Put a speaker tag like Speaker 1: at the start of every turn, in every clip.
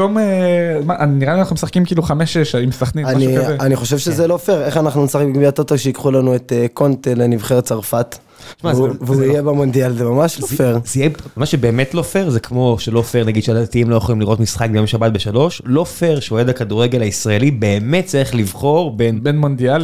Speaker 1: אה, נראה לי אנחנו משחקים כאילו 5-6 עם סכנין, משהו כזה. אני חושב שזה לא פייר, איך אנחנו נשחק בגביע הטוטו שיקחו לנו את
Speaker 2: אה,
Speaker 1: קונטה לנבחרת צרפת. והוא יהיה במונדיאל, לא- זה ממש לא פייר.
Speaker 3: מה שבאמת לא פייר זה כמו שלא פייר נגיד שהדתיים לא יכולים לראות משחק ביום שבת בשלוש, לא פייר שאוהד הכדורגל הישראלי באמת צריך לבחור בין...
Speaker 1: בין מונדיאל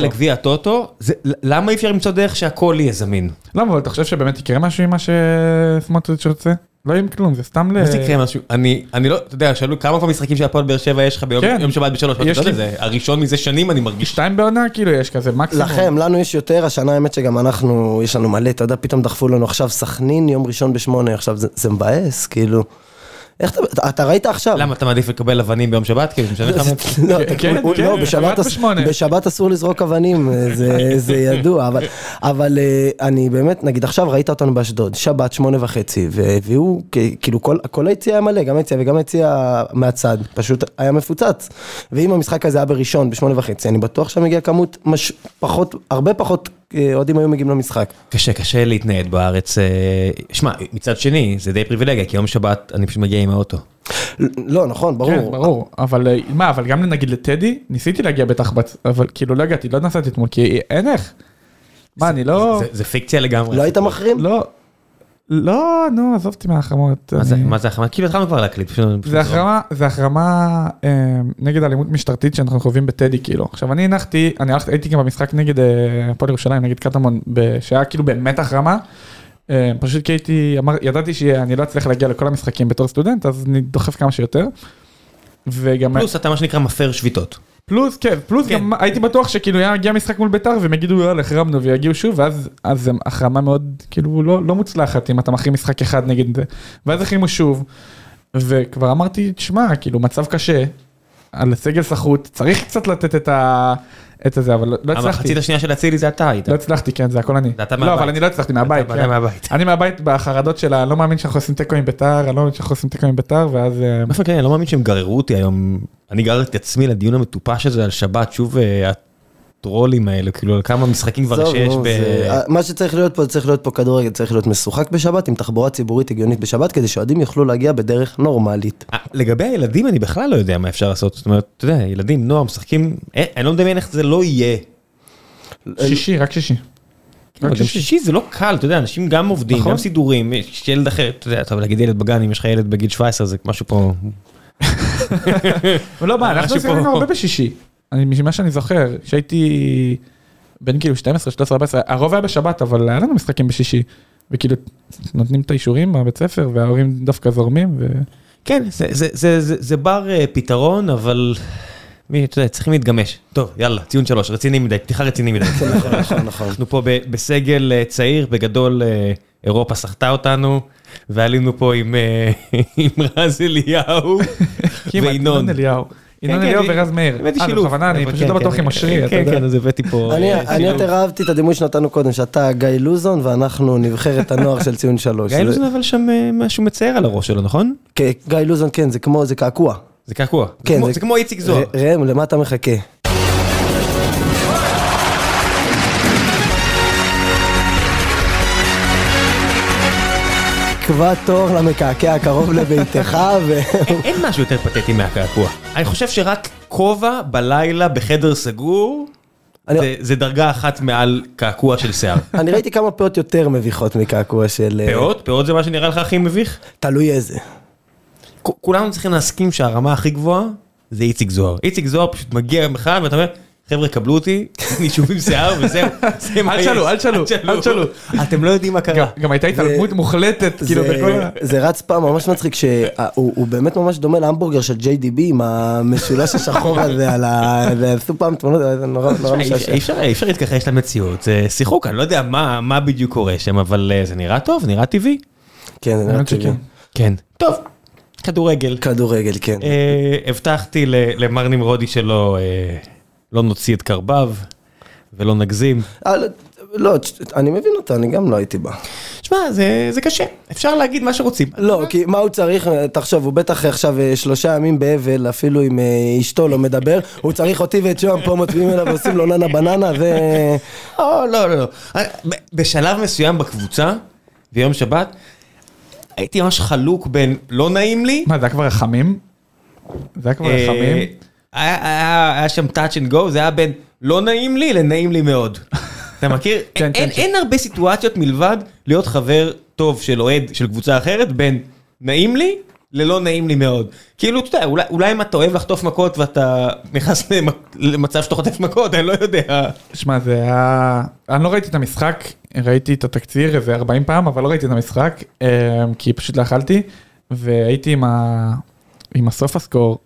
Speaker 3: לגביע הטוטו. למה אי אפשר למצוא דרך שהכל יהיה זמין?
Speaker 1: למה, לא, אבל אתה חושב שבאמת יקרה משהו עם מה שסמוטריץ' רוצה? לא יהיה כלום, זה סתם ל...
Speaker 3: מה זה יקרה משהו? אני, אני לא, אתה יודע, שאלו כמה כבר משחקים של הפועל באר שבע יש לך ביום שבת בשלוש, אתה יודע זה, הראשון מזה שנים אני מרגיש.
Speaker 1: שתיים בעונה כאילו יש כזה, מקסימום.
Speaker 2: לכם, לנו יש יותר, השנה האמת שגם אנחנו, יש לנו מלא, אתה יודע, פתאום דחפו לנו עכשיו סכנין, יום ראשון בשמונה, עכשיו זה מבאס, כאילו. איך אתה, אתה ראית עכשיו.
Speaker 3: למה אתה מעדיף לקבל אבנים ביום שבת? כי זה משנה לך
Speaker 2: מה... לא, בשבת אסור לזרוק אבנים, זה ידוע, אבל אה, אני באמת, נגיד עכשיו ראית אותנו באשדוד, שבת שמונה וחצי, והביאו, כאילו כל היציאה היה מלא, גם היציאה וגם היציאה מהצד, פשוט היה מפוצץ. ואם המשחק הזה היה בראשון, בשמונה וחצי, אני בטוח שם הגיעה כמות פחות, הרבה פחות אה, אוהדים היו מגיעים למשחק.
Speaker 3: קשה, קשה להתנייד בארץ. אה, שמע, מצד שני, זה די פריבילגיה, כי יום שבת אני פשוט מגיע עם האוטו.
Speaker 2: לא, נכון, ברור.
Speaker 1: כן, ברור. אבל מה, אבל גם נגיד לטדי, ניסיתי להגיע בתחבץ, אבל כאילו לא הגעתי, לא נסעתי אתמול, כי אין איך. מה, אני לא...
Speaker 3: זה פיקציה לגמרי.
Speaker 2: לא היית מחרים?
Speaker 1: לא. לא, נו, עזוב אותי מהחרמות.
Speaker 3: מה זה החרמה? כאילו התחלנו כבר להקליט.
Speaker 1: זה החרמה אה, נגד אלימות משטרתית שאנחנו חווים בטדי, כאילו. עכשיו, אני הנחתי, אני הייתי גם במשחק נגד אה, הפועל ירושלים, נגד קטמון, שהיה כאילו באמת החרמה. אה, פשוט כי הייתי, ידעתי שאני לא אצליח להגיע לכל המשחקים בתור סטודנט, אז אני דוחף כמה שיותר.
Speaker 3: פלוס אתה מה שנקרא מפר שביתות.
Speaker 1: פלוס, כן, פלוס כן. גם הייתי בטוח שכאילו יגיע משחק מול ביתר והם יגידו יאללה החרמנו ויגיעו שוב ואז אז החרמה מאוד כאילו לא, לא מוצלחת אם אתה מחרים משחק אחד נגד זה ואז החרימו שוב וכבר אמרתי תשמע כאילו מצב קשה על סגל סחוט צריך קצת לתת את ה... את הזה, אבל לא הצלחתי. אבל
Speaker 3: המחצית השנייה של אצילי זה אתה היית.
Speaker 1: לא הצלחתי, כן, זה הכל אני.
Speaker 3: זה אתה מהבית.
Speaker 1: לא, אבל אני לא הצלחתי, מהבית.
Speaker 3: אתה מהבית.
Speaker 1: אני מהבית בחרדות של הלא מאמין שאנחנו עושים תיקו עם ביתר, אני לא מאמין שאנחנו עושים תיקו עם ביתר, ואז... אה,
Speaker 3: באופן כללי, אני לא מאמין שהם גררו אותי היום. אני גררתי את עצמי לדיון המטופש הזה על שבת, שוב אה, הטרולים האלה, כאילו, כמה משחקים כבר שיש ב...
Speaker 2: אה, מה שצריך להיות פה, צריך להיות פה כדורגל, צריך להיות משוחק בשבת, עם תחבורה ציבורית הגיונית בשבת, כדי שאוהדים יוכלו להגיע בדרך נורמלית.
Speaker 3: אה, לגבי הילדים, אני בכלל לא יודע מה אפשר לעשות. זאת אומרת, אתה יודע, ילדים, נוער, משחקים, אני לא מדמיין איך זה לא יהיה.
Speaker 1: כן, שישי, רק שישי.
Speaker 3: גם שישי זה לא קל, אתה יודע, אנשים גם עובדים,
Speaker 1: נכון.
Speaker 3: גם סידורים, יש ילד אחר, אתה יודע, טוב, להגיד ילד בגן, אם יש לך ילד בגיל 17, זה משהו פה...
Speaker 1: לא, מה, אנחנו עשינו הרבה בשישי. אני, ממה שאני זוכר, כשהייתי בין כאילו 12, 13, 14, הרוב היה בשבת, אבל היה לנו משחקים בשישי. וכאילו, נותנים את האישורים מהבית ספר, וההורים דווקא זורמים. ו...
Speaker 3: כן, זה, זה, זה, זה, זה בר אה, פתרון, אבל... מי, אתה יודע, צריכים להתגמש. טוב, יאללה, ציון שלוש, רציני מדי, פתיחה רציני מדי. אנחנו פה בסגל אה, צעיר, בגדול אה, אירופה סחטה אותנו, ועלינו פה עם רז אליהו וינון.
Speaker 1: כן,
Speaker 3: כן,
Speaker 1: ינון אליהו ורז מאיר. אה,
Speaker 3: הבאתי שילוב.
Speaker 1: בכוונה, אני פשוט לא בטוח אם אשרי,
Speaker 3: אתה יודע. כן, כן, אז הבאתי פה... אה,
Speaker 2: אני יותר אהבתי את הדימוי שנתנו קודם, שאתה גיא לוזון ואנחנו נבחרת הנוער של ציון שלוש.
Speaker 3: גיא לוזון אבל שם אה, משהו מצער על הראש שלו, נכון?
Speaker 2: כן, גיא לוזון כן, זה כמו, זה קעקוע.
Speaker 3: זה קעקוע.
Speaker 2: כן,
Speaker 3: זה כמו איציק זוהר.
Speaker 2: ראם, למה אתה מחכה? תקבע תור למקעקע הקרוב לביתך ו...
Speaker 3: אין משהו יותר פתטי מהקעקוע. אני חושב שרק כובע בלילה בחדר סגור, זה דרגה אחת מעל קעקוע של שיער.
Speaker 2: אני ראיתי כמה פאות יותר מביכות מקעקוע של...
Speaker 1: אה.
Speaker 2: אה,
Speaker 3: פאות? פאות זה מה שנראה לך הכי מביך?
Speaker 2: תלוי איזה.
Speaker 3: כולנו צריכים להסכים שהרמה הכי גבוהה זה איציק זוהר. איציק זוהר פשוט מגיע יום אחד ואתה אומר... חבר'ה קבלו אותי, נישוב עם שיער וזהו,
Speaker 1: זה מה יש. אל תשאלו, אל תשאלו, אל תשאלו.
Speaker 3: אתם לא יודעים מה קרה.
Speaker 1: גם הייתה התעלמות ממוחלטת, כאילו, בכל ה...
Speaker 2: זה רץ פעם ממש מצחיק, שהוא באמת ממש דומה להמבורגר של JDB עם המשולש השחור הזה על ה... ועשו פעם תמונות, זה נורא
Speaker 1: לא
Speaker 2: משעשע.
Speaker 3: אי אפשר להתכחש למציאות, זה שיחוק, אני לא יודע מה בדיוק קורה שם, אבל אה, זה נראה טוב, נראה טבעי.
Speaker 2: כן, זה נראה טבעי.
Speaker 3: כן. טוב. כדורגל.
Speaker 2: כדורגל, כן.
Speaker 3: אה, הבטחתי למר נמרודי שלא לא נוציא את קרבב ולא נגזים.
Speaker 2: לא, אני מבין אותה, אני גם לא הייתי בה.
Speaker 3: שמע, זה, זה קשה, אפשר להגיד מה שרוצים.
Speaker 2: לא, כי מה הוא צריך, תחשוב, הוא בטח עכשיו אה, שלושה ימים באבל, אפילו עם אשתו לא מדבר, הוא צריך אותי ואת שוהם פה מצביעים אליו ועושים לו ננה בננה ו...
Speaker 3: או, לא, לא, לא. בשלב מסוים בקבוצה, ביום שבת, הייתי ממש חלוק בין לא נעים לי...
Speaker 1: מה, זה היה כבר רחמים? זה היה כבר רחמים.
Speaker 3: אה, היה- היה היה שם touch and go, זה היה בין לא נעים לי לנעים לי מאוד. אתה מכיר?
Speaker 1: כן, כן,
Speaker 3: אין-
Speaker 1: כן.
Speaker 3: אין הרבה סיטואציות מלבד להיות חבר טוב של אוהד של קבוצה אחרת בין נעים לי ללא נעים לי מאוד. כאילו, אתה יודע, אולי- אולי אם אתה אוהב לחטוף מכות ואתה נכנס למ- למצב שאתה חוטף מכות, אני לא יודע.
Speaker 1: שמע, זה היה... אני לא ראיתי את המשחק, ראיתי את התקציר איזה 40 פעם, אבל לא ראיתי את המשחק, אמ, כי פשוט לא אכלתי, והייתי עם, ה... עם הסוף הסקור,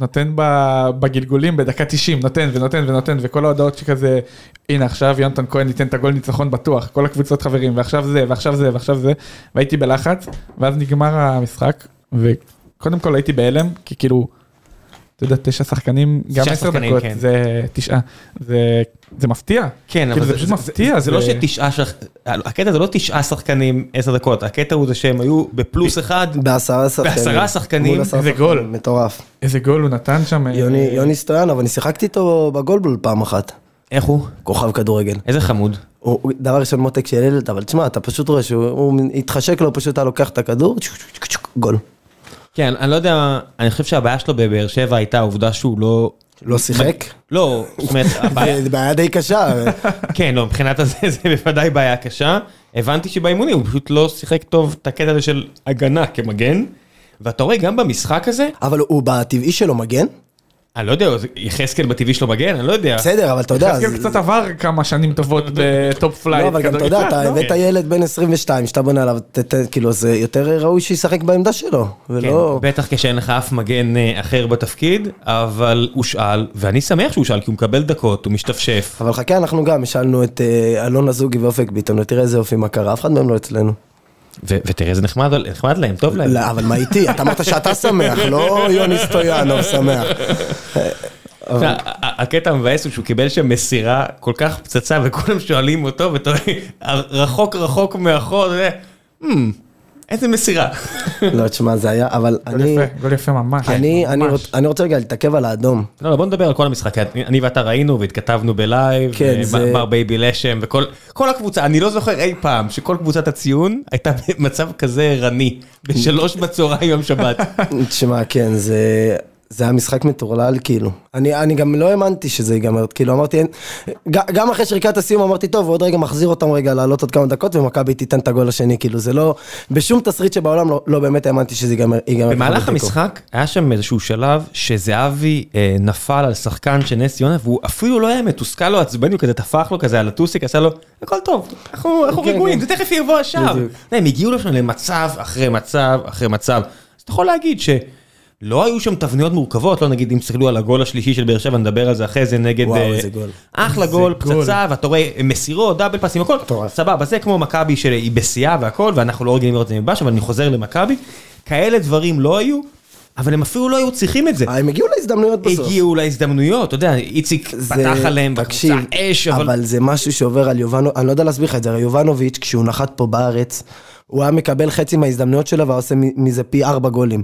Speaker 1: נותן ב- בגלגולים בדקה 90, נותן ונותן ונותן, וכל ההודעות שכזה, הנה עכשיו יונתן כהן ייתן את הגול ניצחון בטוח, כל הקבוצות חברים, ועכשיו זה, ועכשיו זה, ועכשיו זה, והייתי בלחץ, ואז נגמר המשחק, וקודם כל הייתי בהלם, כי כאילו, אתה יודע, תשע שחקנים, גם
Speaker 3: תשעה
Speaker 1: עשר
Speaker 3: שחקנים,
Speaker 1: דקות,
Speaker 3: כן.
Speaker 1: זה תשעה, זה, זה מפתיע,
Speaker 3: כן,
Speaker 1: כאילו,
Speaker 3: אבל
Speaker 1: זה פשוט מפתיע,
Speaker 3: זה לא שתשעה שחקנים, הקטע זה לא תשעה שחקנים עשר דקות, הקטע הוא זה שהם היו בפלוס אחד,
Speaker 2: בעשרה שחקנים.
Speaker 3: בעשרה שחקנים,
Speaker 2: מול עשרה
Speaker 1: זה
Speaker 2: שחקנים,
Speaker 1: גול.
Speaker 2: מטורף.
Speaker 1: איזה גול הוא נתן שם, אה,
Speaker 2: יוני, יוני סטויאנו, אבל אני שיחקתי איתו בגולדבול פעם אחת.
Speaker 3: איך הוא?
Speaker 2: כוכב כדורגל.
Speaker 3: איזה חמוד.
Speaker 2: הוא, הוא- דבר ראשון מותק של ילד, אבל תשמע, אתה פשוט רואה שהוא הוא התחשק לו, פשוט היה לוקח את הכדור, צ'וק, צ'וק, צ'וק, צ'וק, גול.
Speaker 3: כן, אני לא יודע, אני חושב שהבעיה שלו בבאר שבע הייתה העובדה שהוא לא...
Speaker 2: לא שיחק?
Speaker 3: לא, זאת אומרת, הבעיה...
Speaker 2: זה בעיה די קשה.
Speaker 3: כן, לא, מבחינת הזה זה בוודאי בעיה קשה. הבנתי שבאימונים הוא פשוט לא שיחק טוב את הקטע הזה של הגנה כמגן. ואתה רואה גם במשחק הזה,
Speaker 2: אבל הוא בטבעי שלו מגן?
Speaker 3: אני לא יודע, זה- יחזקאל בטבעי שלו מגן, אני לא יודע.
Speaker 2: בסדר, אבל אתה יודע,
Speaker 1: יחזקאל
Speaker 2: זה-
Speaker 1: קצת עבר כמה שנים טובות בטופ פלייט,
Speaker 2: לא, אבל גם אתה יודע, אתה הבאת ילד בן 22 שאתה בונה עליו, ת- ת- כאילו זה יותר ראוי שישחק בעמדה שלו,
Speaker 3: כן,
Speaker 2: ולא...
Speaker 3: בטח כשאין לך אף מגן אה, אחר בתפקיד, אבל הוא שאל, ואני שמח שהוא שאל, כי הוא מקבל דקות, הוא משתפשף.
Speaker 2: אבל חכה, אנחנו גם השאלנו את אה, אלון אזוגי ואופק ביטון, ותראה איזה יופי מה קרה, אף אחד מהם לא אצלנו.
Speaker 3: ו- ותראה, זה נחמד נחמד להם, טוב להם.
Speaker 2: לא, אבל מה איתי? אתה אמרת שאתה שמח, לא יוני סטויאנוב שמח.
Speaker 3: אתה יודע, ה- הקטע המבאס הוא שהוא קיבל שם מסירה כל כך פצצה וכולם שואלים אותו ואתה רואה, רחוק רחוק מאחור, אתה יודע, "Hmm, איזה מסירה.
Speaker 2: לא, תשמע, זה היה, אבל
Speaker 1: גול
Speaker 2: אני...
Speaker 1: יפה, גול יפה ממש,
Speaker 2: אני, אני,
Speaker 1: ממש.
Speaker 2: רוצ, אני רוצה רגע להתעכב על האדום.
Speaker 3: לא, לא, בוא נדבר על כל המשחק, אני אני ואתה ראינו והתכתבנו בלייב,
Speaker 2: כן,
Speaker 3: אה,
Speaker 2: זה-
Speaker 3: בר בייבי לשם וכל כל הקבוצה, אני לא זוכר אי פעם שכל קבוצת הציון הייתה במצב כזה ערני, בשלוש בצהריים יום שבת.
Speaker 2: תשמע, כן, זה... זה היה משחק מטורלל, כאילו. אני, אני גם לא האמנתי שזה ייגמר, כאילו, אמרתי, אין... ג- גם אחרי שריקת הסיום אמרתי, טוב, עוד רגע מחזיר אותם רגע לעלות עוד כמה דקות, ומכבי תיתן את הגול השני, כאילו, זה לא... בשום תסריט שבעולם לא, לא באמת האמנתי שזה ייגמר. ייגמר
Speaker 3: במהלך
Speaker 2: ככה בתיקו.
Speaker 3: המשחק היה שם איזשהו שלב שזהבי אה, נפל על שחקן של נס ציונה והוא אפילו לא היה מתוסכל או עצבני, הוא כזה טפח לו כזה על הטוסיק, עשה לו הכל טוב, אנחנו אנחנו
Speaker 2: כן,
Speaker 3: רגועים,
Speaker 2: כן.
Speaker 3: זה תכף יבוא השער.
Speaker 2: בדיוק.
Speaker 3: אתה יודע, הם הגיעו לשם למצב אחרי מצב אחרי מצב. אז אתה יכול להגיד שלא היו שם תבניות מורכבות, לא נגיד אם תסתכלו על הגול השלישי של באר שבע, נדבר על זה אחרי זה נגד...
Speaker 2: וואו,
Speaker 3: אה,
Speaker 2: איזה גול.
Speaker 3: אחלה
Speaker 1: איזה
Speaker 3: גול,
Speaker 1: גול.
Speaker 3: פצצה, ואתה רואה מסירות, דאבל פאסים, הכל,
Speaker 2: מטורף.
Speaker 3: סבבה, זה כמו מכבי שהיא בשיאה והכל, ואנחנו לא רגילים לראות את זה מבש, אבל אני חוזר למכבי, כאלה דברים לא היו, אבל הם אפילו לא היו צריכים את זה.
Speaker 2: אה, הם הגיעו להזדמנויות בסוף.
Speaker 3: הגיעו להזדמנויות, אתה יודע, איציק פתח עליהם,
Speaker 2: תקשיב,
Speaker 3: בקבוצה אש,
Speaker 2: אבל...
Speaker 3: אבל...
Speaker 2: אבל זה משהו שעובר על יובנו, אני לא יודע להסביר לך את זה, הרי יובנוביץ', כשהוא נחת פה בארץ, הוא היה מקבל חצי מההזדמנויות שלו והיה עושה מ- מזה פי ארבע גולים.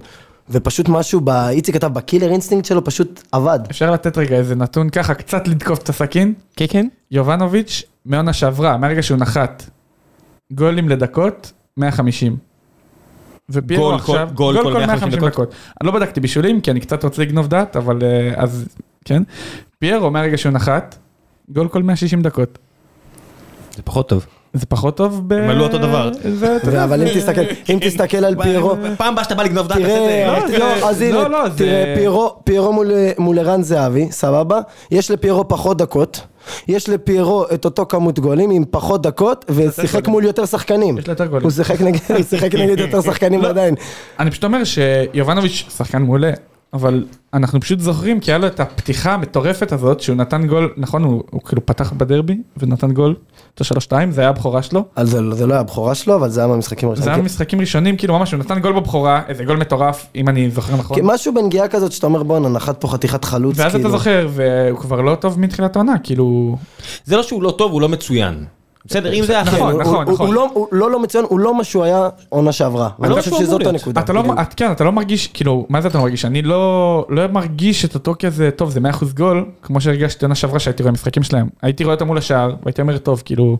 Speaker 2: ופשוט משהו, ב... איציק כתב, בקילר אינסטינקט שלו פשוט עבד.
Speaker 1: אפשר לתת רגע איזה נתון ככה, קצת לתקוף את הסכין,
Speaker 3: כן, כן.
Speaker 1: יובנוביץ' מעונה שעברה, מהרגע שהוא נחת, גולים לדקות, 150. ופיירו
Speaker 3: גול
Speaker 1: עכשיו,
Speaker 3: כל- גול כל 150 דקות.
Speaker 1: אני לא בדקתי בישולים, כי אני קצת רוצה לגנוב דעת, אבל אה, אז, כן. פיירו מהרגע שהוא נחת, גול כל 160 דקות.
Speaker 3: זה פחות טוב.
Speaker 1: זה פחות טוב ב...
Speaker 3: הם עלו אותו דבר.
Speaker 1: זה, אתה יודע,
Speaker 2: אבל אם תסתכל, אם תסתכל על פיירו,
Speaker 3: פעם הבאה שאתה בא לגנוב דעת, תעשה את
Speaker 2: תראה,
Speaker 3: זה.
Speaker 1: לא, זה-
Speaker 2: לא, אז הנה,
Speaker 1: לא, לא, זה-
Speaker 2: תראה, פיירו- פיירו מול- מול ערן זהבי, סבבה? יש לפיירו פחות דקות, יש לפיירו את אותו כמות גולים עם פחות דקות, ושיחק מול יותר שחקנים.
Speaker 1: יש לו יותר גולים.
Speaker 2: הוא שיחק נגד- הוא שיחק נגד יותר
Speaker 1: לא.
Speaker 2: שחקנים עדיין.
Speaker 1: אני פשוט אומר שיובנוביץ' שחקן מעולה, אבל אנחנו פשוט זוכרים כי היה לו את הפתיחה המטורפת הזאת שהוא נתן גול, נכון הוא, הוא כאילו פתח בדרבי ונתן גול, את השלוש שתיים, זה היה הבכורה שלו.
Speaker 2: אז זה לא- זה לא היה הבכורה שלו, אבל זה היה מהמשחקים
Speaker 1: זה היה
Speaker 2: הראשונים.
Speaker 1: משחקים ראשונים, כאילו ממש הוא נתן גול בבכורה, איזה גול מטורף, אם אני זוכר נכון.
Speaker 2: כי משהו בנגיעה כזאת שאתה אומר בואנה נחת פה חתיכת חלוץ
Speaker 1: ואז אתה
Speaker 2: כאילו.
Speaker 1: זוכר, והוא כבר לא טוב מתחילת העונה, כאילו...
Speaker 3: זה לא שהוא לא טוב, הוא לא מצוין. בסדר, אם זה היה...
Speaker 1: נכון,
Speaker 2: כן, הוא-
Speaker 1: נכון,
Speaker 2: הוא-
Speaker 1: נכון. לא
Speaker 2: הוא לא- הוא לא לא מצוין, הוא לא מה שהוא היה עונה שעברה. ואני
Speaker 3: מה
Speaker 2: חושב
Speaker 3: שהוא אמור
Speaker 2: שזאת
Speaker 3: להיות.
Speaker 2: הנקודה.
Speaker 1: אתה לא,
Speaker 2: בדיוק.
Speaker 1: את, כן, אתה לא מרגיש, כאילו, מה זה אתה לא מרגיש? אני לא, לא מרגיש את אותו כזה, טוב, זה 100% גול, כמו שהרגשתי עונה שעברה שהייתי רואה משחקים שלהם. הייתי רואה אותם מול השער, והייתי אומר, טוב, כאילו,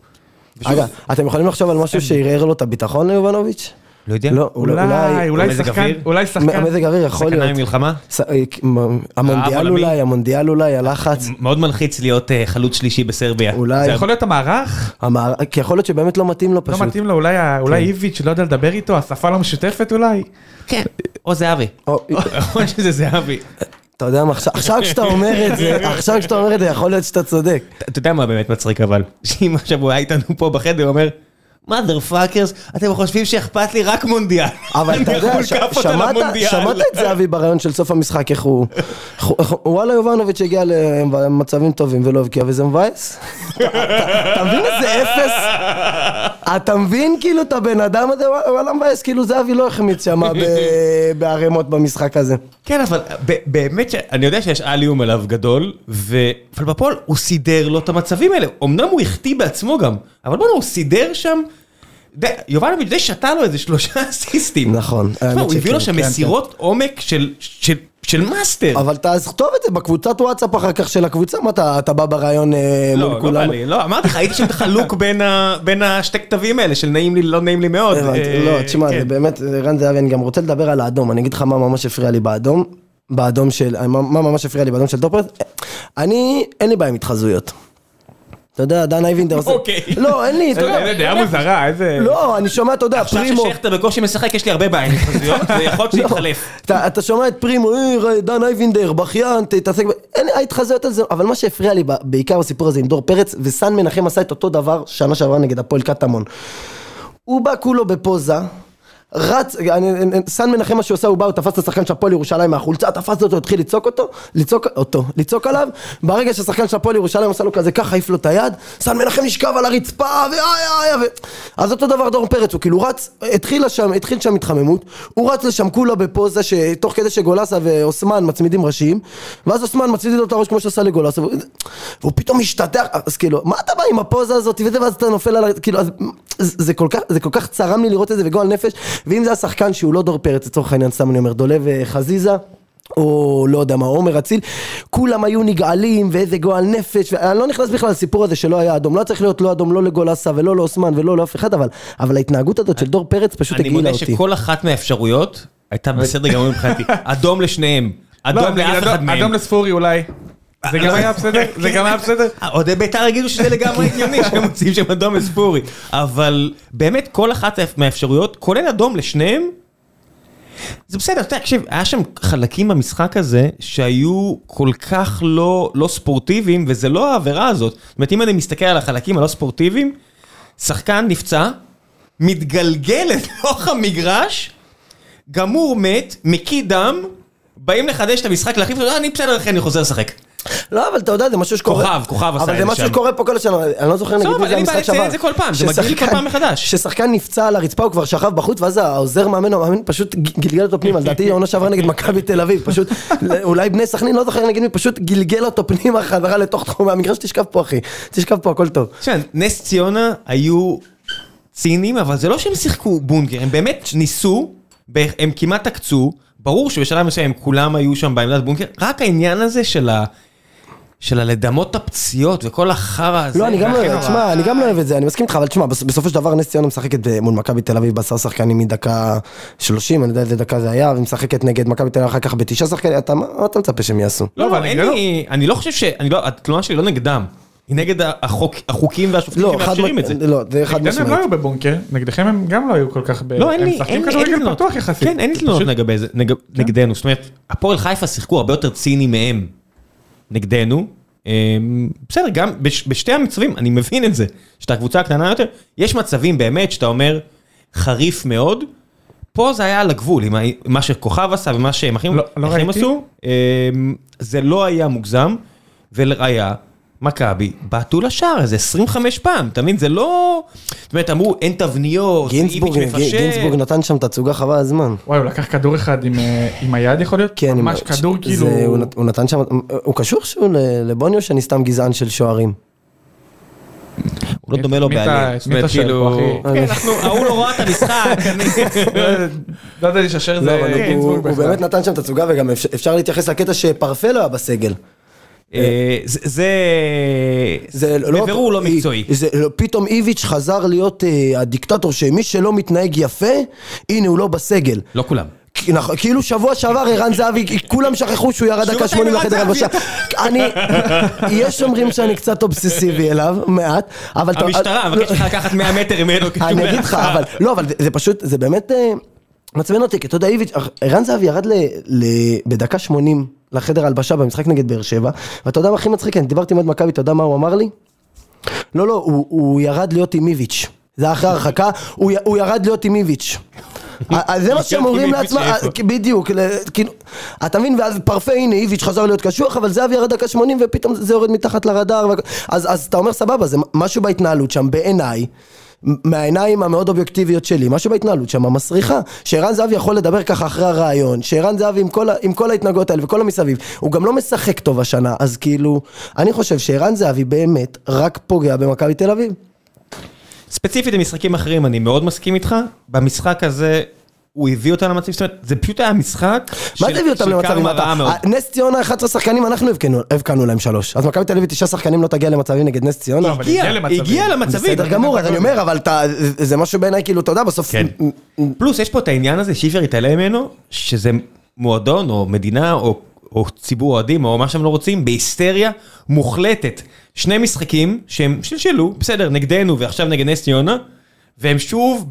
Speaker 2: אגב, אתם יכולים לחשוב על משהו שערער לו את הביטחון ליובנוביץ'?
Speaker 3: לא יודע.
Speaker 2: לא,
Speaker 1: כן. אולי, אולי
Speaker 3: מזג
Speaker 1: שחקן,
Speaker 3: אוויר?
Speaker 1: אולי שחקן.
Speaker 2: מזג אוויר יכול
Speaker 3: סכנה
Speaker 2: להיות.
Speaker 3: ממלחמה?
Speaker 2: ס- אה, מ- המונדיאל
Speaker 3: העולמי?
Speaker 2: אולי, המונדיאל אולי, הלחץ.
Speaker 1: כן.
Speaker 3: מאוד מלחיץ להיות אה, חלוץ שלישי בסרביה.
Speaker 2: אולי,
Speaker 1: יכול להיות המערך?
Speaker 2: המער- כי יכול להיות שבאמת לא מתאים לו
Speaker 1: לא
Speaker 2: פשוט.
Speaker 1: מתאים לו, אולי ה- אולי איביץ' לא יודע לדבר איתו, השפה לא משותפת אולי?
Speaker 3: כן. או זהבי.
Speaker 2: או-
Speaker 3: או שזה זהבי.
Speaker 2: אתה יודע מה, עכשיו- עכשיו כשאתה אומר את זה, עכשיו כשאתה אומר את זה, יכול להיות שאתה צודק.
Speaker 3: אתה- אתה יודע מה באמת מצחיק אבל? שאם עכשיו הוא היה איתנו פה בחדר, הוא אומר... mother fuckers, אתם חושבים שאכפת לי רק מונדיאל.
Speaker 2: אבל אתה
Speaker 3: אני
Speaker 2: יודע,
Speaker 3: יכול
Speaker 2: ש-
Speaker 3: כאפות על
Speaker 2: שמעת
Speaker 3: המונדיאל.
Speaker 2: שמעת את זהבי ברעיון של סוף המשחק, איך הוא... איך הוא- איך הוא- וואלה יובנוביץ' הגיע למצבים טובים ולא הבקיע, וזה מבאס. אתה- אתה אתה מבין איזה אפס? אתה מבין כאילו את הבן אדם הזה, וואלה, וואלה מבאס, כאילו זהבי לא החמיץ שם ב- בערימות במשחק הזה.
Speaker 3: כן, אבל ב- באמת שאני יודע שיש אליום עליו גדול, ו- אבל בפועל הוא סידר לו את המצבים האלה. אמנם הוא החטיא בעצמו גם, אבל בוא'נה, הוא סידר שם... די- יובנוביץ' די שתה לו איזה שלושה אסיסטים.
Speaker 2: נכון,
Speaker 3: תשמע,
Speaker 2: האמת
Speaker 3: הוא הביא
Speaker 2: שכן,
Speaker 3: לו שם
Speaker 2: כן,
Speaker 3: מסירות עומק של- של- של מאסטר.
Speaker 2: אבל תכתוב את זה בקבוצת וואטסאפ אחר כך של הקבוצה, מה אתה אתה בא ברעיון אה, מול
Speaker 3: לא, לא בא
Speaker 2: כולם?
Speaker 3: לי, לא, אמרתי לך, הייתי שם את החלוק בין ה- בין השתי כתבים האלה של נעים לי, לא נעים לי מאוד.
Speaker 2: הבנתי,
Speaker 3: אה,
Speaker 2: לא, תשמע,
Speaker 3: כן.
Speaker 2: זה באמת, רן זהבי, אני גם רוצה לדבר על האדום, אני אגיד לך מה ממש הפריע לי באדום, באדום של, אה, מה מה ממש הפריע לי באדום של טופרט, אני, אין לי בעיה עם התחזויות. אתה יודע, דן אייבינדר עושה...
Speaker 3: אוקיי.
Speaker 2: לא, אין לי, אתה יודע,
Speaker 1: איזה דעה מוזרה, איזה...
Speaker 2: לא, אני שומע, אתה יודע,
Speaker 3: עכשיו
Speaker 2: פרימו.
Speaker 3: ששכטר בקושי משחק, יש לי הרבה בעיה עם התחזיות, ויכול להיות
Speaker 2: לא.
Speaker 3: שיתחלף.
Speaker 2: אתה, אתה שומע את פרימו, "אה, דן אייבינדר, בכיין, תתעסק, ב... אין ההתחזויות על זה, אבל מה שהפריע לי ב- בעיקר בסיפור הזה עם דור פרץ, וסן מנחם עשה את אותו דבר שנה שעברה נגד הפועל קטמון. הוא בא כולו בפוזה. רץ, אני, אני- סן מנחם מה שהוא עשה, הוא בא, הוא תפס את השחקן של הפועל ירושלים מהחולצה, תפס אותו, התחיל לצעוק אותו, לצעוק אותו, לצעוק עליו, ברגע שהשחקן של הפועל ירושלים עשה לו כזה ככה, העיף לו את היד, סן מנחם נשכב על הרצפה, ואיי איי איי, ו... אז אותו דבר דור פרץ, הוא כאילו רץ, התחילה שם, התחיל שם התחממות, הוא רץ לשם כולה בפוזה, שתוך כדי שגולסה ואוסמן מצמידים ראשיים, ואז אוסמן מצמיד לו את הראש כמו שעשה לגולסה, והוא- והוא פתאום משתטח, אז כאילו, מה אתה בא עם הפוזה הזאת, וזה, ואז אתה נופל על ה... כאילו, אז, זה, זה, כל כך, זה כל כך צרם לי לראות את זה בגועל נפש, ואם זה השחקן שהוא לא דור פרץ, לצורך העניין, סתם אני אומר, דולב אה, חזיזה. או לא יודע מה, עומר אציל, כולם היו נגעלים ואיזה גועל נפש, ואני לא נכנס בכלל לסיפור הזה שלא היה אדום, לא היה צריך להיות לא אדום לא לגולסה ולא לאוסמן ולא לאף אחד, אבל, אבל ההתנהגות הזאת של דור פרץ פשוט
Speaker 3: אני
Speaker 2: הגעילה
Speaker 3: מודה
Speaker 2: אותי.
Speaker 3: שכל אחת מהאפשרויות הייתה בסדר גמור מבחינתי. אדום לשניהם.
Speaker 1: לא,
Speaker 3: אדום
Speaker 1: נגיד,
Speaker 3: לאף אחד
Speaker 1: אדום-
Speaker 3: מהם.
Speaker 1: אדום לספורי אולי. זה גם היה בסדר? זה גם היה בסדר?
Speaker 3: כן. אוהדי בית"ר יגידו שזה לגמרי הגיוני שהם מוציאים שם אדום לספורי. אבל באמת כל אחת מהאפשרויות, כולל אדום לשניהם, זה בסדר, אתה יודע, תקשיב, היה שם חלקים במשחק הזה שהיו כל כך לא, לא ספורטיביים, וזה לא העבירה הזאת. זאת אומרת, אם אני מסתכל על החלקים הלא ספורטיביים, שחקן נפצע, מתגלגל לתוך המגרש, גמור מת, מקיא דם, באים לחדש את המשחק, להחליף אותו, "אה, אני בסדר, אחי, אני חוזר לשחק.
Speaker 2: לא, אבל אתה יודע, זה משהו שקורה.
Speaker 3: כוכב, כוכב עשה
Speaker 2: אבל
Speaker 3: את
Speaker 2: זה
Speaker 3: זה
Speaker 2: משהו
Speaker 3: שם.
Speaker 2: שקורה פה כל השנה, אני לא זוכר נגיד
Speaker 3: אבל
Speaker 2: מי זה
Speaker 3: אין לי בעיה
Speaker 2: המשחק
Speaker 3: לציין
Speaker 2: שעבר.
Speaker 3: את זה כל פעם, זה מגעיל כל
Speaker 2: ששחקן-
Speaker 3: פעם מחדש.
Speaker 2: ששחקן נפצע על הרצפה, הוא כבר שכב בחוץ, ואז העוזר מאמן, המאמן פשוט ג- גלגל אותו פנימה, לדעתי העונה שעברה נגד מכבי תל אביב, פשוט, לא- אולי בני סכנין, לא זוכר נגיד מי, פשוט גלגל אותו פנימה חזרה לתוך תחום המגרש, תשכב פה אחי, תשכב פה הכל טוב.
Speaker 3: תשמע, נס ציונה היו ציניים, אבל זה לא שהם שיחקו בונקר, הם באמת ניסו, ב- הם כמעט עקצו, ברור שבשלב מסוים כולם היו שם בעמדת בונקר, רק העניין הזה של ה... של הלדמות את הפציעות וכל החרא הזה.
Speaker 2: לא, אני גם לא
Speaker 3: והכי
Speaker 2: אוהב,
Speaker 3: נורא.
Speaker 2: תשמע, אני גם לא אוהב את זה, אני מסכים איתך, אבל תשמע, בס- בסופו של דבר נס ציונה משחקת אה, מול מכבי תל אביב בעשרה שחקנים מדקה 30, אני יודע איזה דקה זה היה, ומשחקת נגד מכבי תל אביב אחר כך בתשעה שחקנים, אתה מה מה אתה מצפה שהם יעשו?
Speaker 3: לא,
Speaker 1: אבל
Speaker 3: לא, אין
Speaker 1: אני לא-
Speaker 3: לי, אני לא חושב ש... אני לא, התלונה שלי לא נגדם, היא נגד החוק, החוקים והשופטים
Speaker 2: לא, חד
Speaker 3: שמאפשרים את זה.
Speaker 2: מ- לא, זה חד
Speaker 1: נגדנו הם לא
Speaker 2: משמעית.
Speaker 1: היו בבונקר, נגדכם הם גם לא היו כל כך ב...
Speaker 3: לא, אין
Speaker 1: הם
Speaker 3: לי,
Speaker 1: משחקים
Speaker 3: אין לי, אין לי
Speaker 1: כדורגל
Speaker 3: תלונות.
Speaker 1: פתוח יחסית.
Speaker 3: כן, אין לי תלונות
Speaker 1: פשוט- כן.
Speaker 3: לגבי זה, נג- נגדנו. זאת אומרת, הפועל חיפה שיחקו הרבה יותר ציני מהם נגדנו. אמ, בסדר, גם בש- בשתי המצבים, אני מבין את זה, שאתה הקבוצה הקטנה יותר, יש מצבים באמת שאתה אומר חריף מאוד. פה זה היה על הגבול, עם ה- מה שכוכב עשה ומה שהם אחים
Speaker 1: לא- לא
Speaker 3: אחים
Speaker 1: ראיתי.
Speaker 3: עשו. אמ, זה לא היה מוגזם, ולראיה, מכבי בעטו לשער הזה 25 פעם, אתה מבין? זה לא... זאת אומרת, אמרו, אין תבניות,
Speaker 2: גינזבורג
Speaker 3: איביץ' מפשל."
Speaker 2: גינזבורג נתן שם תצוגה חבל הזמן.
Speaker 1: וואי, הוא לקח כדור אחד עם, אה, עם היד יכול להיות?
Speaker 2: כן,
Speaker 1: ממש
Speaker 2: עם-
Speaker 1: כדור
Speaker 2: זה-
Speaker 1: כאילו...
Speaker 2: הוא נת- הוא נתן שם, הוא קשור שהוא ל- לבוני או שאני סתם גזען של שוערים?
Speaker 3: הוא לא דומה לו
Speaker 1: מי אתה-
Speaker 3: בעליל. זאת
Speaker 1: מי אתה
Speaker 3: אומרת,
Speaker 1: שואל
Speaker 3: כאילו...
Speaker 1: פה,
Speaker 2: אה,
Speaker 3: כן, אנחנו- ההוא לא ראה את המשחק, אני...
Speaker 1: לא יודע לששר
Speaker 2: לא,
Speaker 1: זה
Speaker 3: כן,
Speaker 2: אבל הוא-
Speaker 1: גינזבורג
Speaker 2: הוא
Speaker 1: בכלל.
Speaker 2: באמת נתן שם תצוגה וגם אפשר- אפשר להתייחס לקטע שפרפה לא היה בסגל.
Speaker 3: אה, זה... זה...
Speaker 2: זה לא...
Speaker 3: בבירור לא מקצועי.
Speaker 2: זה, לא, פתאום איביץ' חזר להיות אה, הדיקטטור שמי שלא מתנהג יפה, הנה הוא לא בסגל.
Speaker 3: לא כולם.
Speaker 2: כי- נכון, כאילו שבוע שעבר ערן זהבי, כולם שכחו שהוא ירד דקה
Speaker 3: אתה
Speaker 2: 80
Speaker 3: עם ערן
Speaker 2: לחדר הלבשה.
Speaker 3: זהבי,
Speaker 2: אני, יש אומרים שאני קצת אובססיבי אליו, מעט, אבל... אתה-
Speaker 3: המשטרה, מבקש ממך לקחת 100 מטר ממנו. כשהוא
Speaker 2: אה, אני אגיד לך,
Speaker 3: מאחר.
Speaker 2: אבל, לא, אבל זה- זה פשוט, זה באמת אה, מעצבן אותי, כי אתה יודע, איביץ', ערן זהבי ירד ל- ל- בדקה 80 לחדר ההלבשה במשחק נגד באר שבע, ואתה יודע מה הכי מצחיק, אני דיברתי עם עוד מכבי, אתה יודע מה הוא אמר לי? לא, לא, הוא- הוא ירד להיות עם איביץ'. זה היה אחרי הרחקה, הוא י- הוא ירד להיות עם איביץ'. אה, אה, זה מה שהם אומרים
Speaker 3: עם איביץ'
Speaker 2: לעצמם,
Speaker 3: לאיפה?
Speaker 2: אה, כי- בדיוק, ל- כאילו, אתה מבין, ואז פרפה, הנה איביץ' חזר להיות קשוח, אבל זהבי ירד דקה 80 ופתאום זה יורד מתחת לרדאר, והכל. אז אז אתה אומר סבבה, זה משהו בהתנהלות שם, בעיניי, מ- מהעיניים המאוד אובייקטיביות שלי, משהו בהתנהלות שם המסריחה, שערן זהבי יכול לדבר ככה אחרי הרעיון, שערן זהבי עם כל ה- עם כל ההתנהגות האלה וכל המסביב, הוא גם לא משחק טוב השנה, אז כאילו, אני חושב שערן זהבי באמת רק פוגע במכבי תל אביב.
Speaker 3: ספציפית במשחקים אחרים אני מאוד מסכים איתך, במשחק הזה הוא הביא אותה למצב, זאת אומרת, זה פשוט היה משחק
Speaker 2: מה
Speaker 3: של-
Speaker 2: זה הביא אותם
Speaker 3: של
Speaker 2: למצבים?
Speaker 3: קרמה
Speaker 2: אתה- אה,
Speaker 3: רעה מאוד.
Speaker 2: נס ציונה 11 שחקנים, אנחנו הבקענו- הבקענו להם שלוש. אז מכבי תל אביב תשעה שחקנים לא תגיע למצבים נגד נס ציונה.
Speaker 1: לא, אבל
Speaker 3: הגיע,
Speaker 1: הגיע למצבים.
Speaker 3: הגיע למצבים,
Speaker 2: בסדר גמור, אז אני אומר, אבל אתה- זה- זה משהו בעיניי, כאילו, אתה יודע, בסוף...
Speaker 3: כן. פלוס יש פה את העניין הזה שאי אפשר להתעלם ממנו, שזה מועדון או מדינה או, או ציבור אוהדים או מה שהם לא רוצים, בהיסטריה מוחלטת. שני משחקים שהם שלשלו, בסדר, נגדנו ועכשיו נגד נס ציונה, והם שוב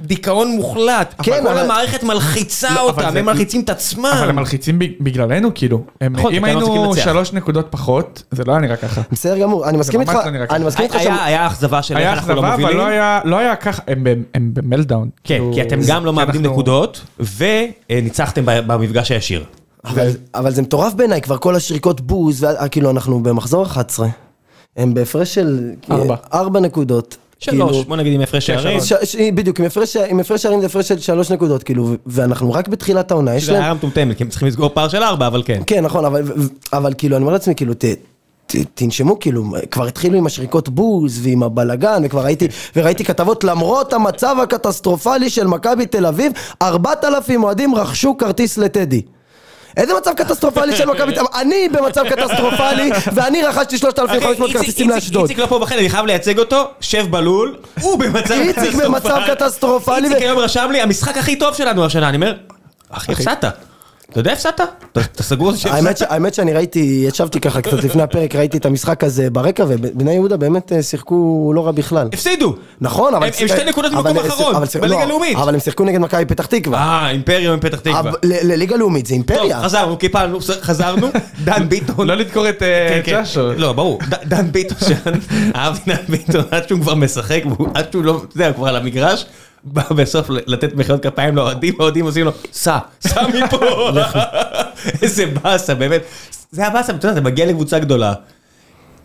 Speaker 3: בדיכאון מוחלט.
Speaker 2: כן,
Speaker 3: אבל כל
Speaker 2: אבל-
Speaker 3: המערכת מלחיצה
Speaker 1: לא, אבל
Speaker 3: אותם,
Speaker 1: זה-
Speaker 3: הם מלחיצים את עצמם.
Speaker 1: אבל הם מלחיצים בג- בגללנו, כאילו. הם-
Speaker 3: נכון,
Speaker 1: אם
Speaker 3: כי אתם לא מצליחים
Speaker 1: היינו
Speaker 3: לנצח.
Speaker 1: שלוש נקודות פחות, זה לא היה נראה ככה.
Speaker 2: בסדר גמור, אני מסכים
Speaker 1: ממש
Speaker 2: איתך,
Speaker 1: לא נראה ככה.
Speaker 2: אני מסכים איתך
Speaker 3: היה-
Speaker 2: שם...
Speaker 3: היה אכזבה של
Speaker 1: היה
Speaker 3: איך אנחנו לא
Speaker 1: אכזבה,
Speaker 3: מובילים.
Speaker 1: אבל לא היה- לא היה ככה, הם ב- הם במלדאון.
Speaker 3: כן,
Speaker 1: כאילו,
Speaker 3: כי אתם גם לא
Speaker 1: כי
Speaker 3: מאבדים
Speaker 1: אנחנו-
Speaker 3: נקודות, וניצחתם במפגש הישיר.
Speaker 2: אבל- אבל זה מטורף בעיניי, כבר כל השריקות בוז, וה- כאילו, אנחנו במחזור 11. הם בהפרש של...
Speaker 1: ארבע.
Speaker 2: ארבע נקודות.
Speaker 3: שלוש,
Speaker 2: כאילו,
Speaker 3: בוא נגיד עם הפרש
Speaker 1: כן,
Speaker 3: שערים.
Speaker 2: ש- ש- בדיוק, עם הפרש- עם הפרש שערים זה הפרש של שלוש נקודות, כאילו, ו- ואנחנו רק בתחילת העונה, יש
Speaker 3: זה
Speaker 2: להם...
Speaker 3: היה כאילו, מטומטמת, כי הם צריכים לסגור פער של ארבע, אבל כן.
Speaker 2: כן, נכון, אבל, אבל כאילו, אני אומר לעצמי, כאילו, ת, ת, תנשמו, כאילו, כבר התחילו עם השריקות בוז ועם הבלגן, וכבר ראיתי, וראיתי כתבות, למרות המצב הקטסטרופלי של מכבי תל אביב, 4,000 אוהדים רכשו כרטיס לטדי. איזה מצב קטסטרופלי של מכבי תל אביב? אני במצב קטסטרופלי, ואני רכשתי 3,500
Speaker 3: אחי,
Speaker 2: כרטיסים
Speaker 3: איציק-
Speaker 2: לאשדוד.
Speaker 3: איציק לא פה בחדר, אני חייב לייצג אותו, שב בלול, הוא במצב
Speaker 2: איציק
Speaker 3: קטסטרופלי.
Speaker 2: במצב קטסטרופלי ו-
Speaker 3: איציק היום רשם לי, המשחק הכי טוב שלנו השנה, אני אומר, אחי, הפסדת. אתה יודע הפסדת? אתה- אתה סגור על זה
Speaker 2: האמת, ש,
Speaker 3: שהפסדת?
Speaker 2: האמת שאני ראיתי, ישבתי ככה קצת לפני הפרק, ראיתי את המשחק הזה ברקע, ובני יהודה באמת אה, שיחקו לא רע בכלל.
Speaker 3: הפסידו.
Speaker 2: נכון, אבל...
Speaker 3: הם- הם שתי נקודות
Speaker 2: אבל-
Speaker 3: ממקום אחרון,
Speaker 2: אבל שיחק-
Speaker 3: בליגה
Speaker 2: לא,
Speaker 3: הלאומית.
Speaker 2: אבל הם שיחקו נגד מכבי פתח תקווה.
Speaker 3: אה, אימפריום פתח תקווה.
Speaker 2: אבל- ל- לליגה לאומית זה
Speaker 3: טוב,
Speaker 2: אימפריה.
Speaker 3: חזרנו, קיפלנו, חזרנו, דן ביטון.
Speaker 1: לא לדקור את אה,
Speaker 3: כן, כן.
Speaker 1: ג'אשו.
Speaker 3: לא, ברור. ד- דן ביטון, שאני- אהבתי דן ביטון, עד שהוא כבר משחק, והוא- עד שהוא לא, זהו, כבר על המגרש, בא בסוף ל- לתת מחיאות כפיים לאוהדים, האוהדים עושים לו, סע, סע מפה. איזה באסה, באמת. זה הבאסה, אתה יודע, אתה מגיע לקבוצה גדולה,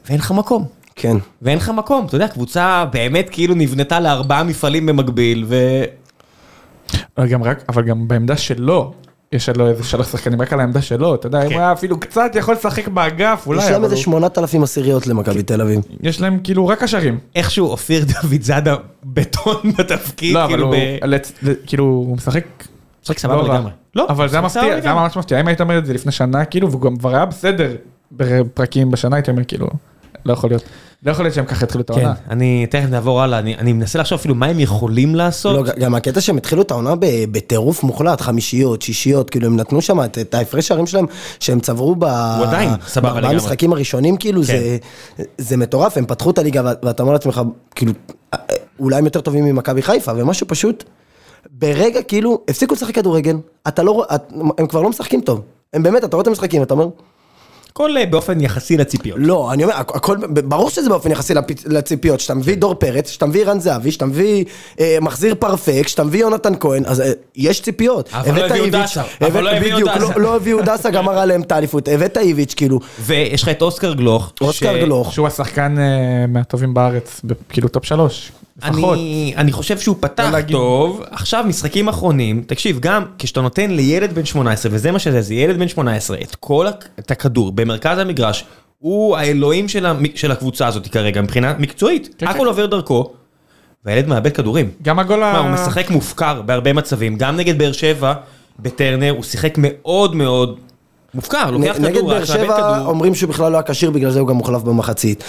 Speaker 3: ואין לך מקום.
Speaker 2: כן.
Speaker 3: ואין לך מקום, אתה יודע, קבוצה באמת כאילו נבנתה לארבעה מפעלים במקביל, ו...
Speaker 1: אבל אה, גם רק, אבל גם בעמדה שלו, יש לו איזה שלוש שחקנים רק על העמדה שלו, אתה יודע, אם
Speaker 3: כן.
Speaker 1: הוא היה אפילו קצת יכול לשחק באגף, אולי,
Speaker 2: יש להם
Speaker 1: אבל
Speaker 2: איזה
Speaker 1: הוא- כן.
Speaker 2: 8,000 עשיריות למכבי תל אביב.
Speaker 1: יש להם כאילו רק קשרים.
Speaker 3: איכשהו אופיר דוד זאדה בטון בתפקיד,
Speaker 1: לא, אבל
Speaker 3: כאילו
Speaker 1: הוא,
Speaker 3: ב...
Speaker 1: לצ- ל- כאילו, הוא משחק...
Speaker 3: משחק סבבה
Speaker 1: לא רע.
Speaker 3: לגמרי. לא,
Speaker 1: אבל זה היה
Speaker 3: משחק סבבה
Speaker 1: מפתיע, זה היה
Speaker 3: לגמרי.
Speaker 1: ממש מפתיע. אם היית אומר את זה לפני שנה, כאילו, והוא גם כבר היה בסדר בפרקים בשנה, הייתי אומר, כאילו, לא יכול להיות. לא יכול להיות שהם ככה התחילו את
Speaker 3: כן,
Speaker 1: העונה.
Speaker 3: אני תכף נעבור הלאה, אני, אני מנסה לחשוב אפילו מה הם יכולים לעשות.
Speaker 2: לא, ג- גם הקטע שהם התחילו את העונה ב- בטירוף מוחלט, חמישיות, שישיות, כאילו הם נתנו שם את- את ההפרש שערים שלהם שהם צברו ב...
Speaker 3: הוא עדיין סבבה
Speaker 2: בארבעה
Speaker 3: לגמרי. כן.
Speaker 2: המשחקים הראשונים, כאילו זה- זה מטורף, הם פתחו את הליגה ו- ואתה אומר לעצמך, כאילו, אה, אה, אולי הם יותר טובים ממכבי חיפה, ומשהו פשוט, ברגע כאילו, הפסיקו לשחק כדורגל, אתה לא, רוא- את- הם כבר לא משחקים טוב. הם באמת, אתה רואה את המשחקים, אתה אומר,
Speaker 3: הכל אה, באופן יחסי לציפיות.
Speaker 2: לא, אני אומר, הכ- הכל, ברור שזה באופן יחסי לפ- לציפיות, שאתה
Speaker 3: כן.
Speaker 2: מביא דור פרץ, שאתה מביא רן זהבי, שאתה מביא אה, מחזיר פרפק, שאתה מביא יונתן כהן, אז אה, יש ציפיות.
Speaker 3: אבל לא
Speaker 2: הבאת
Speaker 3: הביאו
Speaker 2: איביץ',
Speaker 3: דסה, אבל
Speaker 2: הבאת-
Speaker 3: לא הביאו
Speaker 2: בדיוק,
Speaker 3: דסה.
Speaker 2: לא- לא הביאו דסה, גם הראה להם את האליפות, הבאת איביץ', כאילו,
Speaker 3: ויש לך את אוסקר גלוך.
Speaker 2: אוסקר גלוך.
Speaker 1: שהוא השחקן אה, מהטובים בארץ, ב- כאילו טופ שלוש. לפחות.
Speaker 3: אני, אני חושב שהוא פתח
Speaker 1: לא להגיד.
Speaker 3: טוב, עכשיו משחקים אחרונים, תקשיב, גם כשאתה נותן לילד בן 18, וזה מה שזה, זה ילד בן 18, את כל הכ- את הכדור במרכז המגרש, הוא האלוהים של, המ, של הקבוצה הזאת כרגע, מבחינה מקצועית,
Speaker 1: כן,
Speaker 3: הכל עובר דרכו, והילד מאבד כדורים.
Speaker 1: גם הגול
Speaker 3: מה,
Speaker 1: ה...
Speaker 3: הוא משחק מופקר בהרבה מצבים, גם נגד באר שבע, בטרנר, הוא שיחק מאוד מאוד מופקר, לוקח כדור,
Speaker 2: נגד באר
Speaker 3: רק מאבד
Speaker 2: שבע
Speaker 3: כדור.
Speaker 2: אומרים שהוא בכלל לא היה כשיר, בגלל זה הוא גם הוחלף במחצית.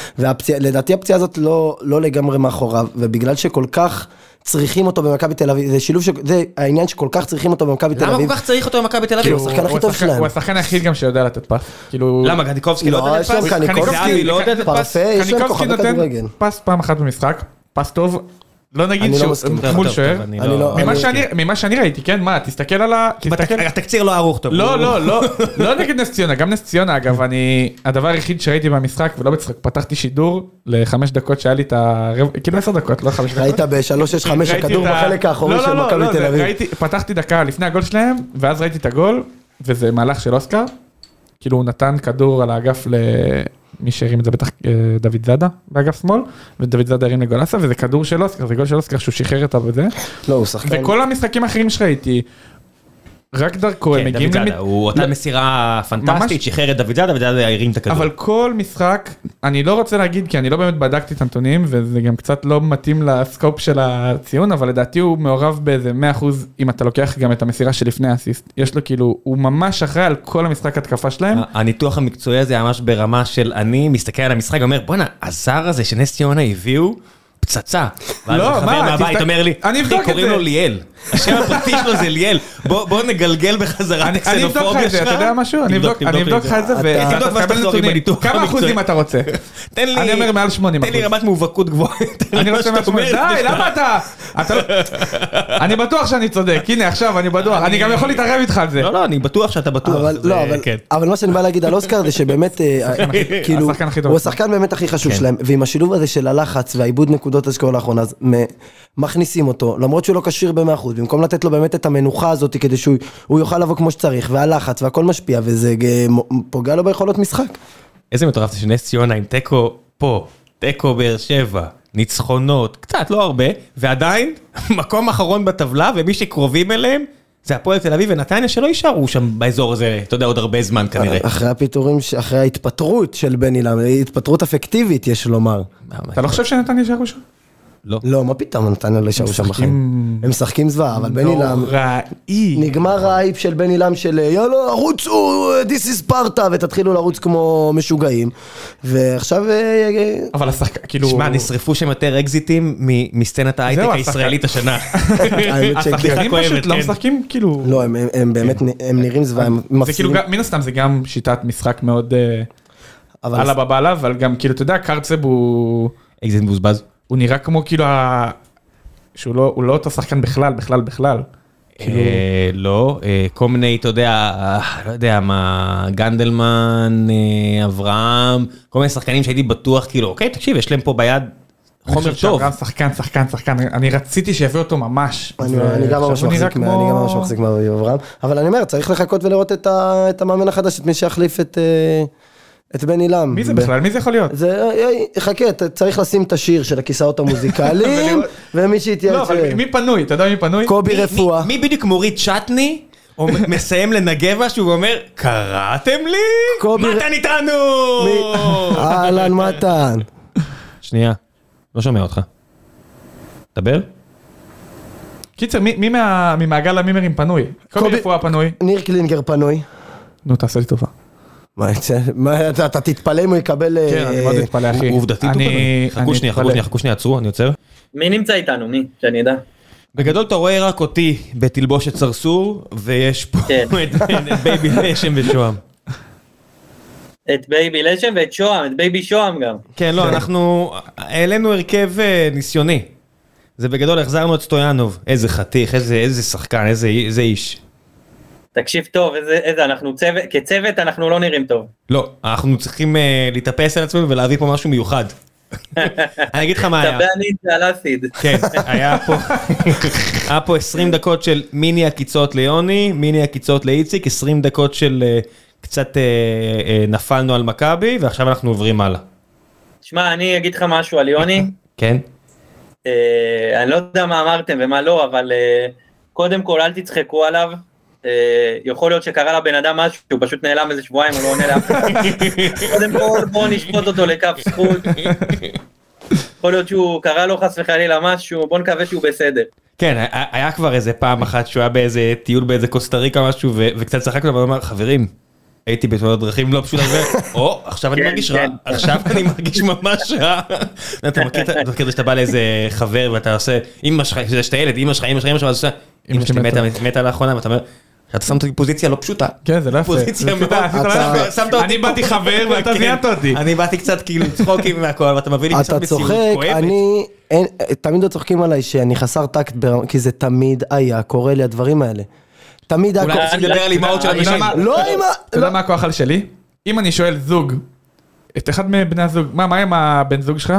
Speaker 2: ולדעתי הפציעה הזאת לא, לא לגמרי מאחוריו, ובגלל שכל כך צריכים אותו במכבי תל אביב, זה שילוב, ש... זה העניין שכל כך צריכים אותו במכבי תל
Speaker 3: למה כל
Speaker 2: אביב.
Speaker 3: כך צריך אותו במכבי תל אביב?
Speaker 2: הוא השחקן הכי טוב
Speaker 1: השחקן-
Speaker 2: שלהם.
Speaker 1: הוא השחקן היחיד גם שיודע לתת פס. כאילו...
Speaker 3: למה, גניקובסקי לא
Speaker 2: לא,
Speaker 3: יודע
Speaker 2: יש להם
Speaker 3: לתת פס?
Speaker 2: קניקובסקי,
Speaker 3: זהבי לא יודע לתת פס?
Speaker 2: פרפה, יש להם
Speaker 1: קניקובסקי
Speaker 2: כוכבי
Speaker 1: נותן
Speaker 2: כדורגל.
Speaker 1: פס פעם אחת במשחק, פס טוב, לא
Speaker 2: אני
Speaker 1: נגיד
Speaker 2: לא
Speaker 1: שהוא
Speaker 2: מסכים.
Speaker 1: מול
Speaker 3: טוב,
Speaker 1: שוער.
Speaker 3: טוב, אני
Speaker 2: אני לא-
Speaker 1: ממה
Speaker 2: אני-
Speaker 1: שאני- ממה שאני ראיתי, כן, מה, תסתכל על ה... תסתכל...
Speaker 3: בתק- התקציר לא ערוך טוב.
Speaker 1: לא,
Speaker 3: הוא-
Speaker 1: לא, לא, לא נגד נס ציונה, גם נס ציונה אגב, אני, הדבר היחיד שראיתי במשחק, ולא בצחוק, פתחתי שידור לחמש דקות שהיה לי את הרבע, כאילו עשר דקות, לא חמש דקות.
Speaker 2: ראית ב-365
Speaker 1: ראיתי
Speaker 2: הכדור
Speaker 1: את ה-
Speaker 2: בחלק האחורי
Speaker 1: לא,
Speaker 2: של
Speaker 1: לא, לא,
Speaker 2: מכבי
Speaker 1: לא,
Speaker 2: תל
Speaker 1: זה-
Speaker 2: אביב.
Speaker 1: ראיתי- פתחתי דקה לפני הגול שלהם, ואז ראיתי את הגול, וזה מהלך של אוסקר, כאילו הוא נתן כדור על האגף למי שהרים את זה בטח אה, דוד זאדה באגף שמאל, ודוד זאדה הרים לגולסה, וזה כדור של אוסקר, זה גול של אוסקר שהוא שחרר את ה... וזה.
Speaker 3: כן.
Speaker 2: לא, הוא שחקן.
Speaker 1: וכל המשחקים האחרים שראיתי, רק דרכו הם
Speaker 3: כן,
Speaker 1: מגיעים...
Speaker 3: דוד זאדה,
Speaker 1: למ-
Speaker 3: הוא
Speaker 1: לא-
Speaker 3: נתן מסירה פנטסטית,
Speaker 1: ממש-
Speaker 3: שחרר את דוד זאדה, דוד זאדה הרים את הכדור.
Speaker 1: אבל כל משחק, אני לא רוצה להגיד כי אני לא באמת בדקתי את הנתונים וזה גם קצת לא מתאים לסקופ של הציון, אבל לדעתי הוא מעורב באיזה 100% אם אתה לוקח גם את המסירה שלפני האסיסט. יש לו כאילו, הוא ממש אחראי על כל המשחק התקפה שלהם.
Speaker 3: אה, הניתוח המקצועי הזה היה ממש ברמה של אני מסתכל על המשחק ואומר בואנה הזר הזה שנס ציונה הביאו פצצה. ואז
Speaker 1: לא,
Speaker 3: החבר
Speaker 1: מה,
Speaker 3: מהבית
Speaker 1: תסתכל-
Speaker 3: אומר לי,
Speaker 1: אני אבדוק
Speaker 3: "אחי,
Speaker 1: את
Speaker 3: קוראים
Speaker 1: זה."
Speaker 3: לו ליאל. השם הפרטי שלו זה ליאל. בוא בוא נגלגל בחזרה את
Speaker 1: אני אני אבדוק לך
Speaker 3: הקסנופוביה
Speaker 1: את זה,
Speaker 3: שלך.
Speaker 1: אתה יודע משהו? אני אבדוק אני אבדוק לך את זה
Speaker 2: אתה-
Speaker 1: ואתה
Speaker 3: תבדוק ואז
Speaker 1: תקבל
Speaker 3: תחזור עם
Speaker 1: נתונים.
Speaker 3: הניתוח
Speaker 1: כמה
Speaker 3: המקצועי.
Speaker 1: אחוזים אתה רוצה?
Speaker 3: תן לי,
Speaker 1: אני אומר מעל 80
Speaker 3: תן לי רמת מובהקות גבוהה. יותר
Speaker 1: אני
Speaker 3: ממה
Speaker 1: רוצה
Speaker 3: שאתה
Speaker 1: משהו,
Speaker 3: אומר.
Speaker 1: די, למה אתה? אתה לא- אני בטוח שאני צודק, הנה עכשיו אני בטוח, אני גם יכול להתערב איתך על זה.
Speaker 3: לא, לא, אני בטוח שאתה בטוח.
Speaker 2: אבל
Speaker 3: זה-
Speaker 2: לא,
Speaker 1: אה,
Speaker 2: אבל-
Speaker 3: כן.
Speaker 2: אבל מה שאני בא להגיד על אוסקר זה שבאמת, אה, אה, כאילו,
Speaker 1: השחקן הכי טוב.
Speaker 2: הוא השחקן באמת הכי חשוב שלהם, ועם השילוב הזה של הלחץ והעיבוד נקודות השקעה לאחרונה, אז מ- מכניסים אותו, למרות שהוא לא כשיר במאה אחוז, במקום לתת לו באמת את המנוחה הזאת כדי שהוא הוא יוכל לבוא כמו שצריך, והלחץ והכל משפיע, וזה אה, מ- פוגע לו ביכולות משחק.
Speaker 3: איזה מטורף זה שנס ציונה עם תיקו פה, תיקו באר שבע, ניצחונות, קצת, לא הרבה, ועדיין, מקום אחרון בטבלה, ומי שקרובים אליהם, זה הפועל תל אביב ונתניה, שלא יישארו שם באזור הזה, אתה יודע, עוד הרבה זמן כנראה.
Speaker 2: אחרי הפיטורים, ש- אחרי ההתפטרות של בני לם, התפטרות אפקטיבית יש לומר.
Speaker 1: אתה לא חושב שנתן יישאר ראשון?
Speaker 2: לא, מה פתאום, נתניה לא יישארו שם בחיים. הם משחקים זוועה, אבל בני לם...
Speaker 1: נוראי.
Speaker 2: נגמר האייפ של בני לם של יאללה, רוצו, this is Sparta, ותתחילו לרוץ כמו משוגעים. ועכשיו... אה, אה,
Speaker 1: אבל השחקן, כאילו...
Speaker 3: שמע, נשרפו שם יותר אקזיטים מ- מסצנת ההייטק
Speaker 1: זהו, השחקן.
Speaker 3: הישראלית השנה.
Speaker 2: האמת שכן.
Speaker 3: בדיחה
Speaker 1: השחקנים
Speaker 3: כואבת,
Speaker 1: פשוט לא
Speaker 3: כן.
Speaker 1: משחקים, כאילו...
Speaker 2: לא, הם- הם- הם באמת, נ- הם נראים זוועה, הם
Speaker 1: כן. זה כאילו,
Speaker 2: מפסידים.
Speaker 1: גם- מן הסתם זה גם שיטת משחק מאוד אה,
Speaker 2: אבל
Speaker 1: עלה בבעלה, אבל גם כאילו, אתה יודע, קרצב הוא...
Speaker 3: אקזיט מבוזבז.
Speaker 1: הוא נראה כמו כאילו ה... שהוא לא, הוא לא אותו שחקן בכלל, בכלל, בכלל. כאילו,
Speaker 3: אה, לא, אה, כל מיני, אתה יודע, אה, לא יודע מה, גנדלמן, אה, אברהם, כל מיני שחקנים שהייתי בטוח, כאילו, אוקיי, תקשיב, יש להם פה ביד
Speaker 1: אני
Speaker 3: חומר
Speaker 1: חושב
Speaker 3: טוב.
Speaker 1: שאברהם שחקן, שחקן, שחקן, אני רציתי שיביאו אותו ממש.
Speaker 2: אני
Speaker 1: זה-
Speaker 2: אני גם
Speaker 1: עכשיו
Speaker 2: ממש
Speaker 1: הוא נראה
Speaker 2: מחזיק מה-
Speaker 1: כמו-
Speaker 2: אני גם ממש מחזיק מאביב אברהם. אבל אני אומר, צריך לחכות ולראות את ה- את המאמן החדש, את מי שיחליף את, אה, את בני לם.
Speaker 1: מי זה
Speaker 2: ב-
Speaker 1: בכלל? מי זה יכול להיות?
Speaker 2: זה, אה, אה, חכה, אתה צריך לשים את השיר של הכיסאות המוזיקליים, ומי
Speaker 1: לא,
Speaker 2: שיתייעץ,
Speaker 1: אבל מי פנוי? אתה יודע מי פנוי?
Speaker 2: קובי
Speaker 3: מי-
Speaker 2: רפואה.
Speaker 3: מי- מי בדיוק מוריד צ'טני? או מ- מסיים לנגב משהו ואומר, קראתם לי?
Speaker 2: קובי-
Speaker 3: מתן איתנו!
Speaker 2: מי- אהלן מתן.
Speaker 3: שנייה, לא שומע אותך. דבר?
Speaker 1: קיצר, מי- מי מה- ממעגל המימרים פנוי? קובי
Speaker 2: קובי-
Speaker 1: רפואה פנוי.
Speaker 2: ניר קלינגר פנוי.
Speaker 1: נו, תעשה לי טובה.
Speaker 2: מה יצא? מה, אתה אתה תתפלא אם הוא יקבל...
Speaker 1: כן,
Speaker 2: אה,
Speaker 1: אני מאוד מתפלא, אחי.
Speaker 3: עובדתית הוא
Speaker 1: אני-
Speaker 3: פנוי. חכו
Speaker 1: אני
Speaker 3: שנייה, חכו
Speaker 1: מתפלא.
Speaker 3: שנייה, חכו שנייה, עצרו, אני עוצר.
Speaker 4: מי נמצא איתנו? מי? שאני אדע.
Speaker 3: בגדול אתה רואה רק אותי בתלבושת סרסור, ויש פה
Speaker 4: כן.
Speaker 3: את את בייבי לשם ושוהם.
Speaker 4: את בייבי לשם ואת שוהם, את בייבי שוהם גם.
Speaker 3: כן, לא, אנחנו העלינו הרכב אה, ניסיוני. זה בגדול החזרנו את סטויאנוב. איזה חתיך, איזה- איזה שחקן, איזה איזה איש.
Speaker 4: תקשיב טוב, איזה, איזה, אנחנו צוות, כצוות אנחנו לא נראים טוב.
Speaker 3: לא, אנחנו צריכים אה, להתאפס על עצמנו ולהביא פה משהו מיוחד. אני אגיד לך מה היה.
Speaker 4: תבע אני את זה על אסיד.
Speaker 3: אה, כן, היה פה, היה פה 20 דקות של מיני עקיצות ליוני, מיני עקיצות לאיציק, 20 דקות של אה, קצת אה, אה, נפלנו על מכבי, ועכשיו אנחנו עוברים הלאה.
Speaker 4: שמע, אני אגיד לך משהו על יוני.
Speaker 3: כן?
Speaker 4: אה, אני לא יודע מה אמרתם ומה לא, אבל אה, קודם כל אל תצחקו עליו. אה, יכול להיות שקרה לבן אדם משהו, הוא פשוט נעלם איזה שבועיים, הוא לא עונה לאף אחד. קודם כל בואו נשפוט אותו לכף זכות. יכול להיות שהוא קרה לו חס וחלילה משהו, בואו נקווה שהוא בסדר.
Speaker 3: כן, היה- היה כבר איזה פעם אחת שהוא היה באיזה טיול באיזה קוסטה ריקה או משהו, ו- וקצת צחקנו, אבל הוא אמר, חברים, הייתי בתאונת דרכים לא פשוט הרבה, או עכשיו אני
Speaker 4: כן,
Speaker 3: מרגיש רע,
Speaker 4: כן.
Speaker 3: עכשיו אני מרגיש ממש רע. אתה מכיר את ה- אתה מכיר את זה שאתה בא לאיזה חבר ואתה עושה, אמא שלך, שזה שאתה ילד, אמא שלך, אמא שלך, אמא שלך, אז אתה עושה, אמא שלי מתה, מתה לאחרונה, ואתה אומר, אתה שם אותי בפוזיציה לא פשוטה.
Speaker 1: כן, זה לא יפה.
Speaker 3: פוזיציה
Speaker 1: זה
Speaker 3: מאוד,
Speaker 1: אתה- עשית לא
Speaker 3: אתה-
Speaker 1: יפה.
Speaker 3: שמת אותי
Speaker 1: אני באתי חבר ואתה
Speaker 3: כן.
Speaker 1: זיינת אותי.
Speaker 3: אני באתי קצת כאילו עם צחוקים והכל, ואתה מביא לי קצת
Speaker 2: אתה
Speaker 3: מציאות
Speaker 2: צוחק,
Speaker 3: כואבת.
Speaker 2: אני... אין, תמיד עוד צוחקים עליי שאני חסר טקט, ברמה- כי זה תמיד היה קורה לי הדברים האלה. תמיד היה
Speaker 3: אולי
Speaker 2: קורה.
Speaker 3: אני לא מדבר על אימהות של
Speaker 1: אתה יודע
Speaker 3: אנשים.
Speaker 1: מה-
Speaker 2: לא עם ה...
Speaker 1: אתה יודע מה הכוח על שלי? אם אני שואל זוג, את אחד מבני הזוג, מה, מה עם הבן זוג שלך?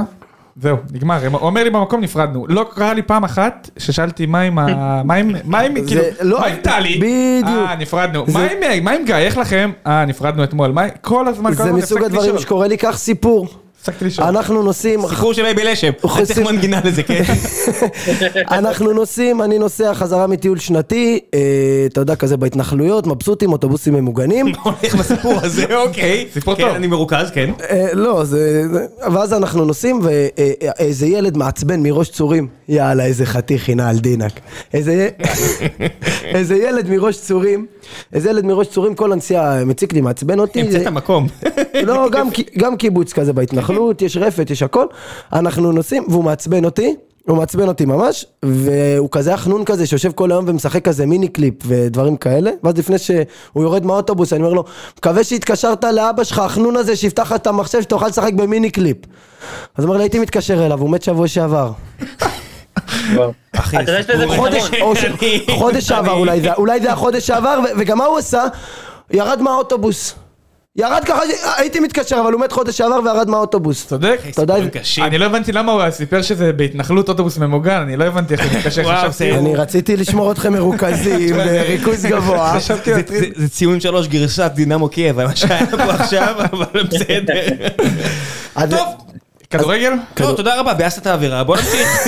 Speaker 1: זהו, נגמר. הם- הוא אומר לי במקום נפרדנו. לא קרה לי פעם אחת ששאלתי מה עם ה... מה עם... מה עם...
Speaker 2: זה-
Speaker 1: כאילו...
Speaker 2: לא,
Speaker 1: מה עם טלי?
Speaker 2: בדיוק.
Speaker 1: אה, נפרדנו.
Speaker 2: זה-
Speaker 1: מה עם- מה עם גיא? איך לכם? אה, נפרדנו אתמול. מה- כל הזמן, כל
Speaker 2: זה
Speaker 1: הזמן
Speaker 2: מסוג
Speaker 1: הפסקתי
Speaker 2: הדברים
Speaker 1: לשאול.
Speaker 2: שקורה לא- לי, כך סיפור.
Speaker 1: הפסקתי לשאול.
Speaker 2: אנחנו נוסעים,
Speaker 3: סיפור של אייבי לשם,
Speaker 2: הוא
Speaker 3: אני צריך
Speaker 2: חושף-
Speaker 3: מנגינה לזה, כן?
Speaker 2: אנחנו נוסעים, אני נוסע חזרה מטיול שנתי, אה, אתה יודע, כזה בהתנחלויות, מבסוטים, אוטובוסים ממוגנים.
Speaker 3: הולך בסיפור הזה, אוקיי.
Speaker 1: סיפור
Speaker 3: כן,
Speaker 1: טוב.
Speaker 3: אני מרוכז, כן.
Speaker 2: אה, לא, זה... זה- ואז אנחנו נוסעים, ואיזה ילד מעצבן מראש צורים. יאללה, איזה חתיך הנה על דינק. איזה י- איזה ילד מראש צורים, איזה ילד מראש צורים, כל הנסיעה אה, מציק לי, מעצבן אותי.
Speaker 3: המצאת
Speaker 2: זה-
Speaker 3: מקום.
Speaker 2: לא, גם, קי- גם קיבוץ כזה בהתנחלות, יש רפת, יש הכל. אנחנו נוסעים, והוא מעצבן אותי, הוא מעצבן אותי ממש, והוא כזה החנון כזה שיושב כל היום ומשחק כזה מיני קליפ ודברים כאלה, ואז לפני שהוא יורד מהאוטובוס, אני אומר לו, מקווה שהתקשרת לאבא שלך, החנון הזה, שיפתח לך את המחשב, שתוכל לשחק במיני קליפ. אז הוא אומר לי, הייתי מתקשר אליו, הוא מת שבוע שעבר.
Speaker 3: אחי,
Speaker 4: אתה יודע שזה
Speaker 3: סיפור-
Speaker 4: נכון.
Speaker 2: חודש, או ש-
Speaker 3: אני-
Speaker 2: חודש שעבר
Speaker 3: אני-
Speaker 2: אולי זה, אולי זה החודש שעבר, ו- וגם מה הוא עשה? ירד מהאוטובוס. ירד ככה, הייתי מתקשר, אבל הוא מת חודש שעבר וירד מהאוטובוס.
Speaker 1: צודק?
Speaker 3: אחי,
Speaker 2: אתה יודע,
Speaker 3: סיפורים קשים.
Speaker 1: אני לא הבנתי למה הוא סיפר שזה בהתנחלות אוטובוס ממוגן, אני לא הבנתי איך זה מתקשר.
Speaker 3: וואו,
Speaker 1: חשבתי-
Speaker 3: זה-
Speaker 2: אני רציתי לשמור אתכם מרוכזים, בריכוז גבוה.
Speaker 1: חשבתי
Speaker 3: זה-
Speaker 1: להטריד-
Speaker 3: זה- זה ציון שלוש גרסת דינמו קייב, מה שהיה פה עכשיו, אבל בסדר.
Speaker 2: אז זה-
Speaker 3: טוב,
Speaker 1: כדורגל?
Speaker 3: טוב, תודה רבה, ביאסת את האווירה, בוא נמשיך.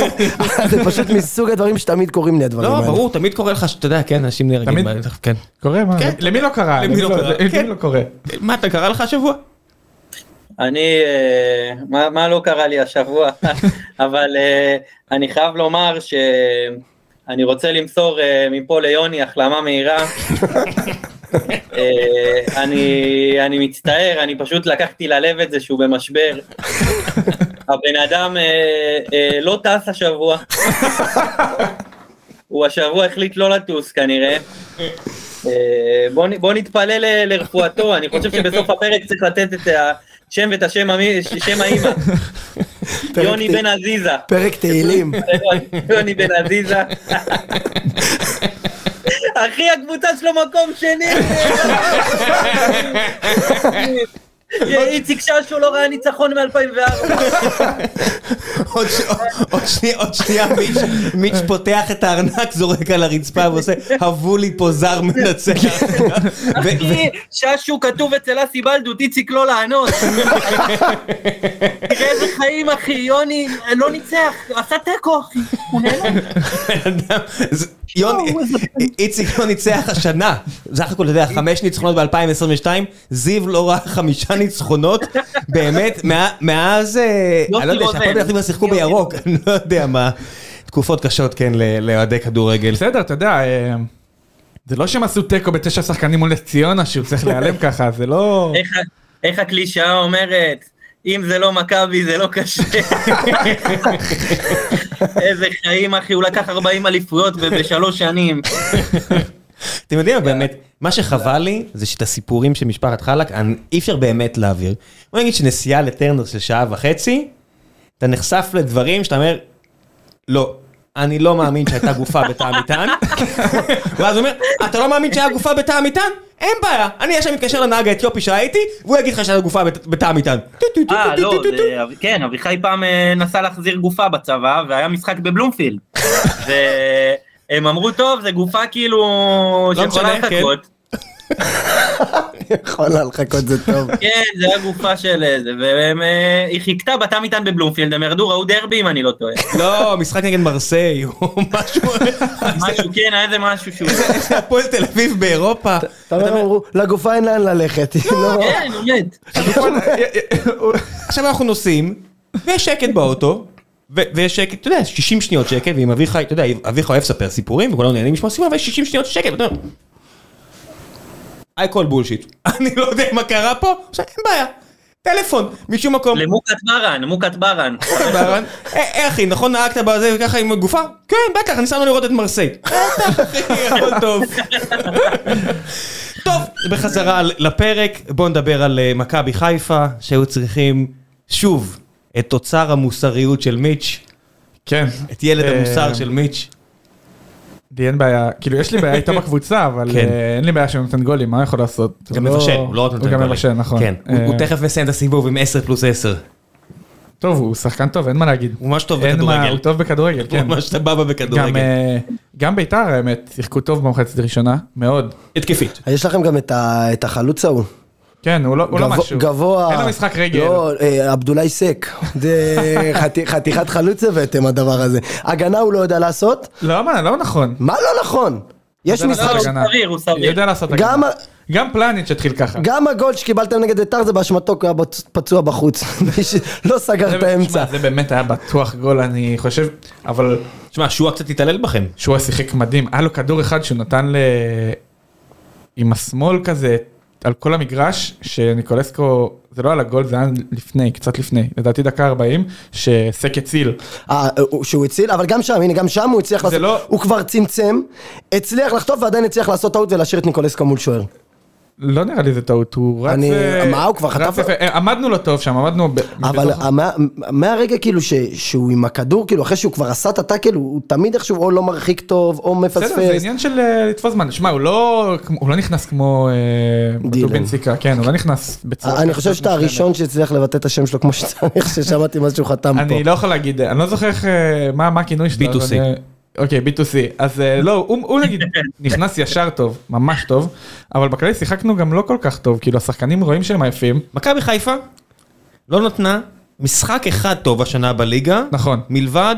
Speaker 2: זה פשוט מסוג הדברים שתמיד קורים לי הדברים
Speaker 3: לא,
Speaker 2: האלה.
Speaker 3: ברור, תמיד קורה לך שאתה יודע, כן, אנשים נהרגים.
Speaker 1: תמיד.
Speaker 3: ב- כן.
Speaker 1: קורה? מה?
Speaker 3: כן.
Speaker 1: למי לא קרה?
Speaker 3: למי לא קרה?
Speaker 1: למי
Speaker 3: כן.
Speaker 1: לא קורה?
Speaker 3: מה, אתה קרה לך השבוע?
Speaker 4: אני, אה, מה, מה לא קרה לי השבוע, אבל אה, אני חייב לומר שאני רוצה למסור אה, מפה ליוני החלמה מהירה. אה, אני, אני מצטער, אני פשוט לקחתי ללב את זה שהוא במשבר. הבן אדם אה, אה, לא טס השבוע. הוא השבוע החליט לא לטוס כנראה. אה, בוא, נ- בוא נתפלל ל- לרפואתו, אני חושב שבסוף הפרק צריך לתת את השם ואת השם המי- ש- שם האימא. יוני בן עזיזה.
Speaker 2: פרק תהילים.
Speaker 4: יוני בן עזיזה. אחי, הקבוצה שלו מקום שני. איציק ששו לא ראה ניצחון מ-2004.
Speaker 3: עוד ש- עוד שנייה, עוד שנייה, מיץ'- מיץ' פותח את הארנק, זורק על הרצפה ועושה, הבו לי פה זר מנצח. ו- ו-
Speaker 4: אחי, ששו כתוב אצל אסי בלדות, איציק לא לענות. תראה איזה חיים, אחי, יוני לא ניצח, עשה תיקו, אחי. הוא נעלם.
Speaker 3: אדם, זה- יוני- איציק לא ניצח השנה, סך הכל, אתה יודע, חמש ניצחונות ב-2022, זיו לא ראה חמישה ניצחונות, באמת, מה- מאז, אה,
Speaker 4: יוסי
Speaker 3: אני לא יודע,
Speaker 4: רוזן.
Speaker 3: שהפועל פתח תקווה שיחקו
Speaker 4: יוסי
Speaker 3: בירוק, אני לא יודע מה, תקופות קשות, כן, ל- לאוהדי כדורגל.
Speaker 1: בסדר, אתה יודע, אה, זה לא שהם עשו תיקו בתשע שחקנים מול נס ציונה שהוא צריך להיעלם ככה, זה לא...
Speaker 4: איך ה- איך הקלישאה אומרת? אם זה לא מכבי זה לא קשה. איזה חיים אחי, הוא לקח 40 אליפויות ב- בשלוש שנים.
Speaker 3: אתם יודעים, באמת, מה שחבל לי, זה שאת הסיפורים של משפחת חלק, אני- אי אפשר באמת להעביר. בוא נגיד שנסיעה לטרנר של שעה וחצי, אתה נחשף לדברים שאתה אומר, לא. אני לא מאמין שהייתה גופה בתא המטען, ואז הוא אומר, אתה לא מאמין שהיה גופה בתא המטען? אין בעיה, אני ישר מתקשר לנהג האתיופי שהייתי, והוא יגיד לך שהייתה גופה בת- בתא המטען. טו, טו, טו,
Speaker 4: אה,
Speaker 3: טו,
Speaker 4: לא,
Speaker 3: טו, טו,
Speaker 4: זה-
Speaker 3: טו.
Speaker 4: כן, אביחי פעם אה, נסע להחזיר גופה בצבא, והיה משחק בבלומפילד. והם אמרו, טוב, זה גופה כאילו
Speaker 3: לא
Speaker 4: שיכולה
Speaker 3: משנה, כן.
Speaker 4: לחכות.
Speaker 2: יכול היה לחכות, זה טוב.
Speaker 4: כן, זה היה גופה של איזה, והם, אה, היא חיכתה בתא מטען בבלומפילד, הם ירדו, ראו דרבי אם אני לא טועה.
Speaker 3: לא, משחק נגד מרסיי, או משהו,
Speaker 4: משהו, כן, היה איזה משהו שהוא...
Speaker 3: זה הפועל תל אביב באירופה.
Speaker 2: אתה אומר, אמרו, לגופה אין לאן ללכת. לא.
Speaker 4: כן, באמת.
Speaker 3: אה, עכשיו אנחנו נוסעים, ויש שקט באוטו, ו- ויש שקט, אתה יודע, 60 שניות שקט, ועם אביחי, אתה יודע, אביחי אוהב לספר סיפורים, וכולנו נהנים לשמוע סיפורים, אבל יש 60 שניות שקט, אתה יודע. I call bullshit. אני לא יודע מה קרה פה, עכשיו אין בעיה. טלפון, משום מקום.
Speaker 4: למוקת ברן, מוקת ברן.
Speaker 3: ברן. אה, אחי, נכון נהגת בזה וככה עם הגופה? כן, בטח, אני שם לו לראות את מרסיי. בטח, אחי, הכל טוב. טוב, בחזרה לפרק, בואו נדבר על אה, מכבי חיפה, שהיו צריכים שוב את תוצר המוסריות של מיץ',
Speaker 1: כן.
Speaker 3: את ילד
Speaker 1: אה,
Speaker 3: המוסר של מיץ'.
Speaker 1: לי אין בעיה, כאילו יש לי בעיה איתה בקבוצה, אבל
Speaker 3: כן.
Speaker 1: אה, אין לי בעיה שהוא נותן גולים, מה הוא יכול לעשות?
Speaker 3: גם
Speaker 1: הוא לא-
Speaker 3: מבשל, הוא לא רק נותן
Speaker 1: הוא גם
Speaker 3: גולים.
Speaker 1: מבשל, נכון.
Speaker 3: כן, הוא-
Speaker 1: אה,
Speaker 3: הוא תכף מסיים את הסיבוב עם 10 פלוס 10.
Speaker 1: טוב, הוא שחקן טוב, אין מה להגיד.
Speaker 3: הוא ממש טוב
Speaker 1: אין מה,
Speaker 3: בכדורגל.
Speaker 1: הוא טוב בכדורגל,
Speaker 3: הוא
Speaker 1: כן.
Speaker 3: ממש סבבה
Speaker 1: גם,
Speaker 3: בכדורגל.
Speaker 1: אה, גם ביתר האמת, שיחקו טוב במחצית הראשונה, מאוד.
Speaker 3: התקפית.
Speaker 2: אה, יש לכם גם את ה- את החלוץ ההוא.
Speaker 1: כן, הוא לא, הוא לא
Speaker 2: גבוה-
Speaker 1: משהו.
Speaker 2: גבוה.
Speaker 1: אין לו משחק רגל.
Speaker 2: לא, אה, עבדולאי סק. זה חתי- חתיכת חלוץ הבאתם הדבר הזה. הגנה הוא לא יודע לעשות?
Speaker 1: לא, מה, לא נכון.
Speaker 2: מה לא נכון? יש
Speaker 1: יודע
Speaker 2: משחק...
Speaker 1: לעשות
Speaker 4: הוא
Speaker 1: הגנה.
Speaker 4: סביר, הוא סביר.
Speaker 1: יודע לעשות הגנה.
Speaker 2: גם-
Speaker 1: גם פלניץ' התחיל ככה.
Speaker 2: גם הגול שקיבלתם נגד ביתר זה באשמתו, כי הוא היה בצ- פצוע בחוץ. מי שלא סגר את
Speaker 1: זה-
Speaker 2: האמצע.
Speaker 1: שמע, זה באמת היה בטוח גול, אני חושב, אבל
Speaker 3: שמע, שועה קצת התעלל בכם.
Speaker 1: שועה שיחק מדהים. היה לו כדור אחד שהוא נתן ל... עם השמאל כזה, על כל המגרש, שניקולסקו, זה לא על הגול, זה היה לפני, קצת לפני, לדעתי דקה 40, שסק הציל.
Speaker 2: אה, הוא- שהוא הציל, אבל גם שם, הנה, גם שם הוא הצליח
Speaker 1: זה
Speaker 2: לעשות,
Speaker 1: לא-
Speaker 2: הוא כבר צמצם, הצליח לחטוף ועדיין הצליח לעשות טעות ולהשאיר את ניקולסקו מול שוער.
Speaker 1: לא נראה לי זה טעות, הוא רץ...
Speaker 2: אני-
Speaker 1: אה,
Speaker 2: מה, הוא כבר
Speaker 1: רץ
Speaker 2: חטף?
Speaker 1: יפה. אה, עמדנו לו טוב שם, עמדנו... ב-
Speaker 2: אבל
Speaker 1: בתוך-
Speaker 2: המה- מהרגע כאילו ש- שהוא עם הכדור, כאילו אחרי שהוא כבר עשה את הטאקל, הוא הוא תמיד איכשהו או לא מרחיק טוב, או
Speaker 1: בסדר, זה
Speaker 2: מפספס.
Speaker 1: עניין של אה, לתפוס זמן. שמע, הוא לא כמו- הוא לא נכנס כמו אה,
Speaker 2: דילן. אה,
Speaker 1: בטור בן ציקה, כן, הוא לא נכנס בצורה...
Speaker 2: אני
Speaker 1: כזאת
Speaker 2: חושב שאתה
Speaker 1: מושלמת.
Speaker 2: הראשון שהצליח לבטא את השם שלו כמו שצריך, ששמעתי מה שהוא חתם פה.
Speaker 1: אני לא יכול להגיד, אני לא זוכר איך, אה, מה מה הכינוי שלו.
Speaker 3: B2C.
Speaker 1: אבל, אה, אוקיי, B2C. אז אה, לא, הוא הוא נגיד נכנס ישר טוב, ממש טוב, אבל בכללי שיחקנו גם לא כל כך טוב, כאילו השחקנים רואים שהם עייפים,
Speaker 3: מכבי חיפה לא נתנה משחק אחד טוב השנה בליגה,
Speaker 1: נכון.
Speaker 3: מלבד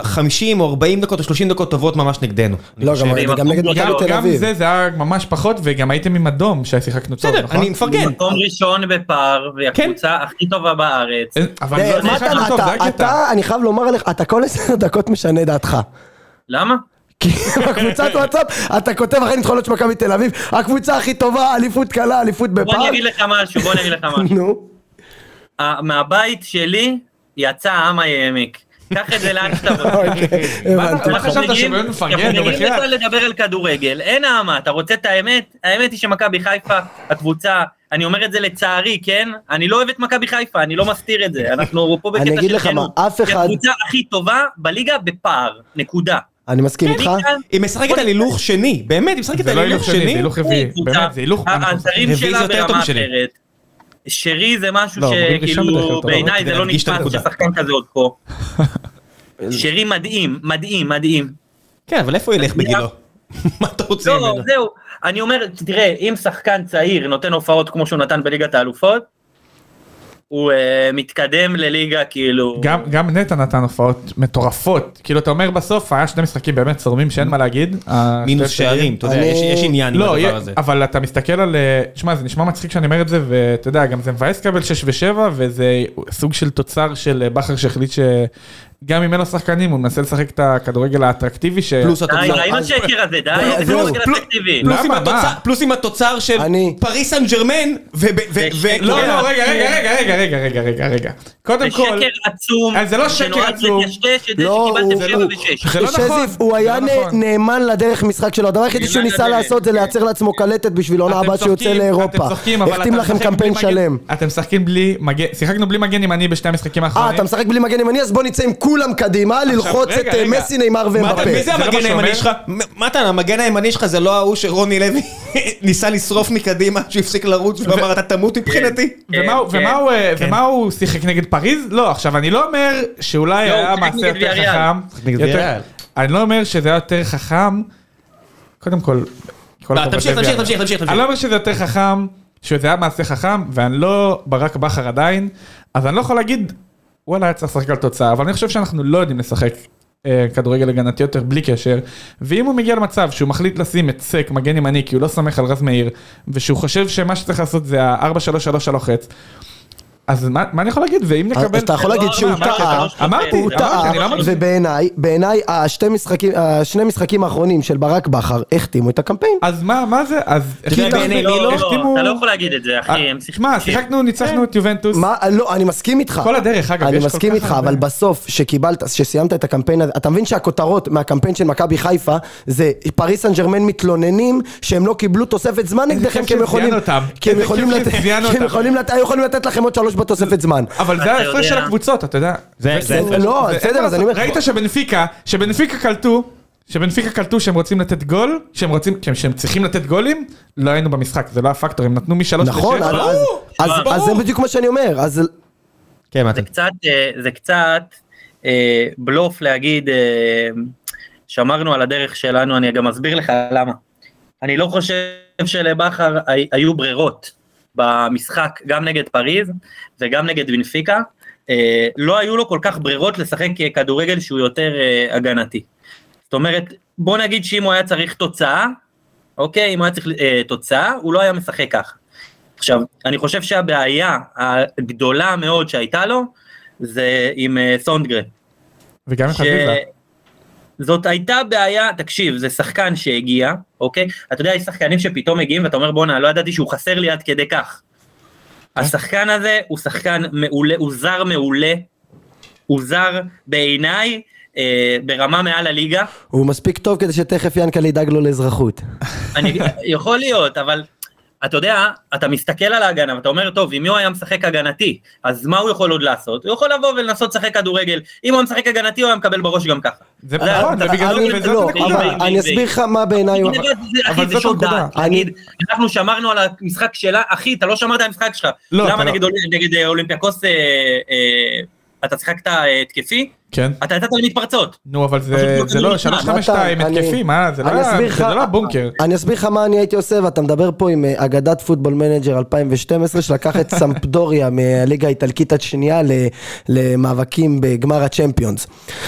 Speaker 3: 50 או 40 דקות או 30 דקות טובות ממש נגדנו. אני
Speaker 2: לא,
Speaker 3: חושב.
Speaker 2: גם-
Speaker 4: עם
Speaker 2: גם נגד
Speaker 4: הפועל
Speaker 2: מכבי
Speaker 4: לא,
Speaker 2: תל
Speaker 1: גם
Speaker 2: אביב.
Speaker 1: זה, זה היה ממש פחות, וגם הייתם עם אדום ששיחקנו טוב,
Speaker 3: בסדר,
Speaker 1: נכון?
Speaker 3: אני מפרגן.
Speaker 4: מקום ראשון בפער, והיא
Speaker 1: כן.
Speaker 4: הקבוצה הכי טובה בארץ.
Speaker 1: אין- אבל
Speaker 2: אה,
Speaker 1: לא,
Speaker 2: מה
Speaker 1: שיחקנו
Speaker 2: אתה-
Speaker 1: טוב, זה
Speaker 2: אתה-
Speaker 1: הקטע.
Speaker 2: אתה, אני חייב לומר עליך, אתה כל עשר דקות משנה דעתך.
Speaker 4: למה?
Speaker 2: כי בקבוצת וואטסאפ אתה כותב אחרי ניצחונות של מכבי תל אביב, הקבוצה הכי טובה, אליפות קלה, אליפות
Speaker 4: בוא אני
Speaker 2: בפער.
Speaker 4: אגיד לך משהו, בוא אני אגיד לך משהו.
Speaker 2: נו.
Speaker 4: ה- מהבית שלי יצא העם היעמיק. קח את זה לאן שאתה רוצה.
Speaker 2: אוקיי,
Speaker 1: מה
Speaker 2: הבנתי.
Speaker 1: אתה- מה חשבת שבאמת מפרגן,
Speaker 4: אנחנו
Speaker 1: נו,
Speaker 4: מגיעים
Speaker 1: בחייאת?
Speaker 4: בכלל לדבר על כדורגל, אין האמה, אתה רוצה את האמת? האמת היא שמכבי חיפה, הקבוצה, אני אומר את זה לצערי, כן? אני לא אוהב את מכבי חיפה, אני לא מסתיר את זה, אנחנו פה בקטע של
Speaker 2: אני אגיד לך מה,
Speaker 4: כנות.
Speaker 2: אף
Speaker 4: היא
Speaker 2: אחד,
Speaker 4: הקבוצה הכי טובה בליגה בפער, נקודה.
Speaker 2: אני מסכים איתך,
Speaker 4: ליגה,
Speaker 3: היא משחקת על הילוך שני, באמת, היא משחקת
Speaker 1: זה
Speaker 3: על
Speaker 1: לא
Speaker 3: הילוך
Speaker 1: הילוך שני, זה
Speaker 3: שני.
Speaker 1: הילוך רביעי,
Speaker 4: קבוצה,
Speaker 1: באמת, זה
Speaker 2: אה,
Speaker 1: הילוך... אנחנו-
Speaker 4: האתרים
Speaker 3: רביעי זה
Speaker 4: שלה
Speaker 3: יותר טוב
Speaker 4: ברמה
Speaker 3: משלי.
Speaker 4: אחרת. שרי זה משהו
Speaker 1: לא, אומרים ראשון בדרך כלל,
Speaker 4: שכאילו
Speaker 1: אתה
Speaker 4: בעיניי
Speaker 3: אומר,
Speaker 4: זה
Speaker 3: כדי
Speaker 4: לא
Speaker 3: להדגיש את
Speaker 4: נתפס
Speaker 3: הנקודה.
Speaker 4: ששחקן כזה עוד פה. שרי מדהים, מדהים, מדהים.
Speaker 3: כן, אבל איפה הוא ילך בגילו? מה אתה רוצה
Speaker 4: לא,
Speaker 3: ממנו?
Speaker 4: זהו. אני אומר, תראה, אם שחקן צעיר נותן הופעות כמו שהוא נתן בליגת האלופות, הוא אה, מתקדם לליגה כאילו...
Speaker 1: גם, גם נטע נתן הופעות מטורפות, כאילו אתה אומר בסוף היה שני משחקים באמת צורמים שאין מה להגיד.
Speaker 3: מינוס
Speaker 1: השתי
Speaker 3: שערים, אתה יודע,
Speaker 2: אני-
Speaker 3: יש יש עניין עם
Speaker 1: לא,
Speaker 3: הדבר
Speaker 1: יהיה-
Speaker 3: הזה.
Speaker 1: אבל אתה מסתכל על, אה, שמע זה נשמע מצחיק שאני אומר את זה ואתה יודע גם זה מבאס קבל 6 ו7 וזה סוג של תוצר של אה, בכר שהחליט שגם אם אין לו שחקנים הוא מנסה לשחק את הכדורגל האטרקטיבי ש...
Speaker 3: פלוס
Speaker 4: די,
Speaker 3: התוצאה.
Speaker 4: ראינו שקר הזה, די,
Speaker 2: לא,
Speaker 4: זה
Speaker 2: לא,
Speaker 4: לא
Speaker 3: פלוס-
Speaker 4: טבעי.
Speaker 3: פלוס עם
Speaker 1: למה?
Speaker 3: התוצאה-
Speaker 1: מה?
Speaker 3: פלוס עם התוצר של
Speaker 2: אני-
Speaker 3: פריס סן ג'רמן ו... ו- ו-
Speaker 4: זה
Speaker 3: ו-
Speaker 1: לא,
Speaker 3: אתה יודע,
Speaker 1: לא, רגע, רגע, רגע, רגע, רגע, רגע, רגע, רגע.
Speaker 4: זה
Speaker 1: קודם כל,
Speaker 4: שקר עצום,
Speaker 1: אז זה לא שקר עצום.
Speaker 4: שנועד לטשטש את זה
Speaker 2: לא,
Speaker 4: שקיבלתם
Speaker 2: הוא-
Speaker 4: שבע
Speaker 2: הוא-
Speaker 4: ושש.
Speaker 1: זה לא נכון.
Speaker 2: שזיף, הוא
Speaker 1: זה
Speaker 2: היה
Speaker 1: לא
Speaker 2: נה-
Speaker 1: נכון.
Speaker 2: נאמן לדרך משחק שלו, הדבר היחידי שהוא
Speaker 4: נאמן
Speaker 2: ניסה
Speaker 4: לדרך. כן.
Speaker 2: לעשות זה לייצר לעצמו קלטת בשביל עונה
Speaker 1: אתם
Speaker 2: הבאה שהוא יוצא
Speaker 1: צוחקים,
Speaker 2: לאירופה,
Speaker 1: אתם צוחקים, אבל
Speaker 2: החתים
Speaker 1: אתה
Speaker 2: לכם
Speaker 1: משחק
Speaker 2: קמפיין
Speaker 1: בלי מגן-
Speaker 2: שלם.
Speaker 1: אתם משחקים בלי מגן, שיחקנו בלי מגן ימני בשתי המשחקים
Speaker 2: אה,
Speaker 1: האחרונים.
Speaker 2: אתה משחק בלי מגן ימני, אז בוא נצא עם כולם קדימה, ללחוץ
Speaker 1: רגע,
Speaker 2: את אה,
Speaker 1: רגע.
Speaker 2: מסי, נאמר
Speaker 3: מה
Speaker 2: ומבפה.
Speaker 3: אתה- מי זה
Speaker 1: זה לא מה
Speaker 3: המגן
Speaker 1: שהוא
Speaker 3: הימני
Speaker 1: אומר?
Speaker 3: שלך? מ- מה אתה, המגן הימני שלך זה לא ההוא שרוני לוי ניסה לשרוף מקדימה, שהפסיק לרוץ ואמר אתה תמות מבחינתי?
Speaker 1: ומה הוא-
Speaker 4: כן,
Speaker 1: ומה הוא, אה,
Speaker 3: כן.
Speaker 1: ומה הוא שיחק נגד פריז? לא, עכשיו אני לא אומר שאולי
Speaker 4: לא, הוא
Speaker 1: היה
Speaker 4: שיחק
Speaker 1: מעשה
Speaker 4: נגד
Speaker 1: יותר
Speaker 4: ויאריאל.
Speaker 1: חכם.
Speaker 3: שיחק נגד
Speaker 1: יותר-
Speaker 3: ויאריאל.
Speaker 1: אני לא אומר שזה היה יותר חכם, קודם כל. כל
Speaker 3: לא,
Speaker 1: הכבוד
Speaker 3: תמשיך,
Speaker 1: לויאריאל.
Speaker 3: תמשיך, תמשיך, תמשיך, כן,
Speaker 1: אני
Speaker 3: תמשיך.
Speaker 1: לא אומר שזה יותר חכם, שזה היה מעשה חכם, ואני לא ברק בכר עדיין, אז אני לא יכול להגיד, וואלה, היה צריך לשחק על תוצאה, אבל אני חושב שאנחנו לא יודעים לשחק. אה, כדורגל הגנתי יותר בלי קשר ואם הוא מגיע למצב שהוא מחליט לשים את סק מגן ימני כי הוא לא סומך על רז מאיר ושהוא חושב שמה שצריך לעשות זה ה-4-3-3 על החץ אז מה מה אני יכול להגיד? ואם
Speaker 2: אז
Speaker 1: נקבל... אה,
Speaker 2: אתה יכול להגיד
Speaker 4: לא,
Speaker 2: שהוא
Speaker 4: אמרתי,
Speaker 2: טעה,
Speaker 4: שלוש שופטים.
Speaker 1: אמרתי,
Speaker 2: הוא
Speaker 4: אמרתי,
Speaker 2: טעה,
Speaker 1: אני לא אמרתי.
Speaker 2: ובעיניי, בעיניי השתי משחקים, השני משחקים האחרונים של ברק בכר החתימו את הקמפיין.
Speaker 1: אז מה, מה זה? אז...
Speaker 3: יודע, בעיני מי לא?
Speaker 1: החתימו-
Speaker 4: אתה לא יכול להגיד את זה, אחי,
Speaker 1: אה,
Speaker 4: הם שיחקו. כן.
Speaker 1: שמע, שיחקנו, ניצחנו את יובנטוס.
Speaker 2: מה, לא, אני מסכים איתך.
Speaker 1: כל הדרך, אגב,
Speaker 2: אני
Speaker 1: יש כל
Speaker 2: מסכים
Speaker 1: כך
Speaker 2: איתך,
Speaker 1: הרבה.
Speaker 2: אבל בסוף, שקיבלת, שסיימת את הקמפיין הזה, אתה מבין שהכותרות מהקמפיין של מכבי חיפה, זה פריס סן ג'רמן מתלוננים שהם לא קיבלו תוספת זמן
Speaker 1: איזה כיף
Speaker 2: נגדכם, כי הם
Speaker 1: שזיינו
Speaker 2: יכולים...
Speaker 1: אותם.
Speaker 2: כי הם
Speaker 1: איזה
Speaker 2: יכולים
Speaker 1: כיף
Speaker 2: לתת...
Speaker 1: שזיינו
Speaker 2: כי הם
Speaker 1: אותם.
Speaker 2: יכולים לתת... היו יכולים לתת לכם עוד שלוש בתוספת זמן.
Speaker 1: אבל זה
Speaker 4: אתה
Speaker 1: ההפרש
Speaker 4: יודע.
Speaker 1: של הקבוצות, אתה יודע.
Speaker 3: זה-
Speaker 1: זה-
Speaker 3: זה
Speaker 1: זה-
Speaker 3: ההפרש.
Speaker 2: לא,
Speaker 1: זה-
Speaker 2: בסדר,
Speaker 1: אין מה
Speaker 2: אז אני אומר
Speaker 1: לעשות. ראית שבנפיקה, שבנפיקה קלטו, שבנפיקה קלטו שהם רוצים לתת גול, שהם רוצים, כן, שהם צריכים לתת גולים, לא היינו במשחק, זה לא הפקטור, הם נתנו משלוש
Speaker 2: נכון, אז-
Speaker 1: לשש.
Speaker 2: אז-
Speaker 1: ברור,
Speaker 2: אז-
Speaker 1: ברור.
Speaker 2: אז זה בדיוק מה שאני אומר, אז...
Speaker 3: כן, מה אתה?
Speaker 4: זה קצת, אה, זה קצת אה, בלוף להגיד, אה, שמרנו על הדרך שלנו, אני גם אסביר לך למה. אני לא חושב שלבכר הי- היו ברירות במשחק, גם נגד פריז וגם נגד בנפיקה. אה, לא היו לו כל כך ברירות לשחק כדורגל שהוא יותר אה, הגנתי. זאת אומרת, בוא נגיד שאם הוא היה צריך תוצאה, אוקיי, אם הוא היה צריך אה, תוצאה, הוא לא היה משחק ככה. עכשיו, אני חושב שהבעיה הגדולה מאוד שהייתה לו, זה עם אה, סונדגרן.
Speaker 1: וגם עם
Speaker 4: ש-
Speaker 1: חזיזה.
Speaker 4: זאת הייתה בעיה, תקשיב, זה שחקן שהגיע, אוקיי? אתה יודע, יש שחקנים שפתאום מגיעים ואתה אומר, בואנה, לא ידעתי שהוא חסר לי עד כדי כך. השחקן הזה הוא שחקן מעולה, הוא זר מעולה, הוא זר בעיניי אה, ברמה מעל הליגה.
Speaker 2: הוא מספיק טוב כדי שתכף ינקל ידאג לו לאזרחות.
Speaker 4: אני, יכול להיות, אבל אתה יודע, אתה מסתכל על ההגנה ואתה אומר, טוב, אם הוא היה משחק הגנתי, אז מה הוא יכול עוד לעשות? הוא יכול לבוא ולנסות לשחק כדורגל. אם הוא היה משחק הגנתי, הוא היה מקבל בראש גם ככה.
Speaker 1: זה
Speaker 4: זה-
Speaker 1: נכון,
Speaker 4: אתה-
Speaker 1: ובגלל
Speaker 4: אני-
Speaker 1: זה,
Speaker 2: אני-
Speaker 1: וזאת
Speaker 2: לא,
Speaker 1: הנקודה.
Speaker 2: אבל
Speaker 4: ואם-
Speaker 2: אני אסביר לך מה בעיניי הוא...
Speaker 4: זה- זה-
Speaker 1: אבל
Speaker 4: אחי, זה
Speaker 1: זאת
Speaker 4: שוד
Speaker 1: הנקודה.
Speaker 4: דעת. להגיד, אנחנו שמרנו על המשחק שלה, אחי, אתה לא שמרת על המשחק שלך.
Speaker 1: לא, אתה
Speaker 4: למה
Speaker 1: לא.
Speaker 4: נגד אול- נגד אה, אולימפיאקוס אה, אה, אתה שיחקת אה, התקפי?
Speaker 1: כן.
Speaker 4: אתה יצאת למתפרצות.
Speaker 1: נו, אבל
Speaker 4: פשוט
Speaker 1: זה-
Speaker 4: לא
Speaker 1: זה לא
Speaker 4: נתן.
Speaker 1: 352
Speaker 2: נתן,
Speaker 1: התקפי,
Speaker 2: אני-
Speaker 1: מה? זה לא
Speaker 2: אני אסביר
Speaker 1: היה-
Speaker 2: לך-
Speaker 1: זה לא הבונקר.
Speaker 2: אני אסביר לך מה אני הייתי עושה, ואתה מדבר פה עם אה, אגדת פוטבול מנג'ר 2012, שלקח את סמפדוריה מהליגה האיטלקית השנייה ל- למאבקים בגמר הצ'מפיונס.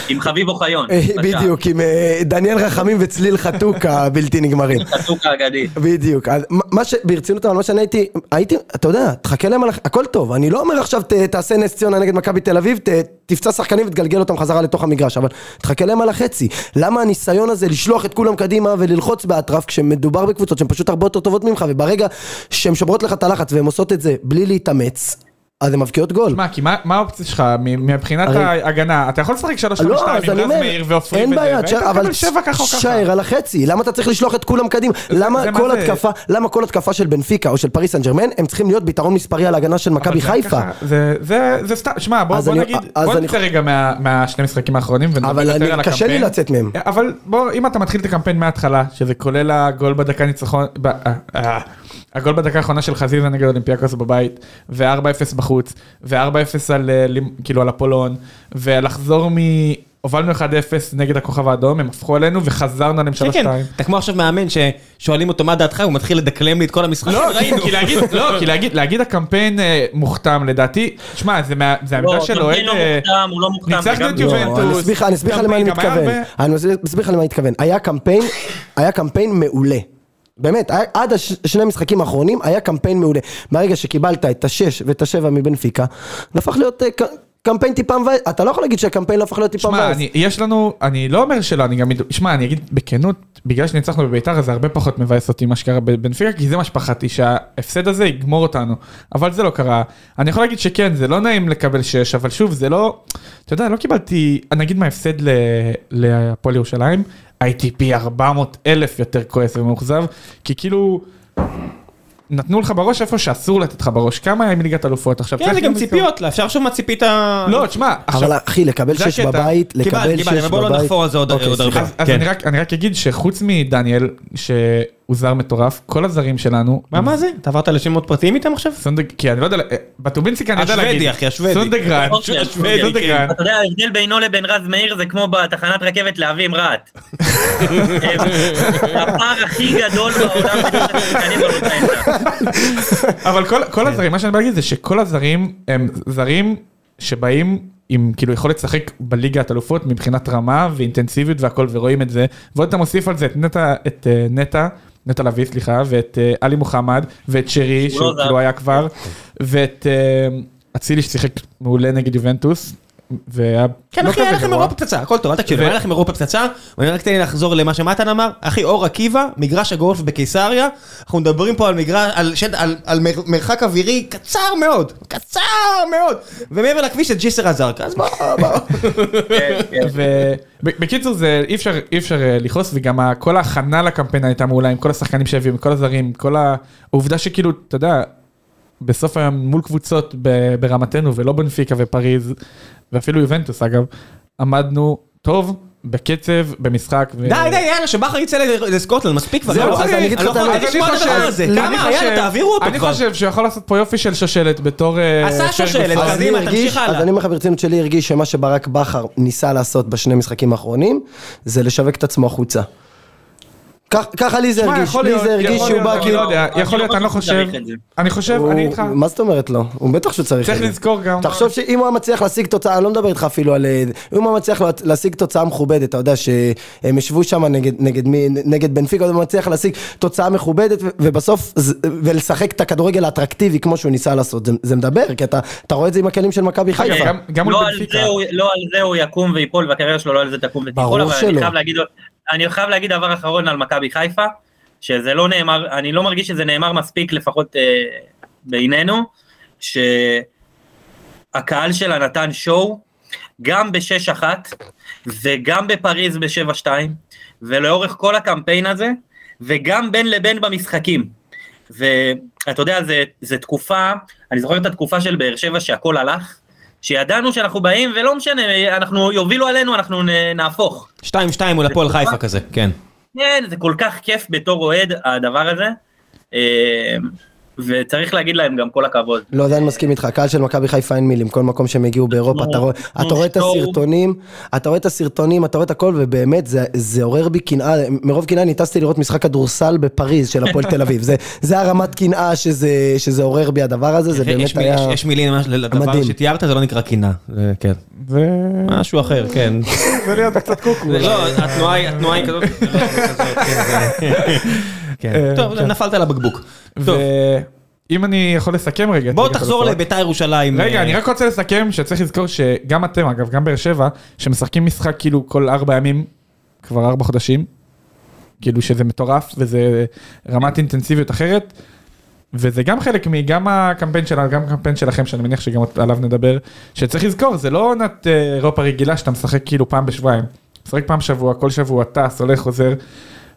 Speaker 4: עם חביב אוחיון.
Speaker 2: אה,
Speaker 4: בבקשה.
Speaker 2: בדיוק, עם אה, דניאל חכמים וצליל חתוק הבלתי נגמרים.
Speaker 4: חצוק האגדי.
Speaker 2: בדיוק, אז מה- מה ש... ברצינות, אבל מה שאני הייתי, הייתי, אתה יודע, תחכה להם על... הח- הכל טוב, אני לא אומר עכשיו ת, תעשה נס ציונה נגד מכבי תל אביב, ת, תפצע שחקנים ותגלגל אותם חזרה לתוך המגרש, אבל תחכה להם על החצי. למה הניסיון הזה לשלוח את כולם קדימה וללחוץ באטרף כשמדובר בקבוצות שהן פשוט הרבה יותר טובות ממך, וברגע שהן שוברות לך את הלחץ והן עושות את זה בלי להתאמץ, אז הן מבקיעות גול.
Speaker 1: מה, כי מה מה האופציה שלך מ- מבחינת
Speaker 2: הרי-
Speaker 1: ההגנה? אתה יכול לשחק 352
Speaker 2: לא, אז
Speaker 1: עם
Speaker 2: אני
Speaker 1: רז
Speaker 2: אומר,
Speaker 1: מאיר ועופרי
Speaker 2: אין
Speaker 1: וזה,
Speaker 2: בעיה,
Speaker 1: והיית
Speaker 2: תשאר- אבל
Speaker 1: מקבל שבע ככה או ככה.
Speaker 2: תשאר על החצי, למה אתה צריך לשלוח את כולם קדימה? למה
Speaker 1: זה מה
Speaker 2: כל
Speaker 1: זה?
Speaker 2: התקפה, למה כל התקפה של בנפיקה או של פריס סן ג'רמן, הם צריכים להיות ביתרון מספרי על ההגנה של מכבי
Speaker 1: אבל זה
Speaker 2: חיפה?
Speaker 1: ככה, זה- זה זה סתם, שמע, בוא
Speaker 2: אז
Speaker 1: בוא
Speaker 2: אני-
Speaker 1: נגיד,
Speaker 2: אז
Speaker 1: בוא
Speaker 2: אני-
Speaker 1: נצא רגע מה- מהשני משחקים האחרונים ונדבר
Speaker 2: אבל
Speaker 1: יותר
Speaker 2: אני-
Speaker 1: על הקמפיין.
Speaker 2: קשה לי לצאת מהם.
Speaker 1: אבל בוא, אם אתה מתחיל את הקמפיין מההתחלה, שזה כולל הגול בדקה ניצחון, ב- אה, אה, הגול בדקה האחרונה של חזיזה נגד אולימפיאקוס בבית, ו-4-0 בחוץ, ו-4-0 על, אה, לימ- כאילו על הפולון, ולחזור מ... הובלנו 1-0 נגד הכוכב האדום, הם הפכו עלינו וחזרנו עליהם 3-2.
Speaker 3: כן, כן, אתה כמו עכשיו מאמן ששואלים אותו מה דעתך, הוא מתחיל לדקלם לי את כל המשחק.
Speaker 1: לא, כי-
Speaker 3: שראינו.
Speaker 1: כי להגיד, לא, כי להגיד, להגיד הקמפיין אה, מוכתם לדעתי, שמע, זה מה- זה העמדה
Speaker 4: לא,
Speaker 1: של
Speaker 4: גם
Speaker 1: אוהד,
Speaker 4: כן לא
Speaker 1: אה,
Speaker 4: מוכתם, הוא לא מוכתם.
Speaker 1: ניצחנו
Speaker 4: וגם-
Speaker 1: את
Speaker 2: לא,
Speaker 1: יובנטוס.
Speaker 2: אני אסביר לך- אני אסביר לך למה אני
Speaker 1: קמפיין גם
Speaker 2: מתכוון.
Speaker 1: היה
Speaker 2: אני אסביר לך למה אני מתכוון. היה קמפיין, היה קמפיין מעולה. באמת, היה- עד הש- שני המשחקים האחרונים היה קמפיין מעולה. מהרגע שקיבלת את השש ואת השבע מבנפיקה, זה הפך להיות אה, ק- קמפיין טיפה מבאס. אתה לא יכול להגיד שהקמפיין לא הפך להיות טיפה
Speaker 1: שמע,
Speaker 2: מבאס.
Speaker 1: אני- יש לנו, אני לא אומר שלא, אני גם, שמע, אני אגיד בכנות, בגלל שניצחנו בביתר, אז זה הרבה פחות מבאס אותי מה שקרה בבנפיקה, כי זה מה שפחדתי, שההפסד הזה יגמור אותנו. אבל זה לא קרה. אני יכול להגיד שכן, זה לא נעים לקבל שש, אבל שוב, זה לא, אתה יודע, לא קיבלתי, נגיד מההפסד ל- להפועל ירושלים, הייתי פי 400 אלף יותר כועס ומאוכזב, כי כאילו... נתנו לך בראש איפה שאסור לתת לך בראש, כמה היה מליגת אלופות עכשיו?
Speaker 3: כן,
Speaker 1: צריך
Speaker 3: זה גם
Speaker 1: לזכור.
Speaker 3: ציפיות, לה, אפשר לחשוב מה ציפית...
Speaker 1: לא, תשמע, עכשיו...
Speaker 2: אבל אחי, לקבל
Speaker 1: זה
Speaker 2: שש
Speaker 1: הקטע.
Speaker 2: בבית,
Speaker 3: קיבלתי,
Speaker 2: לקבל שש
Speaker 3: קיבלתי,
Speaker 2: בבית.
Speaker 3: אבל בואו לא נחפור על זה עוד-
Speaker 2: אוקיי,
Speaker 3: עוד
Speaker 2: סליחה.
Speaker 3: הרבה.
Speaker 1: אז, אז
Speaker 3: כן.
Speaker 1: אני, רק, אני רק אגיד שחוץ מדניאל, שהוא זר מטורף, כל הזרים שלנו...
Speaker 3: מה, מה זה? אתה עברת לשמות פרטיים איתם עכשיו?
Speaker 1: סונדג... כי אני לא יודע, אה, בטובינסיקה אני יודע
Speaker 3: השוודי,
Speaker 1: להגיד.
Speaker 3: אחי, השוודי.
Speaker 1: סונדגרן,
Speaker 4: אוקיי,
Speaker 1: השוודי,
Speaker 4: אוקיי,
Speaker 3: כן.
Speaker 1: סונדגרן.
Speaker 4: אתה יודע, ההבדל בינו לבין רז מאיר זה כמו בתחנת רכבת להבים רהט. הפער הכי גדול בעולם בין השחקנים בעולם.
Speaker 1: אבל כל,
Speaker 3: כן.
Speaker 1: כל הזרים, מה שאני בא להגיד זה שכל הזרים הם זרים שבאים עם כאילו יכולת לשחק בליגת אלופות מבחינת רמה ואינטנסיביות והכל ורואים את זה. ועוד אתה מוסיף על זה את נטע, את אה, נטע, נטע לביא סליחה, ואת אה, עלי מוחמד, ואת שרי,
Speaker 4: שהוא
Speaker 1: שהוא
Speaker 4: לא זר.
Speaker 1: כאילו היה כבר, ואת... אה, אצילי ששיחק מעולה נגד יובנטוס, והיה
Speaker 3: כן,
Speaker 1: לא
Speaker 3: אחי, היה
Speaker 1: כזה
Speaker 3: לכם
Speaker 1: גרוע.
Speaker 3: אירופה פצצה, הכל טוב, אל תקשיבו,
Speaker 1: ו-
Speaker 3: היה לכם אירופה פצצה. אני רק תן לי לחזור למה שמתן אמר. אחי, אור עקיבא, מגרש הגולף בקיסריה, אנחנו מדברים פה על מגרש, על שד- על- על מר- מרחק אווירי קצר מאוד, קצר מאוד. ומעבר לכביש זה ג'יסר א-זרקא, אז בואו, בואו.
Speaker 4: כן, כן.
Speaker 1: ובקיצור זה אי אפשר אי אפשר אה, לכעוס וגם ה- כל ההכנה לקמפיין הייתה מעולה עם כל השחקנים שהביאו עם כל הזרים עם כל העובדה שכאילו אתה יודע בסוף היום מול קבוצות ב- ברמתנו ולא בנפיקה ופריז ואפילו יובנטוס אגב עמדנו טוב בקצב במשחק. ו-
Speaker 3: די, די, יאללה, שבכר יצא ל- לסקוטלנד, מספיק כבר.
Speaker 1: זהו,
Speaker 3: לא,
Speaker 1: אז
Speaker 3: אני-
Speaker 1: אני אגיד
Speaker 2: לך
Speaker 3: אני לא
Speaker 2: את
Speaker 3: יכול
Speaker 2: האמת.
Speaker 3: לשמוע את
Speaker 1: אני
Speaker 3: הדבר
Speaker 1: חושב-
Speaker 3: הזה.
Speaker 1: אני
Speaker 3: כמה,
Speaker 1: חושב-
Speaker 3: יאללה, תעבירו אותו
Speaker 1: אני
Speaker 3: כבר.
Speaker 1: חושב שהוא יכול לעשות פה יופי של שושלת בתור... אה,
Speaker 3: עשה
Speaker 1: פרגוסון.
Speaker 3: שושלת,
Speaker 1: אז
Speaker 2: אז אני
Speaker 3: קדימה,
Speaker 2: הרגיש,
Speaker 3: תמשיך הלאה.
Speaker 2: אז אני אומר לך ברצינות שלי הרגיש שמה שברק בכר ניסה לעשות בשני משחקים האחרונים, זה לשווק את עצמו החוצה. כך- ככה לי זה
Speaker 1: שמע,
Speaker 2: הרגיש,
Speaker 1: יכול
Speaker 2: לי
Speaker 1: להיות,
Speaker 2: זה הרגיש
Speaker 1: יכול
Speaker 2: שהוא
Speaker 1: להיות,
Speaker 2: בא
Speaker 1: אני
Speaker 2: כאילו...
Speaker 1: לא יודע,
Speaker 4: אני
Speaker 1: יכול
Speaker 4: לא
Speaker 1: להיות, אני לא
Speaker 4: חושב
Speaker 1: חושב,
Speaker 4: שהוא צריך את זה.
Speaker 1: אני חושב,
Speaker 2: הוא-
Speaker 1: אני איתך.
Speaker 2: מה זאת אומרת לא? הוא בטח שהוא צריך
Speaker 1: צריך
Speaker 2: את זה.
Speaker 1: לזכור גם-
Speaker 2: תחשוב שאם הוא היה מצליח להשיג תוצאה, אני לא מדבר איתך אפילו על... אה, אם הוא היה מצליח לה- להשיג תוצאה מכובדת, אתה יודע שהם ישבו שם נגד, נגד, מי- נגד בנפיקה, הוא מצליח להשיג תוצאה מכובדת, ו- ובסוף, ז- ולשחק את הכדורגל האטרקטיבי כמו שהוא ניסה לעשות. זה, זה מדבר, כי אתה, אתה רואה את זה עם הכלים של מכבי
Speaker 1: אגב,
Speaker 2: חיפה.
Speaker 1: גם- גם מול
Speaker 4: לא על
Speaker 1: בנפיקה.
Speaker 4: זה הוא- לא על זה הוא יקום וייפול והקריירה שלו לא על זה תקום
Speaker 2: ברור
Speaker 4: ותיפול, אבל
Speaker 2: שלא.
Speaker 4: אני חייב להגיד אני חייב להגיד דבר אחרון על מכבי חיפה, שזה לא נאמר, אני לא מרגיש שזה נאמר מספיק לפחות אה, בינינו, שהקהל שלה נתן שואו גם ב-6-1 וגם בפריז ב-7-2 ולאורך כל הקמפיין הזה וגם בין לבין במשחקים. ואתה יודע, זה, זה תקופה, אני זוכר את התקופה של באר שבע שהכל הלך, שידענו שאנחנו באים ולא משנה, אנחנו יובילו עלינו, אנחנו נ, נהפוך.
Speaker 3: 2-2 מול הפועל
Speaker 1: אה,
Speaker 3: חיפה כזה, כן.
Speaker 4: כן, זה כל כך כיף בתור אוהד הדבר הזה, אה, וצריך להגיד להם גם כל הכבוד.
Speaker 2: לא, זה אני מסכים איתך, הקהל של מכבי חיפה אין מילים, כל מקום שהם הגיעו באירופה, אתה רואה-
Speaker 4: אנחנו
Speaker 2: אתה רואה את
Speaker 4: שואו.
Speaker 2: הסרטונים, אתה רואה את הסרטונים, אתה רואה את הכל, ובאמת זה- זה עורר בי קנאה, מרוב קנאה אני טסתי לראות משחק כדורסל בפריז של הפועל תל אביב, זה- זה הרמת קנאה שזה שזה עורר בי הדבר הזה, זה
Speaker 3: אחי, יש
Speaker 2: באמת
Speaker 3: מי-
Speaker 2: היה...
Speaker 3: יש- יש מילים ממש לדבר
Speaker 2: מדהים.
Speaker 3: שתיארת, זה לא נקרא קינה. זה- כן.
Speaker 1: אה. זה-
Speaker 3: משהו אחר, כן.
Speaker 1: זה להיות קצת קוקו.
Speaker 3: זה לא, התנועה היא התנועה היא כזאת. זה לא כזאת, כן, זה- כן. טוב, נפלת על הבקבוק. טוב,
Speaker 1: אם אני יכול לסכם רגע. את
Speaker 3: בואו
Speaker 1: ליגת
Speaker 3: תחזור
Speaker 1: האלופות.
Speaker 3: לביתר ירושלים.
Speaker 1: רגע,
Speaker 3: אה,
Speaker 1: אני רק רוצה לסכם שצריך לזכור שגם אתם, אגב, גם באר שבע, שמשחקים משחק כאילו כל ארבע ימים, כבר ארבע חודשים, כאילו שזה מטורף וזה רמת אינטנסיביות אחרת, וזה גם חלק מגם הקמפיין שלנו, גם הקמפיין שלכם, שאני מניח שגם עליו נדבר, שצריך לזכור, זה לא עונת אה, אירופה רגילה שאתה משחק כאילו פעם בשבועיים. משחק פעם שבוע, כל שבוע, טס, הולך, חוזר.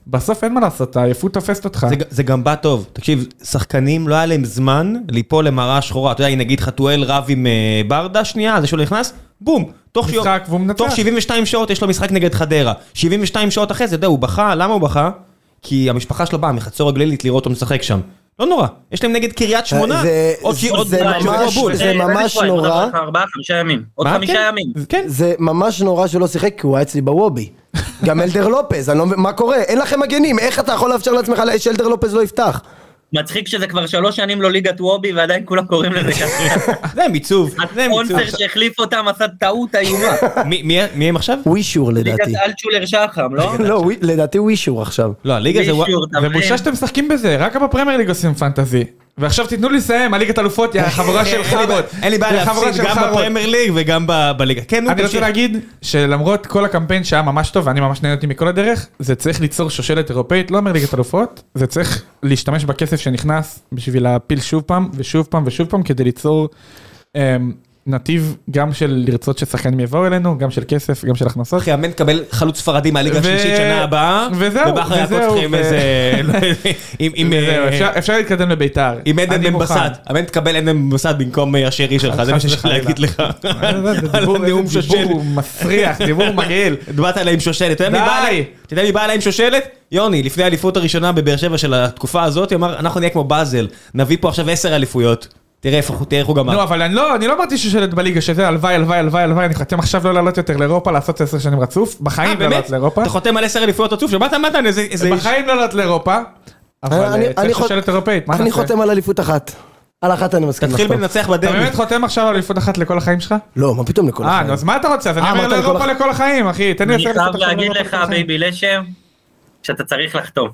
Speaker 1: בסוף אין מה לעשות, העייפות תופסת אותך.
Speaker 3: זה, ג- זה גם בא טוב, תקשיב, שחקנים לא היה להם זמן ליפול למראה שחורה, אתה יודע, אם נגיד חתואל רב עם אה, ברדה שנייה, זה שהוא נכנס, בום, תוך,
Speaker 1: משחק,
Speaker 3: שיום-
Speaker 1: והוא מנצח.
Speaker 3: תוך 72 שעות יש לו משחק נגד חדרה, 72 שעות אחרי זה, אתה יודע, הוא בכה, למה הוא בכה? כי המשפחה שלו באה מחצור הגלילית לראות אותו משחק שם, לא נורא, יש להם נגד קריית שמונה,
Speaker 2: אה, זה-
Speaker 3: עוד
Speaker 2: זה-
Speaker 3: שי- עוד
Speaker 2: זה
Speaker 3: שבוע
Speaker 2: ממש-
Speaker 3: בול.
Speaker 2: זה
Speaker 4: אה,
Speaker 2: ממש
Speaker 4: איזה שבועיים?
Speaker 2: נורא.
Speaker 4: עוד ארבעה, ארבעה, חמישה ימים. עוד
Speaker 3: מה?
Speaker 4: חמישה
Speaker 3: כן.
Speaker 4: ימים.
Speaker 3: כן,
Speaker 2: זה ממש נורא שהוא לא שיחק, כי הוא היה אצלי בוובי. גם אלדר לופז, אני לא מבין, מה קורה? אין לכם מגנים, איך אתה יכול לאפשר לעצמך שאלדר לופז לא יפתח?
Speaker 4: מצחיק שזה כבר שלוש שנים לא ליגת וובי ועדיין כולם קוראים לזה ככה.
Speaker 3: זה מיצוב, זה מיצוב,
Speaker 4: הספונסר שהחליף אותם עשה טעות איומה.
Speaker 3: מי- מי מי הם עכשיו?
Speaker 2: ווישור
Speaker 4: ליגת
Speaker 2: לדעתי.
Speaker 4: אלטשולר שחם, לא?
Speaker 2: לא, ווי- לדעתי ווישור עכשיו.
Speaker 3: לא, הליגה זה... ווא-
Speaker 4: מישהו, אתה
Speaker 1: זה
Speaker 4: מבין?
Speaker 1: בושה שאתם משחקים בזה, רק בפרמייר ליג עושים פנטזי. ועכשיו תיתנו לי לסיים, הליגת אלופות, יא חבורה של
Speaker 3: אין לי בעיה-
Speaker 1: חארות.
Speaker 3: אין לי בעיה
Speaker 1: יא חבורה
Speaker 3: להפסיד
Speaker 1: של
Speaker 3: גם
Speaker 1: חארות.
Speaker 3: בפרמייר ליג וגם ב- בליגה. כן, נו,
Speaker 1: אני רוצה
Speaker 3: תמשיך.
Speaker 1: להגיד שלמרות כל הקמפיין שהיה ממש טוב ואני ממש נהניתי מכל הדרך, זה צריך ליצור שושלת אירופאית, לא אומר ליגת אלופות, זה צריך להשתמש בכסף שנכנס בשביל להפיל שוב פעם ושוב פעם ושוב פעם כדי ליצור אמ, נתיב גם של לרצות ששחקנים יבואו אלינו, גם של כסף, גם של הכנסות.
Speaker 3: אחי, אמן תקבל חלוץ ספרדי מהליגה
Speaker 1: ו-
Speaker 3: השלישית שנה הבאה.
Speaker 1: וזהו,
Speaker 3: ובכר יעקב
Speaker 1: וזהו,
Speaker 3: צריכים
Speaker 1: ו-
Speaker 3: איזה... לא, עם- עם- אה,
Speaker 1: זהו, אפשר- אפשר להתקדם לביתר.
Speaker 3: עם עדן
Speaker 1: אני
Speaker 3: בן
Speaker 1: מוכן.
Speaker 3: בסט. אמן תקבל עדן בן בסט במקום אה, השרי שלך, זה מה
Speaker 1: חס
Speaker 3: שיש לי
Speaker 1: וחלילה. אה,
Speaker 3: להגיד לך.
Speaker 1: זה
Speaker 3: על
Speaker 1: דיבור-
Speaker 3: הנאום
Speaker 1: איזה
Speaker 3: שושלת.
Speaker 1: דיבור מסריח, דיבור מגעיל.
Speaker 3: דיברת עליה עם שושלת. אתה יודע מי בא
Speaker 1: די.
Speaker 3: עליה- אתה יודע מי בא עליה עם שושלת? יוני, לפני האליפות הראשונה בבאר שבע של התקופה הזאת, הוא אמר, אנחנו נהיה כמו באזל, נביא פה עכשיו עשר אליפויות. תראה איפה הוא- תראה איך הוא גמר.
Speaker 1: נו, אבל אני לא, אני לא אמרתי שושלת בליגה, שזה הלוואי, הלוואי, הלוואי, הלוואי, אני חותם עכשיו לא לעלות יותר לאירופה, לעשות עשר שנים רצוף,
Speaker 3: אה,
Speaker 1: בחיים לא
Speaker 3: באמת?
Speaker 1: לעלות לאירופה,
Speaker 3: אתה חותם על עשר אליפויות רצוף? שמעת מתן? איזה... איזה איש.
Speaker 1: בחיים לא לעלות לאירופה, אבל
Speaker 2: אני-
Speaker 1: אה,
Speaker 2: אני
Speaker 1: צריך שושלת
Speaker 2: חות-
Speaker 1: אירופאית, מה
Speaker 2: אני
Speaker 1: נעשה?
Speaker 2: חותם על אליפות אחת. על אחת אני מסכים
Speaker 3: תתחיל
Speaker 2: לחתום.
Speaker 3: בלנצח
Speaker 1: כן, נכון. אתה
Speaker 3: בדרבי.
Speaker 1: באמת חותם עכשיו על אליפות אחת לכל החיים שלך?
Speaker 2: לא, מה פתאום לכל
Speaker 1: אה,
Speaker 2: החיים.
Speaker 1: נו, אז מה אתה רוצה? אז אני
Speaker 2: אה,
Speaker 1: אומר
Speaker 2: אמרת לכל
Speaker 1: לאירופה
Speaker 2: החיים.
Speaker 1: לכל החיים, אחי, תן לי
Speaker 4: אני
Speaker 1: עשר
Speaker 4: חייב
Speaker 1: אליפות עכשיו
Speaker 4: להגיד
Speaker 1: לאירופה
Speaker 4: לך,
Speaker 1: לכל החיים.
Speaker 4: בייבי לשם, שאתה צריך לחתום.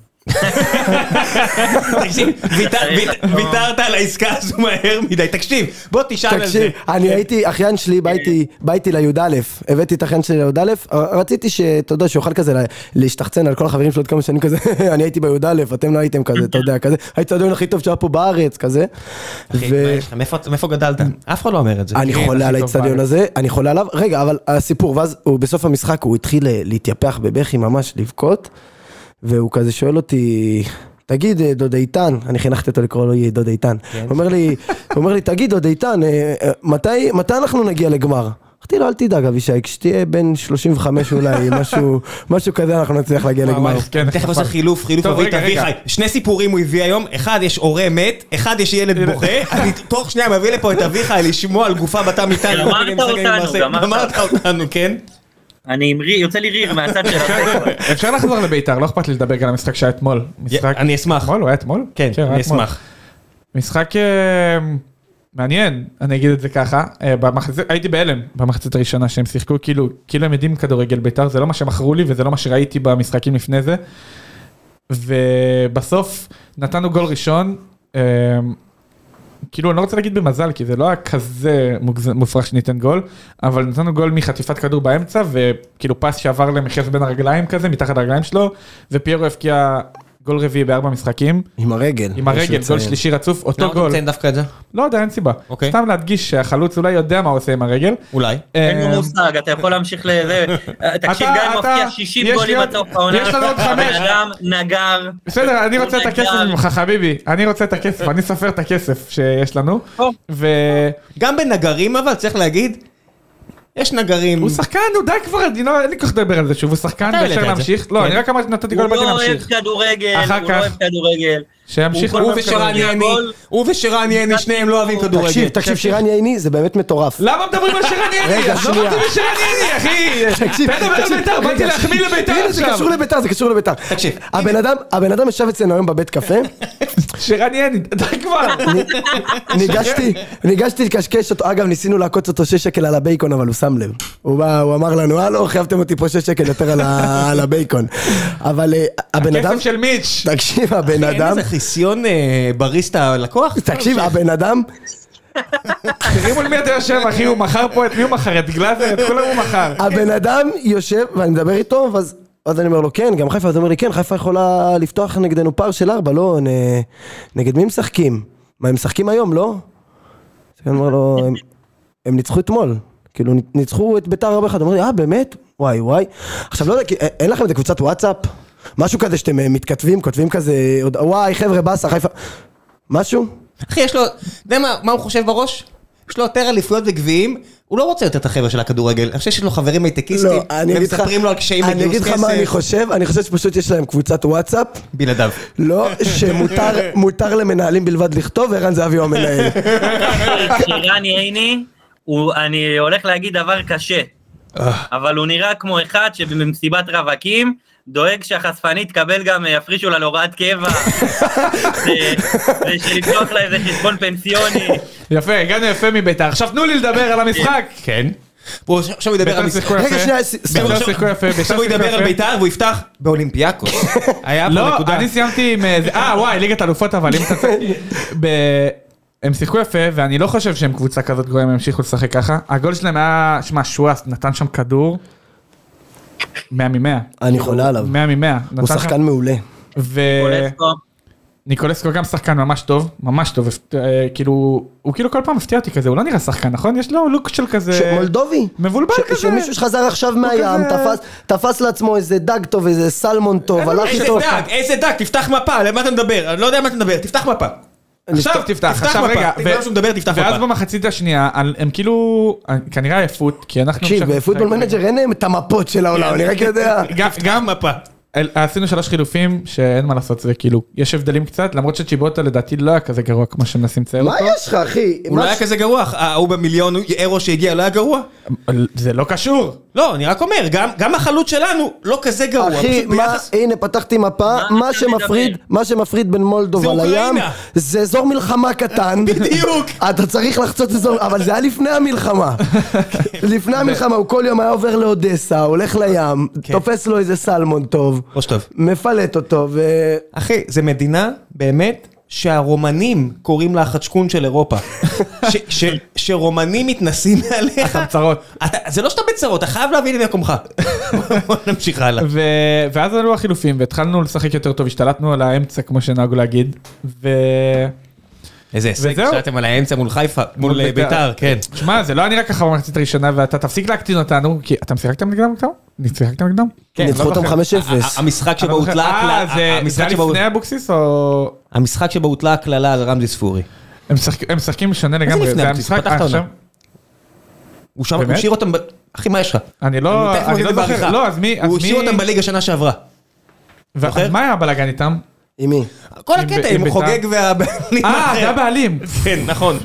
Speaker 3: תקשיב, ויתר- ויתר-
Speaker 1: אה,
Speaker 3: ויתרת על העסקה הזו מהר מדי, תקשיב, בוא תשאל על זה.
Speaker 2: תקשיב, אני הייתי, אחיין שלי, בא איתי- בא איתי לי"א, הבאתי את אחיין שלי לי"א, רציתי שאתה יודע, שיוכל כזה לה- להשתחצן על כל החברים שלו עוד כמה שנים כזה, אני הייתי בי"א, אתם לא הייתם כזה, אתה יודע, כזה, הייתי הדויין הכי טוב שהיה פה בארץ, כזה.
Speaker 3: אחי,
Speaker 2: ו-
Speaker 3: מה יש לך? מאיפה- מאיפה גדלת? אף אחד לא אומר את זה.
Speaker 2: אני
Speaker 1: כן,
Speaker 2: חולה
Speaker 1: הכי
Speaker 2: על
Speaker 1: טוב
Speaker 2: האיצטדיון
Speaker 1: בארץ.
Speaker 2: הזה, אני חולה עליו, רגע, אבל הסיפור, ואז הוא בסוף המשחק, הוא התחיל אה, להתייפח בבכי ממש, לבכות, והוא כזה שואל אותי, תגיד, אה, דוד איתן, אני חינכתי אותו לקרוא לו אה, דוד איתן, הוא אומר לי, הוא אומר לי, תגיד, דוד איתן, אה, אה, מתי מתי אנחנו נגיע לגמר? אמרתי לו, אל תדאג, אבישי, כשתהיה בן 35 אולי, משהו- משהו כזה, אנחנו נצליח להגיע לגמר.
Speaker 1: ממש, כן,
Speaker 3: תכף עושה
Speaker 1: נפל.
Speaker 3: חילוף, חילוף
Speaker 1: טוב,
Speaker 3: אבי
Speaker 1: רגע,
Speaker 3: תביא
Speaker 1: רגע.
Speaker 3: חי. שני סיפורים הוא הביא היום, אחד יש הורה מת, אחד יש ילד בוכה, אני תוך שנייה מביא לפה את אביחי לשמוע על גופה בתא מטען.
Speaker 4: גמרת
Speaker 3: כל מיני משחקים עם
Speaker 4: אותנו,
Speaker 3: מרסיי.
Speaker 4: גמרת.
Speaker 3: גמרת אותנו, כן?
Speaker 4: אני עם ריר, יוצא לי ריר מהצד של הספר.
Speaker 1: אפשר לחזור לביתר, לא אכפת לי לדבר גם על המשחק שהיה אתמול. משחק... נכון?
Speaker 3: אני אשמח.
Speaker 1: אתמול? הוא היה אתמול?
Speaker 3: כן,
Speaker 1: היה
Speaker 3: אני
Speaker 1: אתמול.
Speaker 3: אשמח.
Speaker 1: משחק אה, מעניין, אני אגיד את זה ככה. אה, במחצית, הייתי בהלם במחצית הראשונה שהם שיחקו, כאילו, כאילו הם יודעים כדורגל בית"ר, זה לא מה שמכרו לי וזה לא מה שראיתי במשחקים לפני זה. ובסוף נתנו גול ראשון, אה, כאילו אני לא רוצה להגיד במזל, כי זה לא היה כזה מוגז- מופרך שניתן גול, אבל נתנו גול מחטיפת כדור באמצע, וכאילו פס שעבר למחיאס בין הרגליים כזה, מתחת הרגליים שלו, ופיירו הבקיע גול רביעי בארבע משחקים.
Speaker 2: עם הרגל.
Speaker 1: עם הרגל,
Speaker 2: משהו
Speaker 1: גול
Speaker 2: צעיר.
Speaker 1: שלישי רצוף,
Speaker 3: למה
Speaker 1: אותו
Speaker 3: אתה
Speaker 1: גול.
Speaker 3: מציין דווקא את זה?
Speaker 1: לא יודע, אין סיבה.
Speaker 3: אוקיי.
Speaker 1: סתם להדגיש שהחלוץ אולי יודע מה הוא עושה עם הרגל.
Speaker 3: אולי.
Speaker 4: אין לי
Speaker 1: אה,
Speaker 4: מושג, אתה יכול להמשיך לזה. תקשיב,
Speaker 1: אתה-
Speaker 4: גם
Speaker 1: אתה-
Speaker 4: אם מבקיע 60
Speaker 1: יש
Speaker 4: גולים
Speaker 1: לי
Speaker 4: עד
Speaker 1: עוד-
Speaker 4: סוף העונה,
Speaker 1: יש לנו עוד חמש.
Speaker 4: הבן אדם נגר.
Speaker 1: בסדר, אני רוצה את
Speaker 4: הוא
Speaker 1: הכסף
Speaker 4: נגר.
Speaker 1: ממך, חביבי. אני רוצה את הכסף, אני סופר את הכסף שיש לנו.
Speaker 4: טוב.
Speaker 1: והוא
Speaker 3: גם בנגרים אבל, צריך להגיד, יש נגרים...
Speaker 1: שחקן, הוא די כבר, אני לא, אין לי כל כך לדבר על זה שוב, הוא שחקן,
Speaker 3: אתה העלית
Speaker 1: ואפשר
Speaker 3: את זה.
Speaker 1: להמשיך. לא,
Speaker 3: כן.
Speaker 1: אני רק אמרתי, נתתי גול,
Speaker 4: הוא
Speaker 1: באתי
Speaker 4: לא אוהב
Speaker 1: להמשיך.
Speaker 4: כדורגל,
Speaker 1: אחר
Speaker 4: הוא לא
Speaker 1: כך-
Speaker 4: אוהב כדורגל.
Speaker 1: שימשיך.
Speaker 4: הוא
Speaker 3: הוא
Speaker 4: כל הזמן
Speaker 3: ושרן
Speaker 4: כדורגל.
Speaker 3: יעני, הוא ושרן יעני, שניהם לא אוהבים כדורגל.
Speaker 2: תקשיב, תקשיב, שירן יעיני, זה באמת מטורף.
Speaker 1: למה מדברים על שרן יני?
Speaker 2: רגע,
Speaker 1: אז לא
Speaker 2: שנייה.
Speaker 1: מדברים על שרן יני, אחי!
Speaker 2: תקשיב,
Speaker 1: תן לדבר על
Speaker 2: תקשיב,
Speaker 1: בית"ר,
Speaker 2: רגע,
Speaker 1: באתי להחמיא לבית"ר
Speaker 2: הנה, זה
Speaker 1: עכשיו.
Speaker 2: קשור לביתר, זה קשור לביתר.
Speaker 3: תקשיב.
Speaker 2: הבן אדם, הבן אדם ישב אצלנו היום בבית קפה,
Speaker 1: שרן יני, די כבר.
Speaker 2: ניגשתי, ניגשתי לקשקש אותו, אגב ניסינו לעקוץ אותו 6 שקל על הבייקון אבל הוא שם לב. הוא בא, הוא אמר לנו, הלו, חייבתם אותי פה 6 שקל יותר על ה- על הבייקון. אבל אה, הבן אדם,
Speaker 1: כסף של מיץ'.
Speaker 2: תקשיב, הבן
Speaker 3: אין
Speaker 2: אדם,
Speaker 3: איזה חיסיון אה, בריסטה לקוח?
Speaker 2: תקשיב, הבן אדם,
Speaker 1: תראי מול מי אתה יושב, אחי, הוא מכר פה, את מי הוא מכר? את גלאזר? את כולם הוא מכר.
Speaker 2: הבן אדם יושב, ואני מדבר איתו, ואז... אז אני אומר לו, כן, גם חיפה, אז הוא אומר לי, כן, חיפה יכולה לפתוח נגדנו פער של ארבע, לא, נ... נגד מי משחקים? מה, הם משחקים היום, לא? אז אני אומר לו, הם, הם ניצחו אתמול, כאילו, ניצחו את ביתר ארבע אחד, הוא אומר לי, אה, באמת? וואי, וואי. עכשיו, לא יודע, כי- אין לכם איזה קבוצת וואטסאפ? משהו כזה שאתם אה, מתכתבים, כותבים כזה, עוד- וואי, חבר'ה, באסה, חיפה... משהו?
Speaker 3: אחי, יש לו, אתה יודע מה- מה הוא חושב בראש? יש לו יותר אליפויות וגביעים, הוא לא רוצה יותר את החבר'ה של הכדורגל. אני חושב שיש לו חברים הייטקיסטים,
Speaker 2: לא, אני אגיד לך...
Speaker 3: ומספרים לו על קשיים
Speaker 2: אני
Speaker 3: בגיוס
Speaker 2: אגיד לך מה אני
Speaker 3: כסף.
Speaker 2: חושב, אני חושב שפשוט יש להם קבוצת וואטסאפ.
Speaker 3: בלעדיו.
Speaker 2: לא, שמותר מותר למנהלים בלבד לכתוב, ערן זהבי הוא המנהל.
Speaker 4: שירן ייני, הוא- אני הולך להגיד דבר קשה, אבל הוא נראה כמו אחד שבמסיבת רווקים דואג שהחשפנית תקבל גם, אה, יפרישו לה להוראת קבע, ו- ושלפתוח לה איזה חשבון פנסיוני.
Speaker 1: יפה, הגענו יפה מביתר. עכשיו תנו לי לדבר על המשחק.
Speaker 3: כן. הוא עכשיו- עכשיו הוא ידבר על
Speaker 1: ביתר
Speaker 3: המשחק.
Speaker 1: שיחקו
Speaker 2: רגע,
Speaker 1: יפה.
Speaker 2: שנייה, ס- סתם.
Speaker 1: ביתר
Speaker 3: עכשיו-
Speaker 1: שיחקו יפה. ביתר
Speaker 3: עכשיו הוא
Speaker 1: שיחקו
Speaker 3: ידבר על
Speaker 1: יפה.
Speaker 3: בית"ר והוא יפתח באולימפיאקוס. היה פה
Speaker 1: לא,
Speaker 3: נקודה.
Speaker 1: אני סיימתי עם... איזה- אה, וואי, ליגת אלופות, אבל אם אתה צריך... ב- הם שיחקו יפה, ואני לא חושב שהם קבוצה כזאת גרועה, הם ימשיכו לשחק ככה. הגול שלהם היה... שמע, שואס נתן שם כדור. 100 מ-100.
Speaker 2: אני חולה עליו.
Speaker 1: 100 מ-100.
Speaker 2: הוא שחקן מעולה.
Speaker 1: אה,
Speaker 4: קולסקו,
Speaker 1: ניקולסקו גם שחקן ממש טוב, ממש טוב, הפת- אה, כאילו, הוא כאילו כל פעם מפתיע אותי כזה, הוא לא נראה שחקן, נכון? יש לו לוק של
Speaker 2: ש-
Speaker 1: כזה...
Speaker 2: מולדובי.
Speaker 1: מבולבל
Speaker 2: ש-
Speaker 1: כזה.
Speaker 2: שמישהו שחזר עכשיו מהים,
Speaker 1: כזה-
Speaker 2: תפס- תפס לעצמו איזה דג טוב, איזה סלמון לא טוב, הלך
Speaker 3: איזה
Speaker 2: איתו.
Speaker 3: דג, איזה דג, תפתח מפה, למה אתה מדבר? אני לא יודע מה אתה מדבר, תפתח מפה.
Speaker 1: עכשיו תפתח,
Speaker 3: תפתח
Speaker 1: עכשיו
Speaker 3: מפה.
Speaker 1: רגע.
Speaker 3: תגמר שהוא מדבר, תפתח
Speaker 1: ואז
Speaker 3: מפה.
Speaker 1: במחצית השנייה, על- הם כאילו, כנראה עייפות, כי אנחנו...
Speaker 2: תקשיב,
Speaker 1: עכשיו-
Speaker 2: בפוטבול מנג'ר אין להם את המפות של העולם, אני רק יודע.
Speaker 1: גם-
Speaker 3: גם מפה.
Speaker 1: אל- עשינו שלוש חילופים, שאין מה לעשות, זה כאילו, יש הבדלים קצת, למרות שצ'יבוטה לדעתי לא היה כזה גרוע כמו שמנסים לצייר
Speaker 2: מה
Speaker 1: אותו.
Speaker 2: יש לך, אחי?
Speaker 3: הוא לא
Speaker 2: מה-
Speaker 3: היה כזה גרוע, ההוא במיליון אירו שהגיע לא היה גרוע.
Speaker 1: זה לא קשור.
Speaker 3: לא, אני רק אומר, גם, גם החלוץ שלנו לא כזה גרוע.
Speaker 2: אחי,
Speaker 3: פשוט
Speaker 2: מה-
Speaker 3: ביחס-
Speaker 2: הנה, פתחתי מפה,
Speaker 4: מה
Speaker 2: מה
Speaker 4: אתה
Speaker 2: שמפריד,
Speaker 4: מדבר?
Speaker 2: מה שמפריד בין
Speaker 3: זה
Speaker 2: מולדובה לים,
Speaker 3: אוקראינה.
Speaker 2: זה אזור מלחמה קטן.
Speaker 3: בדיוק.
Speaker 2: אתה צריך לחצות אזור, אבל זה היה לפני המלחמה.
Speaker 3: כן.
Speaker 2: לפני המלחמה, הוא כל יום היה עובר לאודסה, הולך לים,
Speaker 3: כן.
Speaker 2: תופס לו איזה סלמון טוב,
Speaker 3: ראש טוב.
Speaker 2: מפלט אותו, ו...
Speaker 3: אחי, זה מדינה, באמת, שהרומנים קוראים לה החדשקון של אירופה. ש, ש, שרומנים מתנסים מעליך.
Speaker 1: אתה בצרות.
Speaker 3: אתה, זה לא שאתה בצרות, אתה חייב להביא לי מקומך. בוא נמשיך הלאה.
Speaker 1: ו- ואז עלו החילופים והתחלנו לשחק יותר טוב, השתלטנו על האמצע כמו שנהגו להגיד. ו...
Speaker 3: איזה הישג,
Speaker 1: וזהו.
Speaker 3: שאתם על האמצע מול חיפה, מול אה, ביתר, כן.
Speaker 1: שמע, זה לא היה נראה ככה במחצית הראשונה ואתה תפסיק להקטין אותנו, כי אתם שיחקתם נגדם כבר? שיחקתם נגדם? כן,
Speaker 3: כן, לא
Speaker 1: לא
Speaker 2: ניצחו אותם 5-0.
Speaker 3: ה- המשחק
Speaker 1: אני
Speaker 3: שבו
Speaker 1: לא זוכר.
Speaker 3: הוטלה
Speaker 1: אה,
Speaker 3: הקללה-
Speaker 1: זה- זה
Speaker 3: המשחק
Speaker 1: היה
Speaker 3: שבו-
Speaker 1: לפני אבוקסיס או...
Speaker 3: המשחק שבו הוטלה הקללה על רמזי ספורי.
Speaker 1: הם משחק- הם משחקים שונה
Speaker 3: זה
Speaker 1: לגמרי,
Speaker 3: לפני
Speaker 1: זה
Speaker 3: אבוקסיס?
Speaker 1: המשחק
Speaker 3: פתח את העונה.
Speaker 1: עכשיו-
Speaker 3: הוא שם, הוא
Speaker 1: באמת?
Speaker 3: השאיר אותם ב... אחי, מה יש לך?
Speaker 1: אני לא,
Speaker 3: תכף
Speaker 1: אני
Speaker 3: אגיד
Speaker 1: לא
Speaker 3: את זה בעריכה.
Speaker 1: זוכר, לא, אז מי, אז
Speaker 3: הוא
Speaker 1: מי,
Speaker 3: השאיר אותם בליגה שנה שעברה.
Speaker 1: ו-
Speaker 3: זוכר?
Speaker 1: אז מה היה הבלאגן איתם?
Speaker 3: אה,
Speaker 2: עם מי?
Speaker 3: כל
Speaker 1: עם-
Speaker 3: הקטע,
Speaker 1: עם
Speaker 3: עם
Speaker 1: בית"ר.
Speaker 3: חוגג וה...
Speaker 1: אה, זה הבעלים.
Speaker 3: כן, נכון.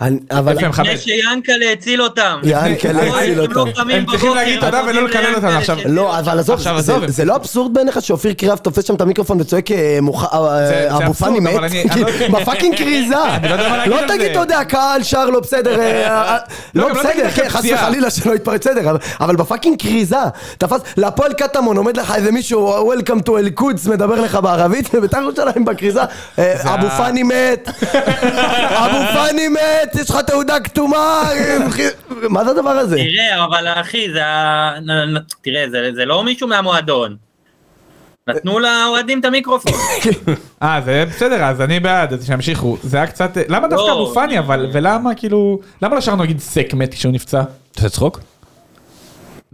Speaker 2: אני- אבל...
Speaker 1: יפה, מכבד.
Speaker 4: לפני שיענקלה הציל אותם.
Speaker 2: יענקלה
Speaker 1: לפני- הם
Speaker 2: הציל אותם.
Speaker 1: לא קמים הם צריכים להגיד תודה ולא לקלל אותנו עכשיו.
Speaker 2: לא, אבל עזוב,
Speaker 1: עכשיו,
Speaker 2: זה-
Speaker 1: עזוב, הם-
Speaker 2: זה לא אבסורד בעיניך שאופיר קריאב תופס שם את המיקרופון וצועק אה, מוח- אה,
Speaker 1: זה
Speaker 2: אבו
Speaker 1: אבסורד,
Speaker 2: פאני
Speaker 1: אבל
Speaker 2: מת? כאילו,
Speaker 1: אני- אני לא-
Speaker 2: בפאקינג כריזה.
Speaker 1: אני לא יודע מה להגיד
Speaker 2: לא
Speaker 1: על
Speaker 2: תגיד,
Speaker 1: זה.
Speaker 2: אתה יודע, קהל שר לא בסדר, אה, אה,
Speaker 1: לא,
Speaker 2: לא
Speaker 1: גם לא
Speaker 2: בסדר,
Speaker 1: תגיד
Speaker 2: כן,
Speaker 1: לכם
Speaker 2: חס
Speaker 1: פציעה.
Speaker 2: וחלילה שלא יתפרץ בסדר, אבל- אבל בפאקינג כריזה. תפס, להפועל קטמון עומד לך איזה מישהו, "אה, Welcome to אל קודס, מדבר לך בערבית, ובית"ר ירושלים בכריזה, אה, אבו
Speaker 1: ה-
Speaker 2: פאני מת, אבו פאני מת, יש לך תעודה כתומה, אה, אחי, מה זה הדבר הזה?
Speaker 4: תראה, אבל אחי, זה ה... נ- נ- תראה, זה- זה לא מישהו מהמועדון. נתנו לאוהדים את המיקרופון.
Speaker 1: אה, זה בסדר, אז אני בעד, אז שימשיכו. זה היה קצת, למה דווקא
Speaker 4: לא.
Speaker 1: אבו פאני אבל, ולמה כאילו, למה לא שרנו נגיד סק מת כשהוא נפצע?
Speaker 3: אתה עושה צחוק?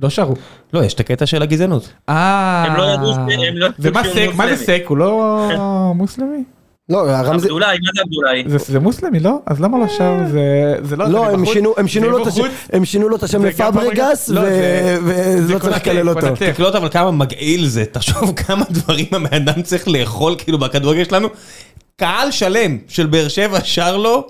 Speaker 1: לא שרו.
Speaker 3: לא, יש את הקטע של הגזענות.
Speaker 1: אה,
Speaker 4: הם לא ידעו ש- הם לא ידעו
Speaker 1: ומה
Speaker 4: שהוא
Speaker 1: סק, מה זה
Speaker 4: מוסלמי.
Speaker 1: סק, הוא לא מוסלמי?
Speaker 2: לא, הרמזי...
Speaker 4: אבדולאי, מה זה אבדולאי?
Speaker 1: זה- זה מוסלמי, לא? אז למה לא שר? זה- זה לא...
Speaker 2: לא,
Speaker 1: זה
Speaker 2: הם
Speaker 1: מבחוץ,
Speaker 2: שינו, הם
Speaker 1: זה
Speaker 2: שינו לו את השם,
Speaker 1: מבחוץ.
Speaker 2: הם שינו לו את השם
Speaker 1: זה גם
Speaker 2: לפאברגס,
Speaker 1: פאברגס, לא, זה- זה
Speaker 2: ולא צריך
Speaker 1: קונטה,
Speaker 2: לקלל אותו.
Speaker 1: קונטה.
Speaker 3: תקלוט אבל כמה מגעיל זה, תחשוב כמה דברים הבן אדם צריך לאכול כאילו בכדורגל שלנו. קהל שלם של באר שבע שר לו,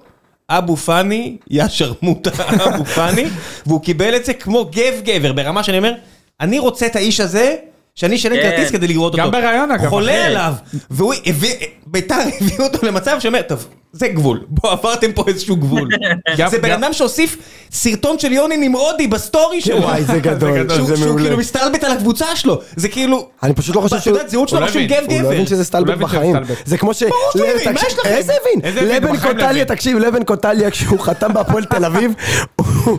Speaker 3: אבו פאני, יא שרמוטה אבו פאני, והוא קיבל את זה כמו גב גבר, ברמה שאני אומר, אני רוצה את האיש הזה. שאני אשלם
Speaker 4: כן.
Speaker 3: כרטיס כדי לראות אותו.
Speaker 1: גם בראיון, אגב,
Speaker 3: חולה
Speaker 1: אחי.
Speaker 3: עליו. והוא הביא, ביתר הביאו אותו למצב שאומר, טוב, זה גבול. בוא, עברתם פה איזשהו גבול.
Speaker 1: גם-
Speaker 3: זה בן
Speaker 1: גם- כן.
Speaker 3: אדם שהוסיף סרטון של יוני נמרודי בסטורי שלו.
Speaker 2: וואי, זה גדול,
Speaker 1: גדול.
Speaker 2: זה
Speaker 3: שהוא, שהוא
Speaker 2: מעולה.
Speaker 3: כאילו מסתלבט על הקבוצה שלו, זה כאילו...
Speaker 2: אני פשוט לא חושב שהוא...
Speaker 3: בתעודת זהות שלו
Speaker 1: הוא לא
Speaker 3: רשום
Speaker 1: הבין,
Speaker 3: גב
Speaker 2: הוא לא
Speaker 3: גבר.
Speaker 2: הבין שזה סטלבט
Speaker 1: הבין שזה
Speaker 2: בחיים.
Speaker 1: סטלבט.
Speaker 2: זה כמו ש...
Speaker 3: שהוא
Speaker 2: לב-
Speaker 3: הבין, מה
Speaker 2: תקשיב,
Speaker 3: יש לכם?
Speaker 2: איזה הבין?
Speaker 1: איזה הבין? הוא
Speaker 2: לבן
Speaker 1: בחיים לא
Speaker 2: קוטליה,
Speaker 1: הבין.
Speaker 2: תקשיב, לבן קוטליה כשהוא חתם בהפועל תל אביב, הוא- הוא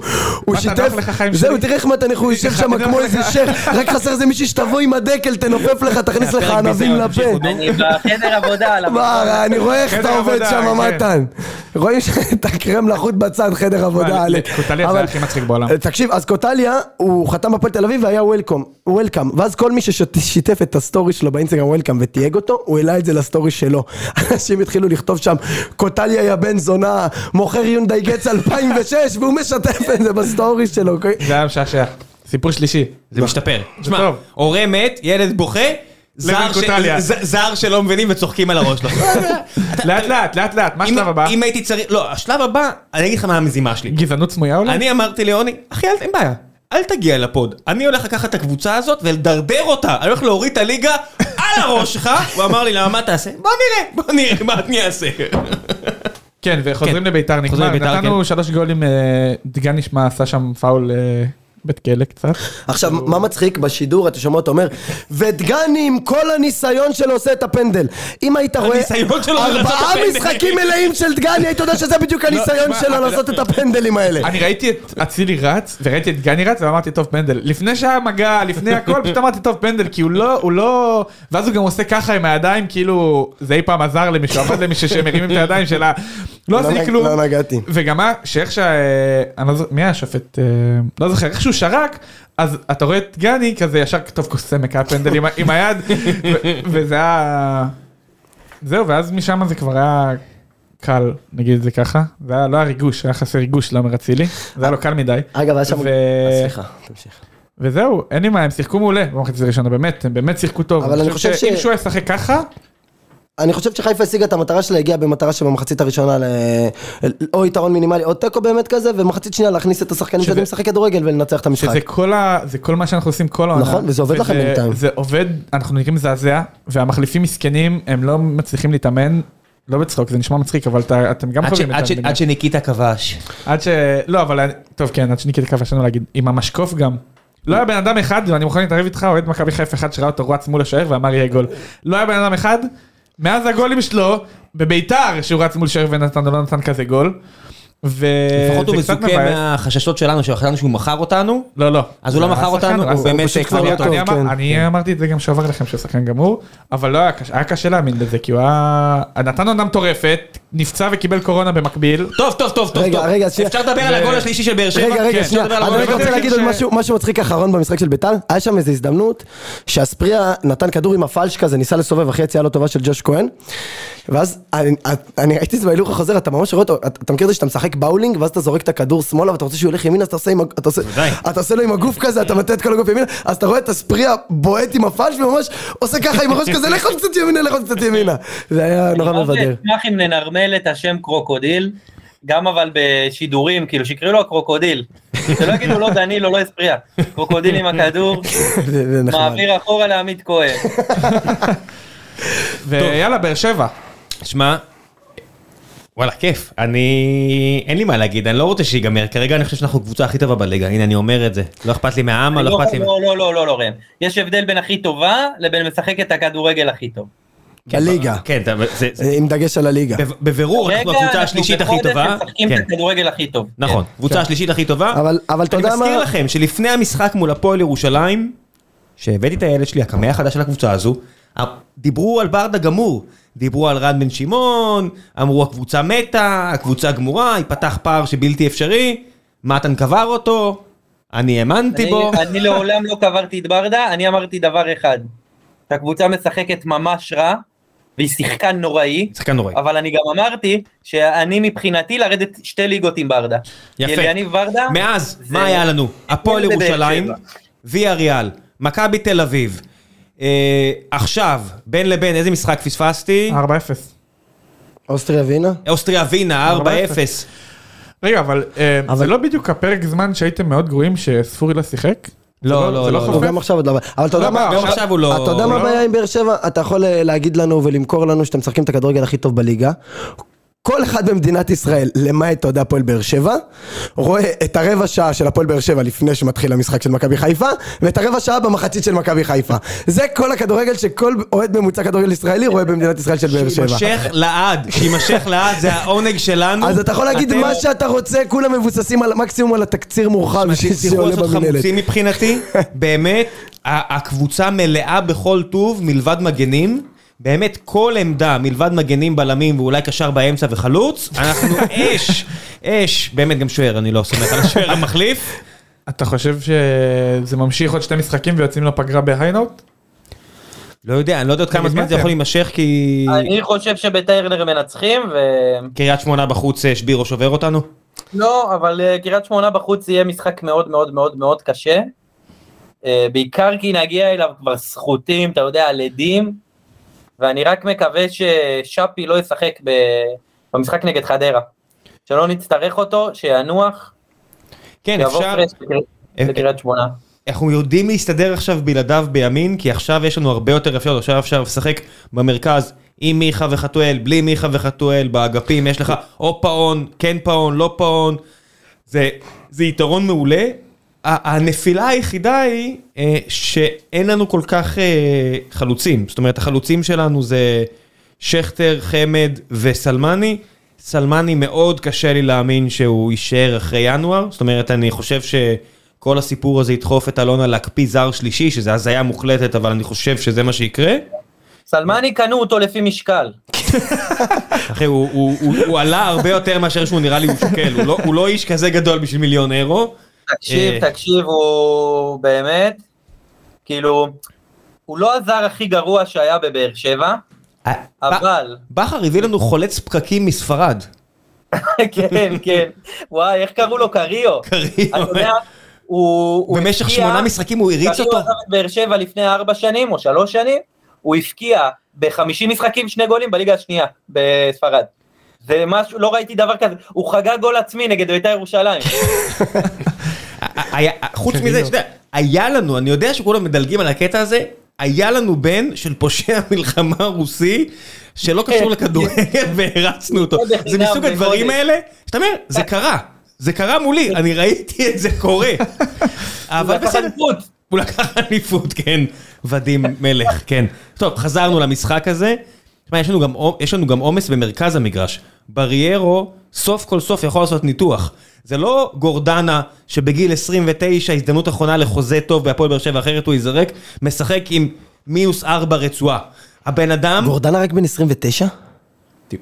Speaker 1: מה, אתה
Speaker 2: שיתף...
Speaker 1: נוח לך, חיים
Speaker 2: זהו,
Speaker 1: שלי?
Speaker 2: תראה איך מתניח, הוא יושב שם
Speaker 1: נוח
Speaker 2: כמו
Speaker 1: לך.
Speaker 2: איזה שייח, רק חסר איזה מישהי שתבוא עם הדקל, תנופף לך, תכניס לך
Speaker 3: הפרק
Speaker 2: ענבים
Speaker 3: ביזיון,
Speaker 2: לפה.
Speaker 3: תמשיכו, נו.
Speaker 4: אני בחדר עבודה על
Speaker 2: מה, אני רואה איך
Speaker 1: חדר
Speaker 2: אתה עובד
Speaker 1: עבודה,
Speaker 2: שם,
Speaker 1: כן.
Speaker 2: מתן. רואים שאתה קרם לחוט בצד, חדר עבודה.
Speaker 1: אבל
Speaker 2: עלק.
Speaker 1: קוטליה זה
Speaker 2: אבל- אה,
Speaker 1: הכי מצחיק בעולם.
Speaker 2: תקשיב, אז קוטליה, הוא חתם בפועל תל אביב והיה וולקום, וולקאם. ואז כל מי ששיתף את הסטורי שלו באינסטגרם וולקאם ותייג אותו, הוא העלה את זה לסטורי שלו. אנשים התחילו לכתוב שם, קוטליה יא בן זונה, מוכר יונדאי גץ 2006, והוא משתף את זה בסטורי שלו. אוקיי?
Speaker 1: זה היה משעשע. סיפור שלישי.
Speaker 3: זה משתפר. תשמע,
Speaker 1: טוב.
Speaker 3: הורה מת, ילד בוכה, זר ש-
Speaker 1: קוטליה.
Speaker 3: ז- זר שלא מבינים וצוחקים על הראש שלו.
Speaker 1: לאט לאט, לאט לאט, מה
Speaker 3: אם-
Speaker 1: השלב הבא?
Speaker 3: אם הייתי צריך... לא, השלב הבא, אני אגיד לך מה המזימה שלי.
Speaker 1: גזענות סמויה אולי?
Speaker 3: אני אמרתי ליוני, אחי, אל- אין בעיה. אל תגיע לפוד, אני הולך לקחת את הקבוצה הזאת ולדרדר אותה, אני הולך להוריד את הליגה על הראש שלך, הוא אמר לי, למה, מה תעשה? בוא נראה, בוא נראה, מה אני אעשה?
Speaker 1: כן, וחוזרים
Speaker 3: כן.
Speaker 1: לביתר נגמר,
Speaker 3: חוזרים לביתר,
Speaker 1: נתנו שלוש גולים, אה, דגן נשמע עשה שם פאול אה, בית כלא קצת.
Speaker 2: עכשיו, מה מצחיק בשידור, אתה שומע אותו אומר, ודגני עם כל הניסיון שלו עושה את הפנדל. אם היית רואה
Speaker 3: הניסיון שלו לעשות את
Speaker 2: ארבעה
Speaker 3: הפנדל.
Speaker 2: משחקים מלאים של דגני, היית יודע שזה בדיוק הניסיון
Speaker 1: תשמע,
Speaker 2: שלו
Speaker 1: לא, אבל-
Speaker 2: לעשות את הפנדלים האלה.
Speaker 1: אני ראיתי את אצילי רץ, וראיתי את גני רץ, ואמרתי טוב פנדל. לפני שהיה מגע, לפני הכל, פשוט אמרתי טוב פנדל, כי הוא לא, הוא לא... ואז הוא גם עושה ככה עם הידיים, כאילו זה אי פעם עזר למישהו, עבד למישהו שמרים את הידיים שלה. לא
Speaker 2: לא
Speaker 1: עשיתי
Speaker 2: נג-
Speaker 1: כלום.
Speaker 2: לא נגעתי.
Speaker 1: וגם מה, שאיך שה... אני לא זוכר, מי היה השופט? אה, לא זוכר, איך שהוא שרק, אז אתה רואה את גני כזה ישר כתוב קוסמק, היה פנדל עם ה- עם היד, ו- וזה היה... זהו, ואז משם זה כבר היה קל, נגיד את זה ככה. זה היה, לא היה ריגוש, היה חסר ריגוש לעומר אצילי. זה היה לו קל מדי.
Speaker 2: אגב, היה שם...
Speaker 1: ו-
Speaker 2: אה, סליחה, תמשיך.
Speaker 1: וזהו, אין לי מה, הם שיחקו מעולה במחצית הראשונה, באמת, הם באמת שיחקו טוב.
Speaker 2: אבל אני חושב ש-
Speaker 1: שאם שהוא היה ישחק ככה,
Speaker 2: אני חושב שחיפה השיגה את המטרה שלה, הגיעה במטרה שבמחצית הראשונה ל... או יתרון מינימלי או תיקו באמת כזה, ומחצית שנייה להכניס את השחקנים
Speaker 1: שזה-
Speaker 2: שיודעים לשחק כדורגל ולנצח את המשחק.
Speaker 1: שזה כל, ה, זה כל מה שאנחנו עושים כל העונה.
Speaker 2: נכון, וזה עובד לכם בינתיים.
Speaker 1: זה עובד, אנחנו נראים מזעזע, והמחליפים מסכנים, הם לא מצליחים להתאמן, לא בצחוק, זה נשמע מצחיק, אבל אתה, אתם גם
Speaker 3: עד ש-
Speaker 1: חווים
Speaker 3: עד
Speaker 1: את
Speaker 3: ש-
Speaker 1: זה.
Speaker 3: עד שניקיטה כבש.
Speaker 1: עד ש... לא, אבל... טוב, כן, עד שניקי תקף שלנו להגיד, עם המשקוף גם. לא היה בן אדם אחד, ואני מוכן להתערב איתך, אוהד מכבי חיפה אחד שראה אותו רץ מול השוער ואמר יהיה גול. לא היה בן אדם אחד, מאז הגולים שלו, בביתר, שהוא רץ מול שוער ונתן או לא נתן כזה גול. ו...
Speaker 3: לפחות הוא
Speaker 1: זה קצת
Speaker 3: מזוכה
Speaker 1: מבאס.
Speaker 3: מהחששות שלנו, שחשבנו שהוא מכר אותנו.
Speaker 1: לא, לא.
Speaker 3: אז הוא לא
Speaker 1: זה
Speaker 3: מכר
Speaker 1: השחקן,
Speaker 3: אותנו, אז
Speaker 1: הוא-
Speaker 3: באמת
Speaker 1: הוא פשוט
Speaker 3: כבר
Speaker 1: לא
Speaker 3: לא
Speaker 1: היה
Speaker 3: טוב,
Speaker 1: אני אמר-
Speaker 2: כן.
Speaker 1: אני אמרתי את זה גם שעבר לכם שהוא שחקן גמור, אבל לא היה קשה- היה קשה להאמין לזה, כי הוא היה... נתן עונה מטורפת, נפצע וקיבל קורונה במקביל.
Speaker 3: טוב, טוב, טוב, טוב.
Speaker 2: רגע,
Speaker 3: טוב.
Speaker 2: רגע, שנייה.
Speaker 3: אפשר לדבר על
Speaker 1: זה-
Speaker 3: הגול השלישי של באר שבע?
Speaker 2: רגע,
Speaker 3: כן,
Speaker 2: רגע,
Speaker 3: אפשר
Speaker 2: שנייה,
Speaker 3: לדבר על
Speaker 2: אני
Speaker 3: הגול
Speaker 1: אבל
Speaker 2: רק
Speaker 3: השלישי.
Speaker 1: אני
Speaker 2: רוצה
Speaker 1: חושב
Speaker 2: להגיד
Speaker 1: ש-
Speaker 2: עוד משהו- משהו מצחיק אחרון במשחק של ביתר, היה שם איזו הזדמנות שאספריה נתן כדור עם הפלש כזה, ניסה לסובב אחרי יציאה לא טובה של ג'וש כהן, ואז אני- אני ראיתי את זה בהילוך החוזר, אתה ממש רואה אותו, אתה אתה מכיר את זה שאתה משחק באולינג, ואז אתה זורק את הכדור שמאלה ואתה רוצה שהוא ילך ימינה, אז אתה עושה עם ה- אתה עושה-
Speaker 3: בוודאי.
Speaker 2: אתה עושה לו עם הגוף כזה, אתה מטה את כל הגוף ימינה, אז אתה רואה את אספריה בועט עם הפלש וממש עושה ככה עם הראש כזה, לך עוד קצת ימינה, לך עוד קצת ימינה. זה היה נורא
Speaker 4: מה זה,
Speaker 2: מבדר.
Speaker 4: אשמח אם ננרמל את השם קרוקודיל, גם אבל בשידורים, כאילו שיקראו לו הקרוקודיל. שלא יגידו לא דניל או לא אספריה. קרוקודיל עם הכדור,
Speaker 2: זה זה נחמד.
Speaker 4: מעביר אחורה לעמית כהן.
Speaker 1: ויאללה, באר שבע.
Speaker 3: שמע, וואלה, כיף. אני... אין לי מה להגיד, אני לא רוצה שיגמר. כרגע אני חושב שאנחנו הקבוצה הכי טובה בליגה. הנה, אני אומר את זה. לא אכפת לי מהעם, לא
Speaker 4: לא,
Speaker 3: אכפת לי...
Speaker 4: לא, לא, לא, לא, לא, ראם. יש הבדל בין הכי טובה לבין משחק את הכדורגל הכי טוב.
Speaker 2: הליגה,
Speaker 3: כן, אתה- זה- זה-
Speaker 2: עם דגש על הליגה.
Speaker 3: בב- בברור, אנחנו
Speaker 4: רגע,
Speaker 3: הקבוצה השלישית הכי
Speaker 4: אנחנו
Speaker 3: טובה.
Speaker 4: בחודש משחקים
Speaker 3: כן.
Speaker 4: את הכדורגל הכי טוב.
Speaker 3: נכון, קבוצה השלישית הכי טובה.
Speaker 2: כן, אבל- אבל אתה יודע
Speaker 3: אני מזכיר
Speaker 2: מה-
Speaker 3: לכם שלפני המשחק מול הפועל ירושלים, שהבאתי את הילד שלי, הקמע החדש של הקבוצה הזו, ה- דיברו על ברדה גמור. דיברו על רן בן שמעון, אמרו הקבוצה מתה, הקבוצה גמורה, ייפתח פער שבלתי אפשרי, מתן קבר אותו, אני האמנתי
Speaker 4: אני-
Speaker 3: בו.
Speaker 4: אני לעולם לא קברתי את ברדה, אני אמרתי דבר אחד. הקבוצה משחקת ממש רע, והיא שיחקה נוראי,
Speaker 3: שחקן נוראי.
Speaker 4: אבל אני גם אמרתי שאני מבחינתי לרדת שתי ליגות עם ברדה.
Speaker 3: יפה.
Speaker 4: אליניב ברדה,
Speaker 3: מאז,
Speaker 4: זה-
Speaker 3: מה היה לנו? הפועל
Speaker 4: בבאר
Speaker 3: ירושלים,
Speaker 4: שבע.
Speaker 3: ויה ריאל, מכבי תל אביב. אה, עכשיו, בין לבין, איזה משחק פספסתי?
Speaker 1: 4-0.
Speaker 2: אוסטריה ווינה?
Speaker 3: אוסטריה ווינה, 4-0.
Speaker 1: 4-0. רגע, אבל אה, זה לא בדיוק הפרק זמן שהייתם מאוד גרועים שספורי לא שיחק?
Speaker 3: לא,
Speaker 1: זה
Speaker 3: לא,
Speaker 1: זה
Speaker 3: לא,
Speaker 2: לא,
Speaker 1: חופף?
Speaker 2: גם עכשיו עוד לא... אבל אתה יודע
Speaker 1: לא,
Speaker 2: מה...
Speaker 1: גם
Speaker 3: עכשיו הוא לא-
Speaker 2: אתה יודע מה
Speaker 1: לא-
Speaker 2: הבעיה עם באר שבע? אתה יכול אה, להגיד לנו ולמכור לנו שאתם משחקים את הכדורגל הכי טוב בליגה. כל אחד במדינת ישראל, למעט, אתה יודע, הפועל באר שבע, רואה את הרבע שעה של הפועל באר שבע לפני שמתחיל המשחק של מכבי חיפה, ואת הרבע שעה במחצית של מכבי חיפה. זה כל הכדורגל שכל אוהד ממוצע כדורגל ישראלי רואה במדינת ישראל של באר שבע.
Speaker 3: שיימשך לעד, שיימשך לעד, זה העונג שלנו.
Speaker 2: אז אתה יכול להגיד
Speaker 3: אתם
Speaker 2: מה שאתה רוצה, כולם מבוססים על מקסימום על התקציר מורחב
Speaker 3: תצטרכו
Speaker 2: שעולה
Speaker 3: לעשות
Speaker 2: במנהלת.
Speaker 3: חמוצים מבחינתי, באמת, ה- הקבוצה מלאה בכל טוב מלבד מגנים. באמת כל עמדה מלבד מגנים בלמים ואולי קשר באמצע וחלוץ, אנחנו אש, אש, באמת גם שוער, אני לא סומך על השוער המחליף.
Speaker 1: אתה חושב שזה ממשיך עוד שתי משחקים ויוצאים לפגרה בהיינאוט?
Speaker 3: לא יודע, אני לא יודע עוד כמה זמן זה יכול להימשך כי
Speaker 4: אני חושב שביתר מנצחים, ו...
Speaker 3: קריית שמונה בחוץ אה, שבירו שובר אותנו.
Speaker 4: לא, אבל אה, קריית שמונה בחוץ יהיה משחק מאוד מאוד מאוד מאוד קשה. אה, בעיקר כי נגיע אליו כבר סחוטים, אתה יודע, על עדים, ואני רק מקווה ששאפי לא ישחק ב... במשחק נגד חדרה. שלא נצטרך אותו, שינוח,
Speaker 3: כן,
Speaker 4: שיבוא
Speaker 3: אפשר, אה,
Speaker 4: פרש לקריית- לקריית שמונה.
Speaker 3: אנחנו יודעים להסתדר עכשיו בלעדיו בימין, כי עכשיו יש לנו הרבה יותר אפשרויות, עכשיו אפשר לשחק במרכז עם מיכה וחתואל, בלי מיכה וחתואל, באגפים יש לך או פאון, כן פאון, לא פאון, זה, זה יתרון מעולה. ה- הנפילה היחידה היא אה, שאין לנו כל כך אה, חלוצים, זאת אומרת החלוצים שלנו זה שכטר, חמד וסלמני. סלמני מאוד קשה לי להאמין שהוא יישאר אחרי ינואר, זאת אומרת אני חושב שכל הסיפור הזה ידחוף את אלונה להקפיא זר שלישי, שזה הזיה מוחלטת, אבל אני חושב שזה מה שיקרה. אה.
Speaker 4: סלמני קנו אותו לפי משקל.
Speaker 3: אחי, הוא, הוא, הוא, הוא עלה הרבה יותר מאשר שהוא נראה לי הוא שוקל, הוא לא, הוא לא איש כזה גדול בשביל מיליון אירו.
Speaker 4: תקשיב,
Speaker 3: אה.
Speaker 4: תקשיב, הוא באמת, כאילו, הוא לא הזר הכי גרוע שהיה בבאר
Speaker 3: אה.
Speaker 4: שבע, אבל,
Speaker 3: בכר הביא לנו חולץ פקקים מספרד.
Speaker 4: כן, כן, וואי, איך קראו לו? קריו.
Speaker 3: קריו.
Speaker 4: אתה יודע, הוא... הוא
Speaker 3: במשך
Speaker 4: הפקיע-
Speaker 3: שמונה משחקים הוא הריץ
Speaker 4: קריו
Speaker 3: אותו.
Speaker 4: עזב את באר שבע לפני ארבע שנים או שלוש שנים, הוא הפקיע ב-50 משחקים שני גולים בליגה השנייה בספרד. זה משהו, לא ראיתי דבר כזה, הוא חגג גול עצמי נגד בית"ר ירושלים.
Speaker 3: היה- חוץ מזה, שאתה יודע, היה לנו, אני יודע שכולם מדלגים על הקטע הזה, היה לנו בן של פושע מלחמה רוסי, שלא קשור
Speaker 4: כן.
Speaker 3: לכדורגל והרצנו אותו.
Speaker 4: לא בחינם,
Speaker 3: זה מסוג
Speaker 4: זה
Speaker 3: הדברים
Speaker 4: קודש.
Speaker 3: האלה, שאתה אומר, זה קרה, זה קרה מולי, אני ראיתי את זה קורה. אבל
Speaker 4: לקח
Speaker 3: בסדר.
Speaker 4: אליפות.
Speaker 3: הוא לקח אליפות, כן. ודים מלך, כן. טוב, חזרנו למשחק הזה. תשמע, יש לנו גם עו- יש לנו גם עומס במרכז המגרש. בריירו, סוף כל סוף יכול לעשות ניתוח. זה לא גורדנה שבגיל 29, הזדמנות אחרונה לחוזה טוב בהפועל באר שבע, אחרת הוא ייזרק, משחק עם מינוס 4 רצועה. הבן אדם...
Speaker 2: גורדנה רק בן 29?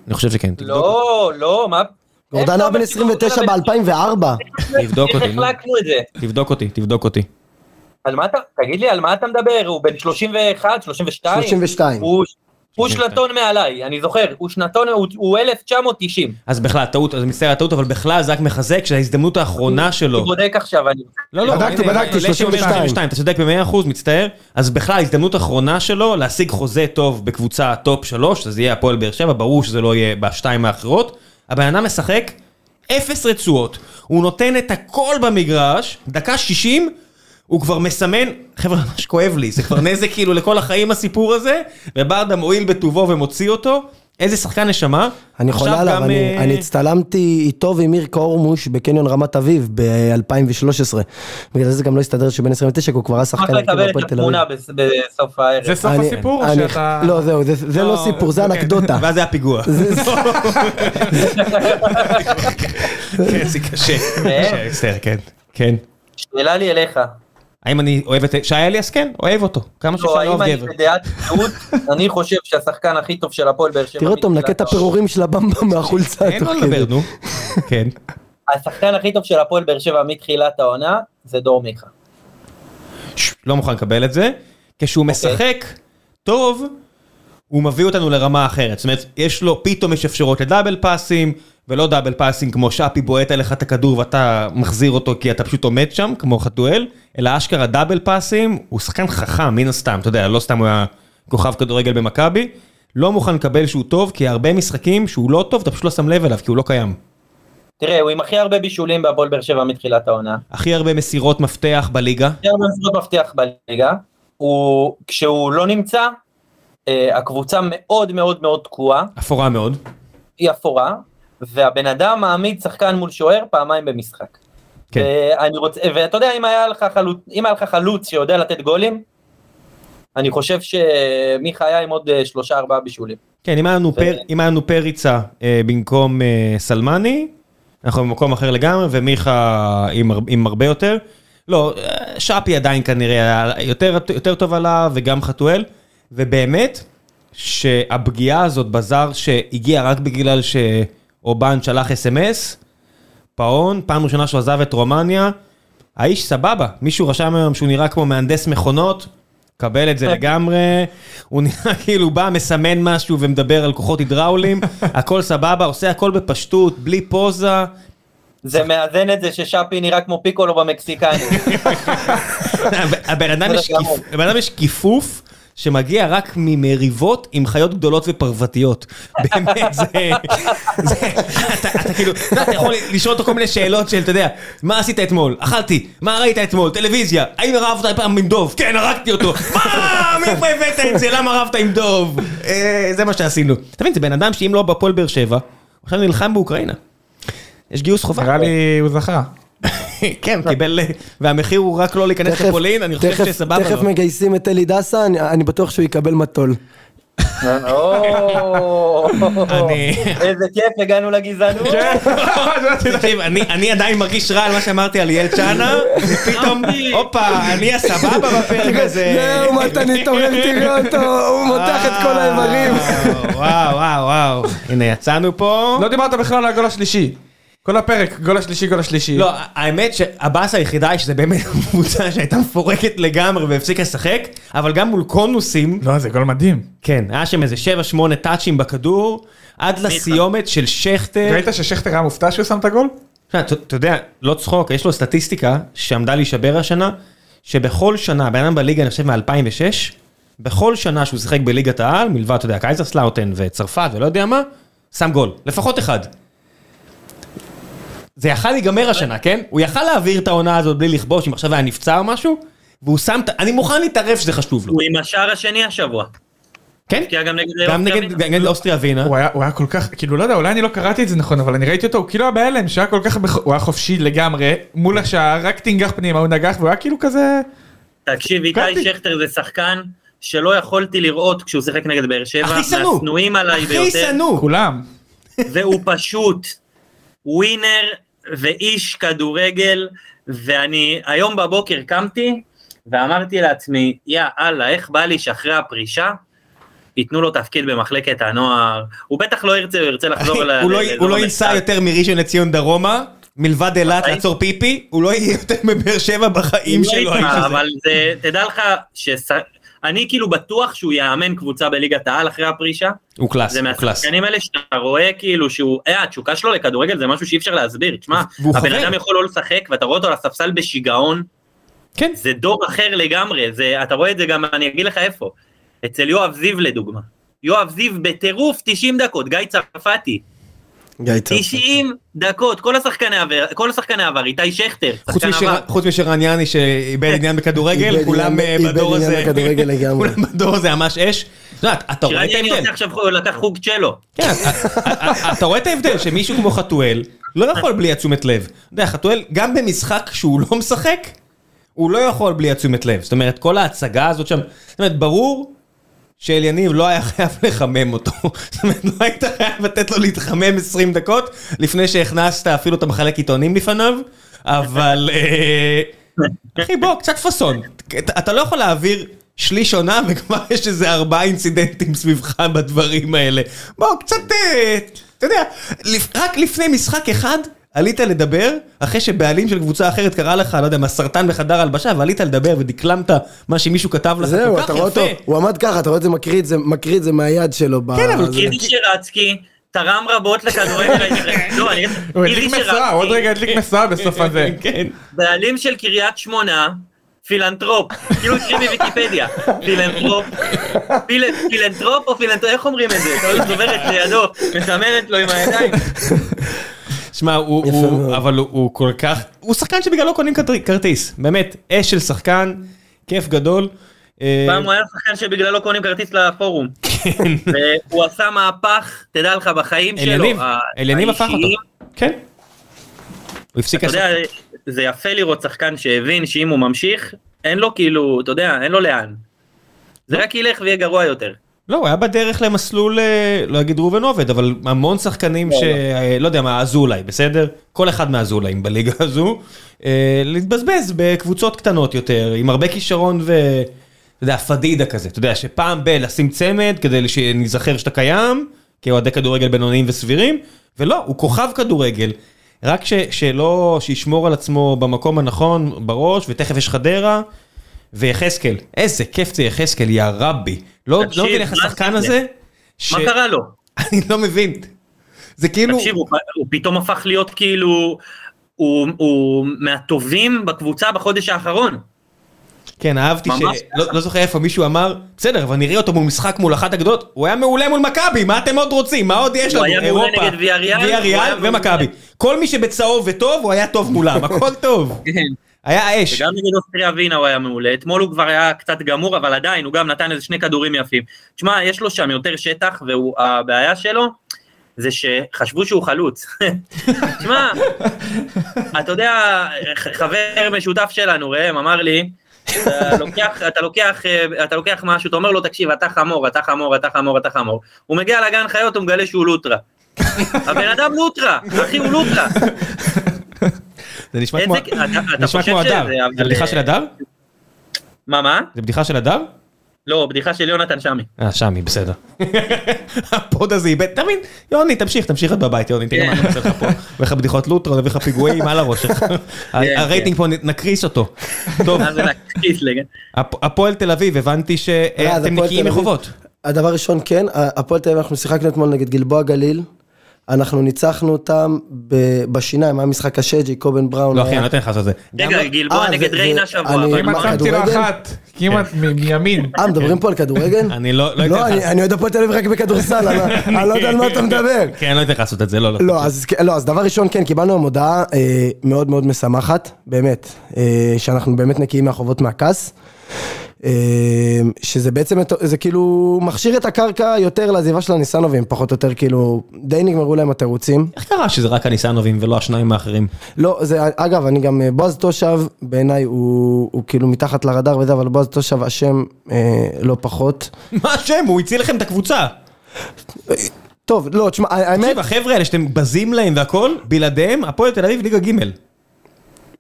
Speaker 3: אני חושב שכן, תבדוק.
Speaker 4: לא, לא, מה...
Speaker 2: גורדנה היה בן 29 ב-2004.
Speaker 3: תבדוק אותי,
Speaker 4: איך
Speaker 3: נו.
Speaker 4: החלקנו את זה?
Speaker 3: תבדוק אותי, תבדוק אותי.
Speaker 4: על מה אתה, תגיד לי, על מה אתה מדבר? הוא בן 31, 32?
Speaker 2: 32.
Speaker 4: הוא- הוא שנתון מעליי, אני זוכר, הוא שנתון, הוא- הוא 1990.
Speaker 3: אז בכלל, טעות, אז מצטער על הטעות, אבל בכלל זה רק מחזק שההזדמנות האחרונה שלו.
Speaker 4: אני בודק עכשיו, אני...
Speaker 3: לא, לא,
Speaker 1: בדקתי,
Speaker 3: הנה,
Speaker 1: בדקתי,
Speaker 3: הנה,
Speaker 1: 32.
Speaker 3: 32, אתה צודק ב-100%, מצטער. אז בכלל, הזדמנות אחרונה שלו להשיג חוזה טוב בקבוצה טופ 3, שזה יהיה הפועל באר שבע, ברור שזה לא יהיה בשתיים האחרות. הבן אדם משחק אפס רצועות, הוא נותן את הכל במגרש, דקה 60, הוא כבר מסמן, חבר'ה, ממש כואב לי, זה כבר נזק כאילו לכל החיים הסיפור הזה, וברדה מועיל בטובו ומוציא אותו. איזה שחקן נשמה.
Speaker 2: אני חולה
Speaker 3: עכשיו
Speaker 2: עליו,
Speaker 3: גם,
Speaker 2: אני-
Speaker 3: אה,
Speaker 2: אני הצטלמתי איתו ועם מיר קורמוש בקניון רמת אביב ב-2013. בגלל זה גם לא הסתדר שבן 29, כי הוא כבר היה
Speaker 4: אשמח
Speaker 2: שחקן הרכב
Speaker 4: לקבל
Speaker 2: הפועל
Speaker 4: את
Speaker 2: תל אביב.
Speaker 4: התמונה בס- בסוף הערב.
Speaker 1: זה סוף
Speaker 2: אני-
Speaker 1: הסיפור או
Speaker 2: אני-
Speaker 1: שאתה...
Speaker 2: לא, זהו, זה- זה לא סיפור, זה אנקדוטה.
Speaker 3: אוקיי. ואז היה פיגוע.
Speaker 2: זה- זה-
Speaker 3: כן, זה קשה. קשה, מצטער, כן. כן.
Speaker 4: שאלה לי אליך.
Speaker 3: האם אני אוהב את שי אליאס? כן, אוהב אותו. כמה
Speaker 4: לא,
Speaker 3: שאפשר
Speaker 4: האם
Speaker 3: לאהוב
Speaker 4: אני
Speaker 3: גבר.
Speaker 4: בדעת מיעוט, אני חושב שהשחקן הכי טוב של הפועל באר שבע.
Speaker 2: תראה אותו מנקה את
Speaker 4: מתחילת
Speaker 2: הפירורים של הבמבה מהחולצה.
Speaker 3: אין מה
Speaker 2: תוך כדי.
Speaker 3: לדבר, נו. כן.
Speaker 4: העונה. השחקן הכי טוב של הפועל באר שבע מתחילת העונה זה דור מיכה.
Speaker 3: ש- לא מוכן לקבל את זה. כשהוא
Speaker 4: אוקיי.
Speaker 3: משחק טוב, הוא מביא אותנו לרמה אחרת. זאת אומרת, יש לו, פתאום יש אפשרות לדאבל פאסים, ולא דאבל פאסים כמו שפי בועט עליך את הכדור ואתה מחזיר אותו כי אתה פשוט עומד שם, כמו חתואל, אלא אשכרה דאבל פאסים, הוא שחקן חכם, מן הסתם, אתה יודע, לא סתם הוא היה כוכב כדורגל במכבי. לא מוכן לקבל שהוא טוב, כי הרבה משחקים שהוא לא טוב, אתה פשוט לא שם לב אליו, כי הוא לא קיים.
Speaker 4: תראה, הוא עם הכי הרבה בישולים בהפועל באר שבע מתחילת העונה.
Speaker 3: הכי הרבה מסירות מפתח בליגה.
Speaker 4: יותר במסירות מפתח לא בליגה. הוא, כשהוא לא נמצא, אה, הקבוצה מאוד מאוד מאוד תקועה,
Speaker 3: אפורה מאוד.
Speaker 4: היא אפורה, והבן אדם מעמיד שחקן מול שוער פעמיים במשחק. אה,
Speaker 3: כן.
Speaker 4: ואני רוצה, ואתה יודע, אם היה לך חלוץ, אם היה לך חלוץ שיודע לתת גולים, אני חושב שמיכה היה עם עוד אה, שלושה ארבעה בישולים.
Speaker 3: כן, אם היה לנו, פר,
Speaker 4: ו-
Speaker 3: אם היה לנו פריצה אה, במקום אה, סלמני, אנחנו במקום אחר לגמרי, ומיכה עם, הר- עם הרבה יותר. לא, אה, שפי עדיין כנראה היה יותר, יותר טוב עליו, וגם חתואל. ובאמת, שהפגיעה הזאת בזר שהגיעה רק בגלל שאובן שלח אס.אם.אס, פאון, פעם ראשונה שהוא עזב את רומניה, האיש סבבה, מישהו רשם היום שהוא נראה כמו מהנדס מכונות, קבל את זה לגמרי, הוא נראה כאילו בא, מסמן משהו ומדבר על כוחות הידראולים, הכל סבבה, עושה הכל בפשטות, בלי פוזה,
Speaker 4: זה מאזן את זה ששאפי נראה כמו פיקולו במקסיקני.
Speaker 3: הבן אדם יש
Speaker 4: בסדר גמור.
Speaker 3: כיפ- לבן אדם יש כיפוף שמגיע רק ממריבות עם חיות גדולות ופרוותיות. באמת, זה... זה- אתה אתה כאילו, אתה יודע, אתה יכול לשאול אותו כל מיני שאלות של, אתה יודע, מה עשית אתמול? אכלתי. מה ראית אתמול? טלוויזיה. האם רבת אי פעם עם דוב? כן, הרגתי אותו. מה? מאיפה הבאת את זה? למה רבת עם דוב? אה, זה מה שעשינו. אתה מבין, זה בן אדם שאם לא בפועל באר שבע, הוא עכשיו נלחם באוקראינה. יש גיוס חובה.
Speaker 1: נראה לי הוא זכה.
Speaker 3: כן, קיבל, והמחיר הוא רק לא להיכנס
Speaker 2: תכף-
Speaker 3: לפולין, אני חושב
Speaker 2: תכף-
Speaker 3: שסבבה
Speaker 2: תכף
Speaker 3: לו.
Speaker 2: מגייסים את אלי דסה, אני- אני בטוח שהוא יקבל מטול.
Speaker 4: או,
Speaker 3: אני-
Speaker 4: איזה כיף, הגענו לגזענות.
Speaker 3: תקשיב, אני אני עדיין מרגיש רע על מה שאמרתי על ליאל צ'אנה, ופתאום, הופה, אני הסבבה בפרק הזה.
Speaker 2: כן, יואו, מה אתה נתעורר, תראה אותו, הוא מותח את כל האיברים.
Speaker 3: וואו, וואו, וואו, וואו. הנה, יצאנו פה.
Speaker 1: אה. לא דיברת בכלל על הגול השלישי. כל הפרק, גול השלישי, גול השלישי.
Speaker 3: לא, האמת שהבאסה היחידה היא שזה באמת קבוצה שהייתה מפורקת לגמרי והפסיקה לשחק, אבל גם מול קונוסים,
Speaker 1: לא, זה גול מדהים.
Speaker 3: כן, היה שם איזה 7-8 טאצ'ים בכדור, עד לסיומת של שכטר.
Speaker 1: ראית ששכטר היה מופתע שהוא שם את הגול?
Speaker 3: תשמע, אתה- אתה יודע, לא צחוק, יש לו סטטיסטיקה שעמדה להישבר השנה, שבכל שנה, בן אדם בליגה, אני חושב מ-2006, בכל שנה שהוא שיחק בליגת העל, מלבד, אתה יודע, קייזרסלאוטן וצרפת ולא יודע מה, שם גול, לפחות אחד. זה יכל להיגמר השנה, כן? הוא יכל להעביר את העונה הזאת בלי לכבוש, אם עכשיו היה נפצע או משהו, והוא שם, את- אני מוכן להתערב שזה חשוב לו.
Speaker 4: הוא עם השער השני השבוע.
Speaker 3: כן?
Speaker 4: כי היה גם נגד...
Speaker 3: גם
Speaker 4: אוסטריה
Speaker 3: נגד- נגד אוסטריה ווינה.
Speaker 1: הוא היה, הוא היה כל כך, כאילו לא יודע, אולי אני לא קראתי את זה נכון, אבל אני ראיתי אותו, הוא כאילו היה בהלם, שהיה כל כך, בח- הוא היה חופשי לגמרי, מול השער, רק תנגח פנימה, הוא נגח, והוא היה כאילו כזה,
Speaker 4: תקשיב,
Speaker 1: קטי.
Speaker 4: איתי שכטר זה שחקן שלא יכולתי לראות כשהוא שיחק נגד באר שבע.
Speaker 3: הכי שנוא.
Speaker 4: מהשנואים עליי
Speaker 3: הכי
Speaker 4: ביותר.
Speaker 3: שנוא.
Speaker 1: כולם.
Speaker 4: והוא פשוט ווינר ואיש כדורגל, ואני היום בבוקר קמתי ואמרתי לעצמי, יא אללה, איך בא לי שאחרי הפרישה ייתנו לו תפקיד במחלקת הנוער, הוא בטח לא ירצה, הוא ירצה לחזור ל...
Speaker 3: הוא לא-
Speaker 4: לאזור
Speaker 3: הוא לא
Speaker 4: המרכז.
Speaker 3: ייסע יותר מראשון לציון דרומה, מלבד אילת
Speaker 4: בחיים.
Speaker 3: לעצור פיפי, הוא לא יהיה יותר מבאר שבע בחיים
Speaker 4: הוא לא
Speaker 3: שלו.
Speaker 4: ייסע,
Speaker 3: האיש הזה.
Speaker 4: אבל זה, תדע לך, שס... אני כאילו בטוח שהוא יאמן קבוצה בליגת העל אחרי הפרישה,
Speaker 3: הוא קלאס,
Speaker 4: זה
Speaker 3: הוא קלאס.
Speaker 4: מהשחקנים האלה שאתה רואה כאילו שהוא, אה, התשוקה שלו לכדורגל זה משהו שאי אפשר להסביר, תשמע,
Speaker 3: והוא
Speaker 4: הבן
Speaker 3: חבר.
Speaker 4: אדם יכול לא לשחק ואתה רואה אותו על הספסל בשיגעון,
Speaker 3: כן.
Speaker 4: זה דור אחר לגמרי, זה, אתה רואה את זה גם, אני אגיד לך איפה, אצל יואב זיו לדוגמה, יואב זיו בטירוף 90 דקות, גיא צרפתי,
Speaker 2: גיא צרפתי.
Speaker 4: 90 דקות, כל השחקני עבר, כל השחקני עבר, איתי שכטר,
Speaker 3: חוץ
Speaker 4: שחקן
Speaker 3: משרן-
Speaker 4: עבר,
Speaker 3: חוץ משרן יאני שאיבד עניין בכדורגל,
Speaker 2: איבד
Speaker 3: כולם אה,
Speaker 2: עניין- איבד
Speaker 3: בדור
Speaker 2: עניין
Speaker 3: הזה,
Speaker 2: בכדורגל לגמרי.
Speaker 3: כולם בדור הזה ממש אש. את יודעת, אתה רואה
Speaker 4: שירן
Speaker 3: את
Speaker 4: יני
Speaker 3: ההבדל,
Speaker 4: עושה עכשיו, הוא לקח חוג
Speaker 1: אה,
Speaker 4: צ'לו,
Speaker 3: כן, אתה רואה את ההבדל שמישהו כמו חתואל לא יכול בלי התשומת לב. אתה יודע, חתואל גם במשחק שהוא לא משחק, הוא לא יכול בלי התשומת לב. זאת אומרת, כל ההצגה הזאת שם, זאת אומרת, ברור שאל יניב לא היה חייב לחמם אותו. זאת אומרת, לא היית חייב לתת לו להתחמם 20 דקות לפני שהכנסת אפילו את המחלק עיתונים לפניו, אבל... אה, אחי, בוא, קצת פאסון. אתה- אתה לא יכול להעביר שליש עונה וכבר יש איזה ארבעה אינסידנטים סביבך בדברים האלה. בוא, קצת, אה, אתה יודע, לפ- רק לפני משחק אחד עלית לדבר, אחרי שבעלים של קבוצה אחרת קרא לך, לא יודע, מה, סרטן בחדר הלבשה, ועלית לדבר ודקלמת מה שמישהו כתב לך
Speaker 2: זהו,
Speaker 3: כל
Speaker 2: אתה
Speaker 3: כך
Speaker 2: רואה אותו,
Speaker 3: יפה.
Speaker 2: הוא עמד ככה, אתה רואה את זה מקריא את זה, מקריא את זה מהיד שלו. ב-
Speaker 3: כן, אבל
Speaker 2: זה-
Speaker 4: איזי שרצקי, תרם רבות לכדורגל, הישראלי. לא, אני-
Speaker 1: הוא
Speaker 4: איזי
Speaker 1: הדליק משואה,
Speaker 4: שרצקי,
Speaker 1: הוא עוד רגע הדליק משואה בסוף הזה.
Speaker 3: כן.
Speaker 4: בעלים של קריית שמונה, פילנטרופ, כאילו תקראי בוויקיפדיה, פילנטרופ, פיל- פילנטרופ או פילנטרופ, איך אומרים את זה? אתה הולך דוברת לידו, מסמנת לו עם הידיים.
Speaker 1: כן.
Speaker 3: שמע, הוא,
Speaker 2: יפה
Speaker 3: הוא,
Speaker 2: מאוד.
Speaker 3: אבל הוא, הוא כל כך, הוא שחקן שבגללו קונים כרט- כרטיס, באמת, אש של שחקן, כיף גדול. אה,
Speaker 4: פעם הוא היה שחקן שבגללו קונים כרטיס לפורום.
Speaker 1: כן.
Speaker 4: והוא עשה מהפך, תדע לך, בחיים שלו.
Speaker 3: אליניב,
Speaker 4: ה-
Speaker 3: אליניב הפך אותו.
Speaker 4: האישיים.
Speaker 3: כן. הוא הפסיק
Speaker 4: אתה יודע, זה יפה לראות שחקן שהבין שאם הוא ממשיך, אין לו כאילו, אתה יודע, אין לו לאן. זה רק ילך ויהיה גרוע יותר.
Speaker 3: לא, הוא היה בדרך למסלול, אה, לא אגיד ראובן עובד, אבל המון שחקנים ש... אה, לא יודע מה, אזולאי, בסדר? כל אחד מהאזולאים בליגה הזו, אה, להתבזבז בקבוצות קטנות יותר, עם הרבה כישרון ו... אתה יודע, פדידה כזה, אתה יודע, שפעם ב... לשים צמד כדי שניזכר שאתה קיים, כאוהדי כדורגל בינוניים וסבירים, ולא, הוא כוכב כדורגל. רק ש... שלא, שישמור על עצמו במקום הנכון, בראש, ותכף יש חדרה. ויחזקאל, איזה כיף זה יחזקאל, יא רבי. לא לא
Speaker 4: תקשיב,
Speaker 3: מבין איך
Speaker 4: מה זה
Speaker 3: השחקן
Speaker 4: זה?
Speaker 3: הזה, ש-
Speaker 4: מה קרה לו?
Speaker 3: אני לא מבין. זה כאילו...
Speaker 4: תקשיב, הוא, הוא פתאום הפך להיות כאילו, הוא, הוא מהטובים בקבוצה בחודש האחרון.
Speaker 3: כן, אהבתי ש...
Speaker 4: ממש
Speaker 3: לא לא זוכר איפה מישהו אמר, בסדר, אבל נראה אותו מול משחק מול אחת הגדולות, הוא היה מעולה מול מכבי, מה אתם עוד רוצים? מה עוד יש
Speaker 4: הוא
Speaker 3: לנו?
Speaker 4: היה מעולה נגד ויאריאל, הוא היה
Speaker 3: ויאריאל
Speaker 4: מעולה.
Speaker 3: ומכבי. כל מי שבצהוב וטוב, הוא היה טוב מולם, הכל טוב. היה אש.
Speaker 4: וגם נגד אוסטריה ווינה הוא היה מעולה, אתמול הוא כבר היה קצת גמור, אבל עדיין, הוא גם נתן איזה שני כדורים יפים. תשמע, יש לו שם יותר שטח, והבעיה שלו זה שחשבו שהוא חלוץ. תשמע, אתה יודע, ח- חבר משותף שלנו, ראם, אמר לי, אתה לוקח, אתה, לוקח, אה, אתה לוקח משהו, אתה אומר לו, תקשיב, אתה חמור, אתה חמור, אתה חמור, אתה חמור. הוא מגיע לגן חיות, הוא מגלה שהוא לוטרה. הבן אדם לוטרה, אחי, הוא לוטרה.
Speaker 3: זה נשמע
Speaker 4: איזה-
Speaker 3: כמו-
Speaker 4: אתה- אתה
Speaker 3: נשמע
Speaker 4: חושב
Speaker 3: כמו
Speaker 4: שזה,
Speaker 3: הדר.
Speaker 4: אבל- אה,
Speaker 3: זה בדיחה של הדר?
Speaker 4: מה, מה?
Speaker 3: זה בדיחה של הדר?
Speaker 4: לא, בדיחה של יונתן שמי.
Speaker 3: אה, שמי, בסדר. הפוד הזה איבד, אתה מבין? יוני, תמשיך, תמשיך את בבית, יוני, תראה מה אני עושה לך פה. נביא לך בדיחות לוטרו, נביא לך פיגועים על הראש שלך. ה- הרייטינג פה, נ- נקריס אותו. טוב,
Speaker 4: כן, מה זה להקפיץ לגמרי?
Speaker 3: הפ- הפועל תל אביב, הבנתי
Speaker 2: אה, אז
Speaker 3: שאתם
Speaker 2: הפועל
Speaker 3: נקיים
Speaker 2: תל אביב-
Speaker 3: מחובות.
Speaker 2: הדבר הראשון, כן, ה- הפועל תל אביב, אנחנו שיחקנו אתמול נגד גלבוע גליל. אנחנו ניצחנו אותם ב- בשיניים, היה משחק קשה, ג'יקובן בראון.
Speaker 3: לא אחי,
Speaker 2: היה-
Speaker 3: אני לא אתן לך לעשות את זה.
Speaker 4: רגע,
Speaker 2: גם-
Speaker 4: גלבוע
Speaker 2: אה,
Speaker 4: נגד
Speaker 2: זה-
Speaker 4: ריינה
Speaker 2: זה-
Speaker 4: שבוע,
Speaker 2: אני-
Speaker 4: אבל
Speaker 2: מה,
Speaker 1: כמעט טירה
Speaker 2: כדורגל?
Speaker 1: אחת, כמעט
Speaker 3: כן.
Speaker 1: מ- מימין.
Speaker 2: אה, מדברים פה על כדורגל?
Speaker 3: לא- אני לא
Speaker 2: לא,
Speaker 3: לא אתן לך.
Speaker 2: אני אני אוהד הפועל תל אביב רק בכדורסל, אני- אני לא יודע על מה אתה מדבר.
Speaker 3: כן, אני לא אתן לך לעשות את זה, לא, לא.
Speaker 2: לא, אז, לא, אז דבר ראשון, כן, קיבלנו היום הודעה אה, מאוד מאוד משמחת, באמת, אה, שאנחנו באמת נקיים מהחובות מהכעס. אה, שזה בעצם, את- זה כאילו מכשיר את הקרקע יותר לעזיבה של הניסנובים, פחות או יותר כאילו, די נגמרו להם התירוצים.
Speaker 3: איך קרה שזה רק הניסנובים ולא השניים האחרים?
Speaker 2: לא, זה, אגב, אני גם, אה, בועז תושב, בעיניי הוא, הוא כאילו מתחת לרדאר וזה, אבל בועז תושב אשם אה, לא פחות.
Speaker 3: מה השם? הוא הציל לכם את הקבוצה.
Speaker 2: טוב, לא, תשמע, האמת,
Speaker 3: תקשיב, החבר'ה האלה שאתם בזים להם והכל, בלעדיהם הפועל תל אביב ליגה ג'.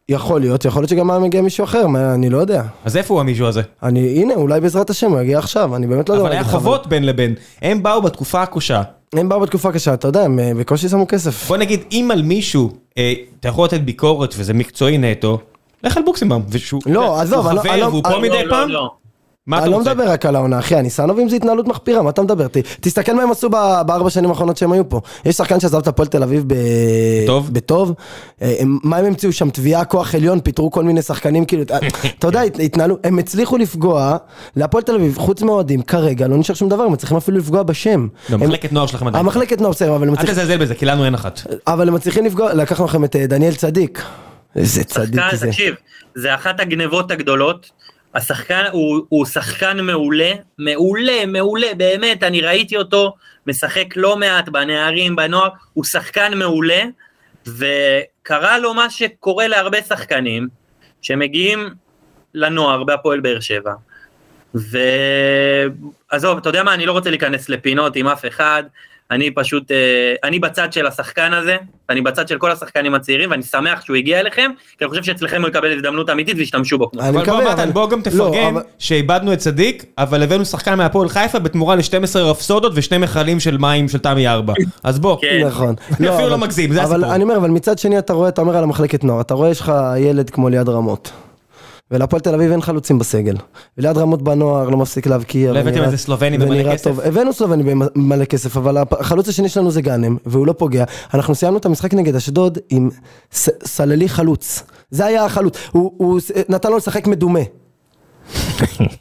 Speaker 2: יכול להיות, יכול להיות שגם היה מגיע מישהו אחר, מה, אני לא יודע.
Speaker 3: אז איפה הוא המישהו הזה?
Speaker 2: אני, הנה, אולי בעזרת השם הוא יגיע עכשיו, אני באמת לא יודע.
Speaker 3: אבל
Speaker 2: מה
Speaker 3: היה
Speaker 2: להגיד לך,
Speaker 3: חובות בין לבין. הם באו בתקופה הקשה.
Speaker 2: הם באו בתקופה קשה, אתה יודע, הם אה, בקושי שמו כסף.
Speaker 3: בוא נגיד, אם על מישהו אה, אתה יכול לתת ביקורת וזה מקצועי נטו, לך על בוקסמבאום. ושהוא-
Speaker 2: לא, עזוב,
Speaker 3: הוא
Speaker 2: אני לא- אני
Speaker 3: חבר
Speaker 2: לא-
Speaker 3: והוא
Speaker 2: אני לא-
Speaker 3: פה מדי
Speaker 4: לא,
Speaker 3: פעם?
Speaker 4: לא, לא.
Speaker 3: מה אתה
Speaker 2: אני לא
Speaker 3: רוצה?
Speaker 2: מדבר רק על העונה, אחי, הניסנובים זה התנהלות מחפירה, מה אתה מדבר? ת- תסתכל מה הם עשו ב- בארבע שנים האחרונות שהם היו פה. יש שחקן שעזב את הפועל תל אביב ב-
Speaker 3: בטוב?
Speaker 2: בטוב. אה, הם- מה הם המציאו שם? תביעה, כוח עליון, פיטרו כל מיני שחקנים, כאילו, אתה- אתה יודע, הת- התנהלו, הם הצליחו לפגוע, להפועל תל אביב, חוץ מהאוהדים, כרגע לא נשאר שום דבר, הם מצליחים אפילו לפגוע בשם.
Speaker 3: לא,
Speaker 2: הם-
Speaker 3: מחלקת נוער שלכם עדיין.
Speaker 2: המחלקת נוער, בסדר, אבל הם
Speaker 3: אל
Speaker 2: מצליחים-
Speaker 3: תזלזל בזה, כי לנו אין אחת.
Speaker 2: אבל הם מצליחים לפגוע, לקחנו לכם את אה, דניאל צדיק. איזה צדיק
Speaker 4: שחקן,
Speaker 2: זה.
Speaker 4: תקשיב, זה אחת הגנבות הגדולות. השחקן הוא, הוא שחקן מעולה, מעולה, מעולה, באמת, אני ראיתי אותו משחק לא מעט בנערים, בנוער, הוא שחקן מעולה, וקרה לו מה שקורה להרבה שחקנים שמגיעים לנוער בהפועל באר שבע. ועזוב, אתה יודע מה, אני לא רוצה להיכנס לפינות עם אף אחד, אני פשוט, אה, אני בצד של השחקן הזה, אני בצד של כל השחקנים הצעירים, ואני שמח שהוא הגיע אליכם, כי אני חושב שאצלכם הוא יקבל הזדמנות אמיתית וישתמשו בו. כמו.
Speaker 2: אני
Speaker 3: אבל בוא
Speaker 2: מקווה,
Speaker 3: מתן,
Speaker 2: אבל-
Speaker 3: בוא גם
Speaker 2: לא,
Speaker 3: תפרגן
Speaker 2: אבל-
Speaker 3: שאיבדנו את צדיק, אבל הבאנו שחקן מהפועל חיפה בתמורה ל-12 רפסודות ושני מכלים של מים של תמי 4. אז בוא.
Speaker 4: כן.
Speaker 2: נכון.
Speaker 3: אני אפילו לא מגזים, זה
Speaker 2: אבל
Speaker 3: הסיפור.
Speaker 2: אני אומר, אבל מצד שני אתה רואה, אתה אומר על המחלקת נוער, אתה רואה יש לך ילד כמו ליד רמות. ולהפועל תל אביב אין חלוצים בסגל. וליד רמות בנוער לא מפסיק להבקיע.
Speaker 3: לא הבאתם
Speaker 2: ונראה-
Speaker 3: איזה סלובני במלא
Speaker 2: ונראה
Speaker 3: כסף?
Speaker 2: טוב. הבאנו סלובני במלא כסף, אבל הפ- החלוץ השני שלנו זה גאנם, והוא לא פוגע. אנחנו סיימנו את המשחק נגד אשדוד עם ס- סללי חלוץ. זה היה החלוץ. הוא- הוא ס- נתן לו לשחק מדומה.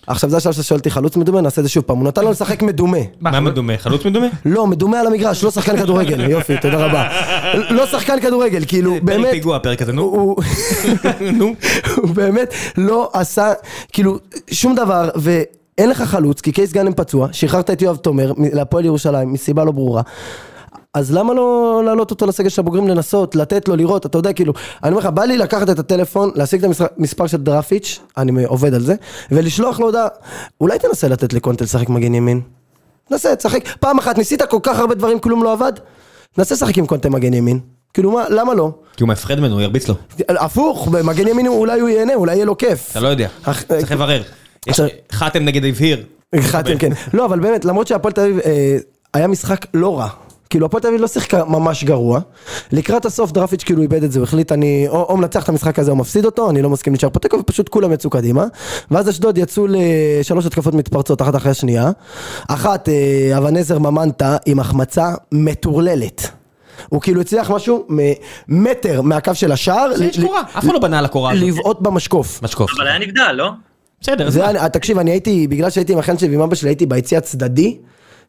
Speaker 2: עכשיו זה השלב שאתה שואל אותי חלוץ מדומה, נעשה את זה שוב פעם. הוא נתן לו לשחק מדומה.
Speaker 3: מה מדומה? חלוץ מדומה?
Speaker 2: לא, מדומה על המגרש, לא שחקן כדורגל, יופי, תודה רבה. לא שחקן כדורגל, כאילו,
Speaker 3: פרק
Speaker 2: באמת,
Speaker 3: פיגוע הפרק הזה, נו.
Speaker 2: הוא
Speaker 3: נו.
Speaker 2: הוא באמת לא עשה, כאילו, שום דבר, ואין לך חלוץ, כי קייס גאנם פצוע, שחררת את יואב תומר מ- להפועל ירושלים, מסיבה לא ברורה. אז למה לא להעלות אותו לסגל של הבוגרים, לנסות, לתת לו, לראות, אתה יודע, כאילו, אני אומר לך, בא לי לקחת את הטלפון, להשיג את המספר- מספר של דרפיץ', אני עובד על זה, ולשלוח לו הודעה, אולי תנסה לתת לקונטל לשחק מגן ימין. נסה, תשחק. פעם אחת ניסית כל כך הרבה דברים, כלום לא עבד? נסה לשחק עם קונטה מגן ימין. כאילו מה, למה לא?
Speaker 3: כי הוא מפחד ממנו, הוא ירביץ לו.
Speaker 2: הפוך, במגן ימין הוא- אולי הוא ייהנה, אולי יהיה לו כיף.
Speaker 3: אתה לא יודע.
Speaker 2: אך-
Speaker 3: צריך לברר. יש-
Speaker 2: אה, עכשיו-
Speaker 3: חתם נגד הבהיר.
Speaker 2: חתם, כן. לא, אבל באמת, למרות שהפועל תל אביב אה, היה משחק לא רע. כאילו הפועל תל אביב לא שיחקה ממש גרוע. לקראת הסוף דרפיץ' כאילו איבד את זה, הוא החליט אני או, או מנצח את המשחק הזה או מפסיד אותו, אני לא מסכים להישאר פה תיקו, ופשוט כולם יצאו קדימה. ואז אשדוד יצאו לשלוש התקפות מתפרצות אחת אחרי השנייה. אחת, אה, אבנזר ממנטה עם החמצה מטורללת. הוא כאילו הצליח משהו ממטר מהקו של השער,
Speaker 3: זה יש
Speaker 2: ל-
Speaker 3: קורה, אף אחד לא בנה על הקורה הזאת.
Speaker 2: לבעוט במשקוף.
Speaker 3: משקוף.
Speaker 4: אבל היה נגדל, לא?
Speaker 3: בסדר, אז
Speaker 2: זה
Speaker 3: מה?
Speaker 2: היה, תקשיב, אני הייתי, בגלל שהייתי עם החן שלי ועם אבא שלי, הייתי ביציע הצדדי.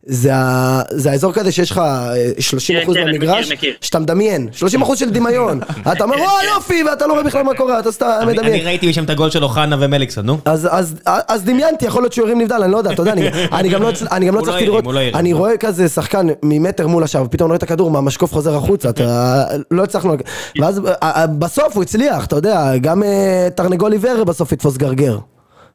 Speaker 2: זה, ה- זה האזור כזה שיש לך אה, 30
Speaker 4: כן,
Speaker 2: אחוז
Speaker 4: כן, אני
Speaker 2: מהמגרש,
Speaker 4: מכיר, מכיר.
Speaker 2: שאתה מדמיין, 30 אחוז של דמיון. אתה אומר, וואי יופי, ואתה לא רואה בכלל מה קורה, אתה סתם
Speaker 3: כן, אני- אני
Speaker 2: מדמיין.
Speaker 3: ראיתי משם את הגול של אוחנה ומליקסון, נו.
Speaker 2: אז, אז, אז דמיינתי, יכול להיות שהוא ירים נבדל, אני לא יודע, אתה יודע, אני, אני גם לא, הצל- אני גם לא
Speaker 3: הוא לא
Speaker 2: הצלחתי
Speaker 3: הרים,
Speaker 2: לראות,
Speaker 3: הוא לא הרים.
Speaker 2: אני רואה כזה שחקן ממטר מול השער, ופתאום רואה את הכדור מהמשקוף חוזר החוצה, אתה, לא הצלחנו, ואז אה, אה, בסוף הוא הצליח, אתה יודע, גם אה, תרנגול עיוור בסוף יתפוס גרגר.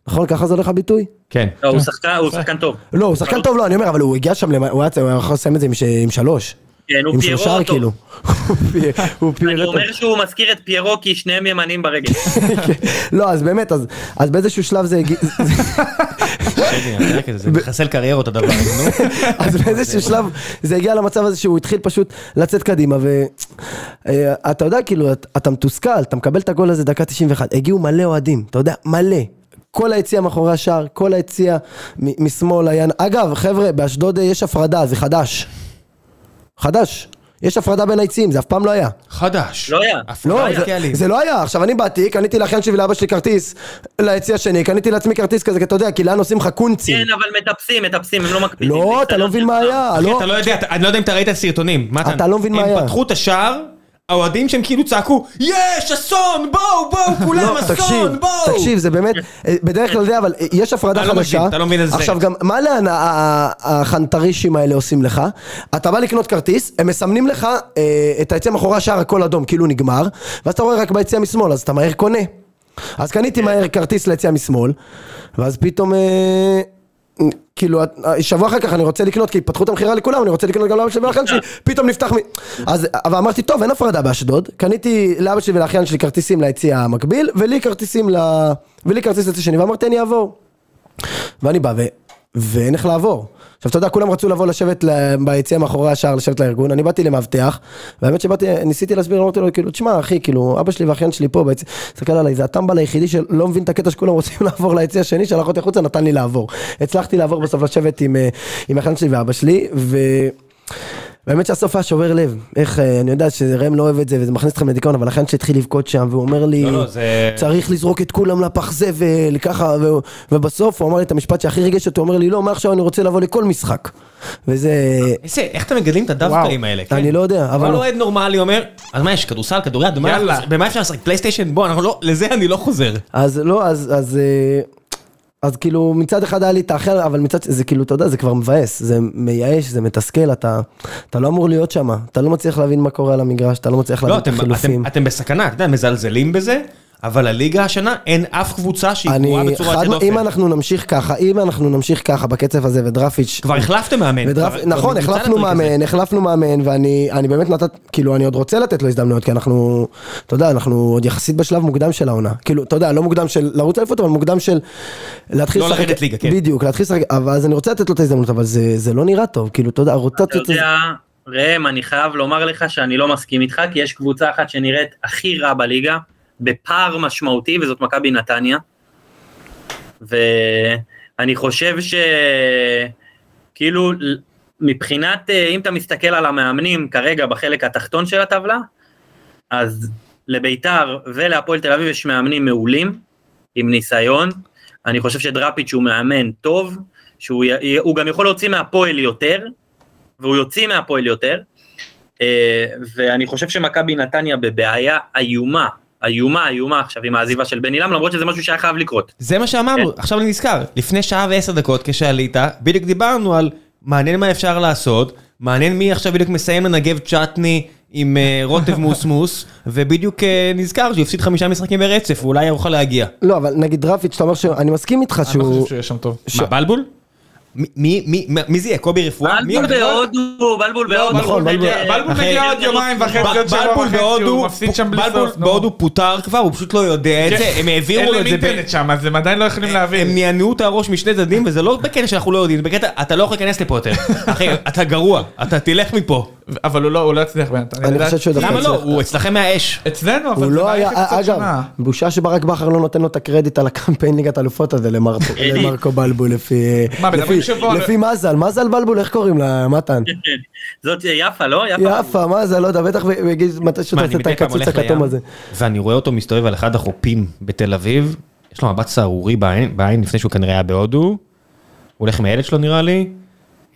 Speaker 2: נכון, ככה זה הולך הביטוי?
Speaker 3: כן.
Speaker 4: לא, הוא שחקן, הוא שחקן טוב.
Speaker 2: לא, הוא שחקן טוב, לא, אני אומר, אבל הוא הגיע שם, למ- הוא היה צ- הוא היה יכול לסיים את זה עם ש- עם שלוש.
Speaker 4: כן, הוא
Speaker 2: עם
Speaker 4: פיירו
Speaker 2: שלושה,
Speaker 4: אותו.
Speaker 2: כאילו. הוא פי- הוא
Speaker 4: אני
Speaker 2: פיירו.
Speaker 4: אומר שהוא מזכיר את פיירו כי שניהם ימנים ברגל.
Speaker 2: לא, אז באמת, אז- אז באיזשהו שלב זה הגיע...
Speaker 3: שני, הפרק הזה, זה מחסל קריירות הדבר הזה, נו.
Speaker 2: אז באיזשהו שלב זה הגיע למצב הזה שהוא התחיל פשוט לצאת קדימה ואתה יודע כאילו את- אתה מתוסכל אתה מקבל את הגול הזה דקה 91 הגיעו מלא אוהדים אתה יודע מלא. כל היציע מאחורי השער, כל היציע מ- משמאל היה... אגב, חבר'ה, באשדוד אה, יש הפרדה, זה חדש. חדש. יש הפרדה בין היציעים, זה אף פעם לא היה.
Speaker 3: חדש.
Speaker 4: לא היה.
Speaker 2: לא,
Speaker 3: הפרדה
Speaker 2: זה-
Speaker 3: לקהלים.
Speaker 2: זה לא היה. עכשיו, אני באתי, קניתי לאחיין שלי, לאבא שלי כרטיס, ליציע השני, קניתי לעצמי כרטיס כזה, כי אתה יודע, כי לנו עושים לך קונצים.
Speaker 4: כן, אבל מטפסים, מטפסים, הם לא מקפידים.
Speaker 2: לא,
Speaker 4: זה
Speaker 2: אתה לא
Speaker 4: ניסיון
Speaker 2: מבין
Speaker 4: של
Speaker 2: מה
Speaker 4: פעם.
Speaker 2: היה.
Speaker 3: אחי,
Speaker 2: לא,
Speaker 3: אתה לא יודע, אתה- אני לא יודע אם אתה ראית סרטונים. מתן,
Speaker 2: אתה לא מבין מה
Speaker 3: הם
Speaker 2: היה.
Speaker 3: פתחו את השער, האוהדים שהם כאילו צעקו, יש, אסון, בואו, בואו, כולם,
Speaker 2: לא, תקשיב,
Speaker 3: אסון, בואו.
Speaker 2: תקשיב, זה באמת, אה, בדרך כלל זה, אבל אה, יש הפרדה
Speaker 3: אתה לא
Speaker 2: חדשה.
Speaker 3: מבין, אתה לא מבין איזה
Speaker 2: עכשיו
Speaker 3: זה.
Speaker 2: גם, מה לאן ה- ה- החנטרישים האלה עושים לך? אתה בא לקנות כרטיס, הם מסמנים לך אה, את היציע מאחורי השער הכל אדום, כאילו נגמר, ואז אתה רואה רק ביציע משמאל, אז אתה מהר קונה. אז קניתי
Speaker 3: כן.
Speaker 2: מהר כרטיס ליציע משמאל, ואז פתאום... אה, כאילו, שבוע אחר כך אני רוצה לקנות, כי פתחו את המכירה לכולם, אני רוצה לקנות גם לאבא שלי ולאחיין
Speaker 3: אה.
Speaker 2: שלי, פתאום נפתח מ... אז, אבל אמרתי, טוב, אין הפרדה באשדוד. קניתי לאבא שלי ולאחיין שלי כרטיסים ליציע המקביל, ולי כרטיסים ל... ולי כרטיס לצד שני, ואמרתי, אני אעבור. ואני בא, ו... ואין איך לעבור. עכשיו, אתה יודע, כולם רצו לבוא לשבת ל... ביציע מאחורי השער, לשבת לארגון, אני באתי למאבטח, והאמת שבאתי, ניסיתי להסביר, אמרתי לו, כאילו, תשמע, אחי, כאילו, אבא שלי והאחיין שלי פה, ביציע, תסתכל עליי, זה הטמבל היחידי שלא מבין את הקטע שכולם רוצים לעבור ליציע השני, שלח אותי החוצה, נתן לי לעבור. הצלחתי לעבור בסוף לשבת עם, אה, עם האחיין שלי ואבא שלי, ו... באמת שהסוף היה שובר לב, איך, אה, אני יודע שראם לא אוהב את זה וזה מכניס אתכם לדיכאון, אבל אחיין שהתחיל לבכות שם, והוא אומר לי,
Speaker 3: לא, לא, זה-
Speaker 2: צריך לזרוק את כולם לפח זבל, ככה, ו... ובסוף הוא אמר לי את המשפט שהכי ריגש אותו, הוא אומר לי, לא, מעכשיו אני רוצה לבוא לכל משחק. וזה,
Speaker 3: איזה, איך אתם מגדלים את הדווקאים האלה? כן.
Speaker 2: אני לא יודע, אבל...
Speaker 3: כל אוהד נורמלי אומר, אז מה יש, כדורסל, כדוריד, מה-
Speaker 1: יאללה.
Speaker 3: במה אפשר לשחק? פלייסטיישן? בוא, אנחנו לא, לזה אני לא חוזר.
Speaker 2: אז לא, אז, אז, אה, אז כאילו מצד אחד היה לי את האחר, אבל מצד, ש- זה כאילו, אתה יודע, זה כבר מבאס, זה מייאש, זה מתסכל, אתה, אתה לא אמור להיות שם, אתה לא מצליח להבין מה קורה על המגרש, אתה לא מצליח
Speaker 3: לא,
Speaker 2: להבין את
Speaker 3: אתם-
Speaker 2: החילופים.
Speaker 3: אתם- אתם בסכנה, אתה יודע, מזלזלים בזה, אבל הליגה השנה אין אף קבוצה שהיא גרועה
Speaker 2: אני,
Speaker 3: בצורה
Speaker 2: חד,
Speaker 3: יוצאת
Speaker 2: אם
Speaker 3: דופן.
Speaker 2: אנחנו נמשיך ככה, אם אנחנו נמשיך ככה בקצב הזה ודרפיץ',
Speaker 3: כבר החלפתם
Speaker 1: כן,
Speaker 3: מאמן.
Speaker 2: ודרפ...
Speaker 3: כבר-
Speaker 2: נכון,
Speaker 3: כבר נמצא
Speaker 2: החלפנו
Speaker 3: לטריק הזה.
Speaker 2: מאמן, החלפנו מאמן, ואני אני באמת נתת, כאילו, אני עוד רוצה לתת לו הזדמנויות, כי אנחנו, אתה יודע, אנחנו עוד יחסית בשלב מוקדם של העונה. כאילו, אתה יודע, לא מוקדם של לרוץ אליפות, אבל מוקדם של להתחיל
Speaker 3: לא לרדת ליגה, כן.
Speaker 2: בדיוק, להתחיל לשחק, אבל אז אני רוצה לתת לו את ההזדמנות, אבל זה, זה לא נראה טוב, כאילו, אתה יודע,
Speaker 4: אתה
Speaker 2: הרוטציות...
Speaker 4: יודע, ראם, אני חייב לומר לך שאני לא מסכים איתך, כי יש קבוצה אחת שנראית הכי רע בליגה, בפער משמעותי, וזאת מכבי נתניה. ואני חושב ש... כאילו, ל- מבחינת, אה, אם אתה מסתכל על המאמנים כרגע בחלק התחתון של הטבלה, אז לביתר ולהפועל תל אביב יש מאמנים מעולים, עם ניסיון. אני חושב שדראפיץ' הוא מאמן טוב, שהוא י- הוא גם יכול להוציא מהפועל יותר, והוא יוציא מהפועל יותר. אה, ואני חושב שמכבי נתניה בבעיה איומה, איומה, איומה עכשיו עם העזיבה של בן עילם, למרות שזה משהו שהיה חייב לקרות.
Speaker 3: זה מה שאמרנו, עכשיו אני נזכר. לפני שעה ועשר דקות כשעלית, בדיוק דיברנו על מעניין מה אפשר לעשות, מעניין מי עכשיו בדיוק מסיים לנגב צ'טני עם אה, רוטב מוסמוס, ובדיוק אה, נזכר שהוא הפסיד חמישה משחקים ברצף, הוא אולי יוכל להגיע.
Speaker 2: לא, אבל נגיד דרפיץ', אתה אומר ש... אני מסכים איתך
Speaker 1: אני לא
Speaker 2: שהוא...
Speaker 1: חושב שהוא יהיה שם טוב.
Speaker 3: מה, בלבול? מי- מי- מי- מה- מי זה יהיה? קובי רפואה? מי
Speaker 4: בלבול
Speaker 3: הולך להיות?
Speaker 4: בהודו, בלבול בהודו.
Speaker 2: נכון, בלבול-
Speaker 4: אה,
Speaker 1: בלבול
Speaker 3: אחי,
Speaker 1: מגיע עוד יומיים וחצי, עוד שבוע
Speaker 3: בלבול
Speaker 1: וחצי,
Speaker 3: בהודו,
Speaker 1: הוא מפסיד שם בלי
Speaker 3: בלבול
Speaker 1: סוף. נו. כן.
Speaker 3: בהודו פוטר כבר, הוא פשוט לא יודע את זה, הם העבירו לו את זה.
Speaker 1: אין
Speaker 3: ב-
Speaker 1: להם אינטרנט שם, אז הם עדיין לא יכולים להבין.
Speaker 3: הם נענעו את הראש משני צדדים, וזה לא בקטע שאנחנו לא יודעים, זה בקטע, אתה לא יכול להיכנס לפה יותר. אחי, אתה גרוע, אתה תלך מפה.
Speaker 1: אבל הוא לא, הוא לא יצליח בינתיים.
Speaker 2: אני
Speaker 1: לדעתי-
Speaker 2: חושב שהוא דווקא
Speaker 3: למה לא?
Speaker 2: הצליח.
Speaker 3: הוא אצלכם מהאש.
Speaker 1: אצלנו, אבל
Speaker 2: הוא
Speaker 1: זה
Speaker 2: לא היה,
Speaker 1: מערכת קצת
Speaker 2: אגב,
Speaker 1: שונה.
Speaker 2: בושה שברק בכר לא נותן לו את הקרדיט על הקמפיין ליגת אלופות הזה למרקו, למרקו בלבול לפי,
Speaker 1: מה, מדברים
Speaker 2: לפי,
Speaker 1: שבוע-
Speaker 2: לפי מזל, מזל בלבול, איך קוראים לה, מתן?
Speaker 4: זאת אה, יפה, לא? יפה.
Speaker 2: יפה, מה זה, לא יודע, בטח הוא יגיד מתי שהוא תעשה
Speaker 3: מה, אני
Speaker 2: את
Speaker 3: מדי פעם
Speaker 2: הקצוץ
Speaker 3: הולך
Speaker 2: הכתום
Speaker 3: לים,
Speaker 2: הזה.
Speaker 3: ואני רואה אותו מסתובב על אחד החופים בתל אביב, יש לו מבט סהרורי בעין, בעין לפני שהוא כנראה היה בהודו, הוא הולך עם הילד שלו נראה לי,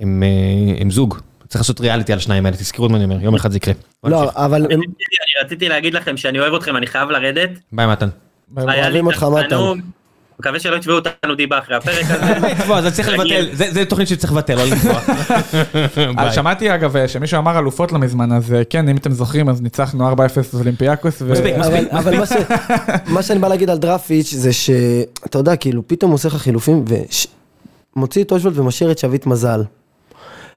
Speaker 3: הם, אה, הם זוג. צריך לעשות ריאליטי על שניים האלה, תזכרו את מה אני אומר, יום אחד זה יקרה. בוא
Speaker 2: לא,
Speaker 3: נמשיך.
Speaker 2: אבל הם-
Speaker 4: אני רציתי להגיד לכם שאני אוהב אתכם, אני חייב לרדת.
Speaker 3: ביי מתן. אה,
Speaker 1: אבל-
Speaker 4: היה לי
Speaker 2: אוהבים אותך, מתן.
Speaker 4: תענוג. מקווה שלא יתבעו אותנו דיבה אחרי הפרק הזה.
Speaker 3: לקבוע, זה צריך לבטל, זה זה תוכנית שצריך לבטל, לא לקבוע.
Speaker 1: אבל
Speaker 3: ביי.
Speaker 1: שמעתי אגב אה, שמישהו אמר אלופות לא מזמן, אז אה, כן, אם אתם זוכרים, אז ניצחנו 4-0 אולימפיאקוס. ו-
Speaker 3: מספיק, מספיק.
Speaker 2: אבל- אבל מה ש- מה שאני בא להגיד על דרפיץ' זה שאתה יודע, כאילו, פתאום הוא עושה לך חילופים ומוציא את אושבולד ומשאיר את שביט מזל.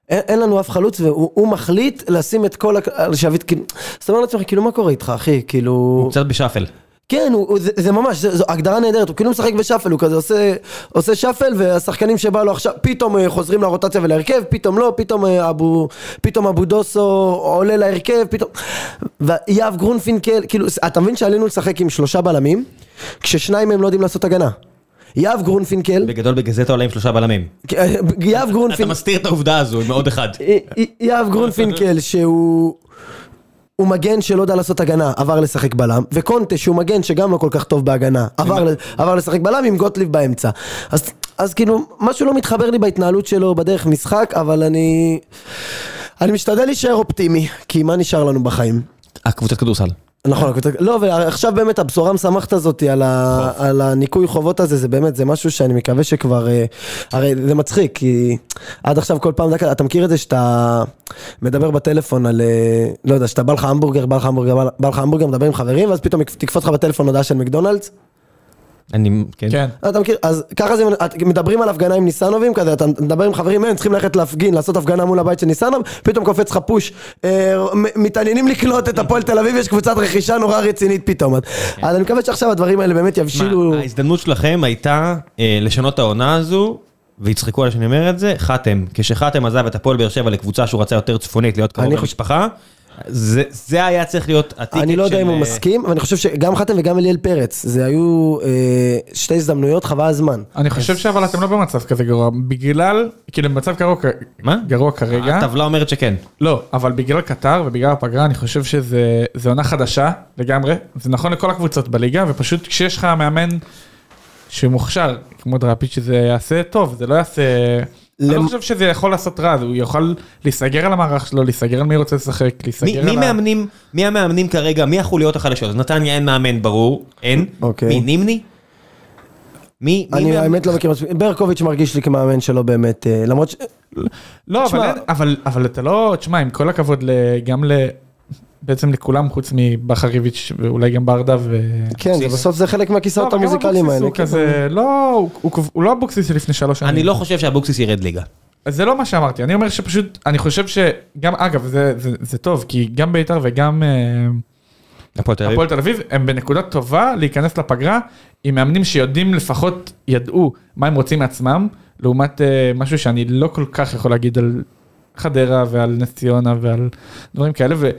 Speaker 2: אין, אין לנו אף חלוץ והוא הוא מחליט לשים את כל, הק- על שביט, כאילו, אז אתה אומר לעצמך, כאילו, מה קורה איתך, אחי? כאילו...
Speaker 3: הוא קצת בשאפל.
Speaker 2: כן, הוא, הוא, זה, זה ממש, זה, זו הגדרה נהדרת, הוא כאילו משחק בשאפל, הוא כזה עושה, עושה שאפל, והשחקנים שבא לו עכשיו, פתאום אה, חוזרים לרוטציה ולהרכב, פתאום לא, פתאום אה, אבו, פתאום אבו דוסו עולה להרכב, פתאום... ויהב גרונפינקל, כאילו, אתה מבין שעלינו לשחק עם שלושה בלמים, כששניים מהם לא יודעים לעשות הגנה. יהב גרונפינקל,
Speaker 3: בגדול בגלל זה אתה עולה עם שלושה בלמים.
Speaker 2: אה, יהב
Speaker 3: אתה
Speaker 2: גרונפינקל,
Speaker 3: מסתיר את העובדה הזו עם עוד אחד.
Speaker 2: י- י- יהב גרונפינקל שהוא... הוא מגן שלא יודע לעשות הגנה, עבר לשחק בלם, וקונטה שהוא מגן שגם לא כל כך טוב בהגנה, עבר, ל- עבר לשחק בלם עם גוטליב באמצע. אז, אז כאילו, משהו לא מתחבר לי בהתנהלות שלו בדרך משחק, אבל אני... אני משתדל להישאר אופטימי, כי מה נשאר לנו בחיים?
Speaker 3: הקבוצת כדורסל.
Speaker 2: נכון, הקבוצה- לא, ועכשיו באמת הבשורה המשמחת הזאת על, ה, על הניקוי חובות הזה, זה באמת, זה משהו שאני מקווה שכבר, אה, הרי זה מצחיק, כי עד עכשיו כל פעם, דקה- אתה מכיר את זה שאתה מדבר בטלפון על, אה, לא יודע, שאתה בא לך המבורגר, בא לך המבורגר, בא- בא לך המבורגר, מדבר עם חברים, ואז פתאום תקפוץ לך בטלפון הודעה של מקדונלדס,
Speaker 3: אני, כן.
Speaker 1: כן.
Speaker 2: אתה מכיר, אז ככה זה, את- מדברים על הפגנה עם ניסנובים כזה, אתה מדבר עם חברים, הם צריכים ללכת להפגין, לעשות הפגנה מול הבית של ניסנוב, פתאום קופץ לך פוש, אה, מ- מתעניינים לקלוט את הפועל תל אביב, יש קבוצת רכישה נורא רצינית פתאום. אז-
Speaker 1: כן.
Speaker 2: אז אני מקווה שעכשיו הדברים האלה באמת יבשילו,
Speaker 3: מה, ההזדמנות שלכם הייתה אה, לשנות את העונה הזו, ויצחקו על שאני אומר את זה, חתם. כשחתם עזב את הפועל באר שבע לקבוצה שהוא רצה יותר צפונית, להיות קרוב
Speaker 2: אני חושב-
Speaker 3: למשפחה, זה זה היה צריך להיות הטיקט של...
Speaker 2: אני לא יודע אם הוא
Speaker 3: אה,
Speaker 2: מסכים, ואני חושב שגם חתם וגם אליאל פרץ, זה היו אה, שתי הזדמנויות, חבל הזמן.
Speaker 1: אני חושב שאבל אתם לא במצב כזה גרוע, בגלל, כאילו במצב גרוע, כ-
Speaker 3: מה?
Speaker 1: גרוע כרגע,
Speaker 3: הטבלה אומרת שכן.
Speaker 1: לא, אבל בגלל קטר ובגלל הפגרה אני חושב שזה זה עונה חדשה לגמרי, זה נכון לכל הקבוצות בליגה, ופשוט כשיש לך מאמן שמוכשר, כמו דראפיץ' שזה יעשה טוב, זה לא יעשה... אני לא
Speaker 2: למ-
Speaker 1: חושב שזה יכול לעשות רע, הוא יוכל להיסגר על המערך שלו, להיסגר על מי רוצה לשחק,
Speaker 3: מי,
Speaker 1: להיסגר
Speaker 3: מי,
Speaker 1: על ה...
Speaker 3: מאמנים, מי המאמנים כרגע, מי החוליות החלשות? אז נתניה אין מאמן ברור, אין.
Speaker 2: אוקיי.
Speaker 3: מי נימני? מי, מי
Speaker 2: אני
Speaker 3: מאמן?
Speaker 2: האמת לא מכיר מספיק, ברקוביץ' מרגיש לי כמאמן שלו באמת, אה, למרות ש...
Speaker 1: לא, אבל,
Speaker 2: תשמע-
Speaker 1: אין- אבל, אבל אתה לא... תשמע, עם כל הכבוד ל- גם ל... בעצם לכולם, חוץ מבכר איביץ' ואולי גם ברדה ו...
Speaker 2: כן, זה בסוף זה חלק מהכיסאות
Speaker 1: לא, אבל גם
Speaker 2: המוזיקליים
Speaker 1: אבוקסיס
Speaker 2: האלה. כן.
Speaker 1: הוא כזה, לא, הוא- הוא כב- הוא לא אבוקסיס של לפני שלוש שנים.
Speaker 3: אני לא חושב שאבוקסיס ירד ליגה.
Speaker 1: אז זה לא מה שאמרתי, אני אומר שפשוט, אני חושב שגם, אגב, זה, זה, זה טוב, כי גם בית"ר וגם אה,
Speaker 3: הפועל תל אביב.
Speaker 1: הפועל תל אביב, הם בנקודה טובה להיכנס לפגרה עם מאמנים שיודעים לפחות, ידעו מה הם רוצים מעצמם, לעומת אה, משהו שאני לא כל כך יכול להגיד על חדרה ועל נס ציונה ועל דברים כאלה, ו...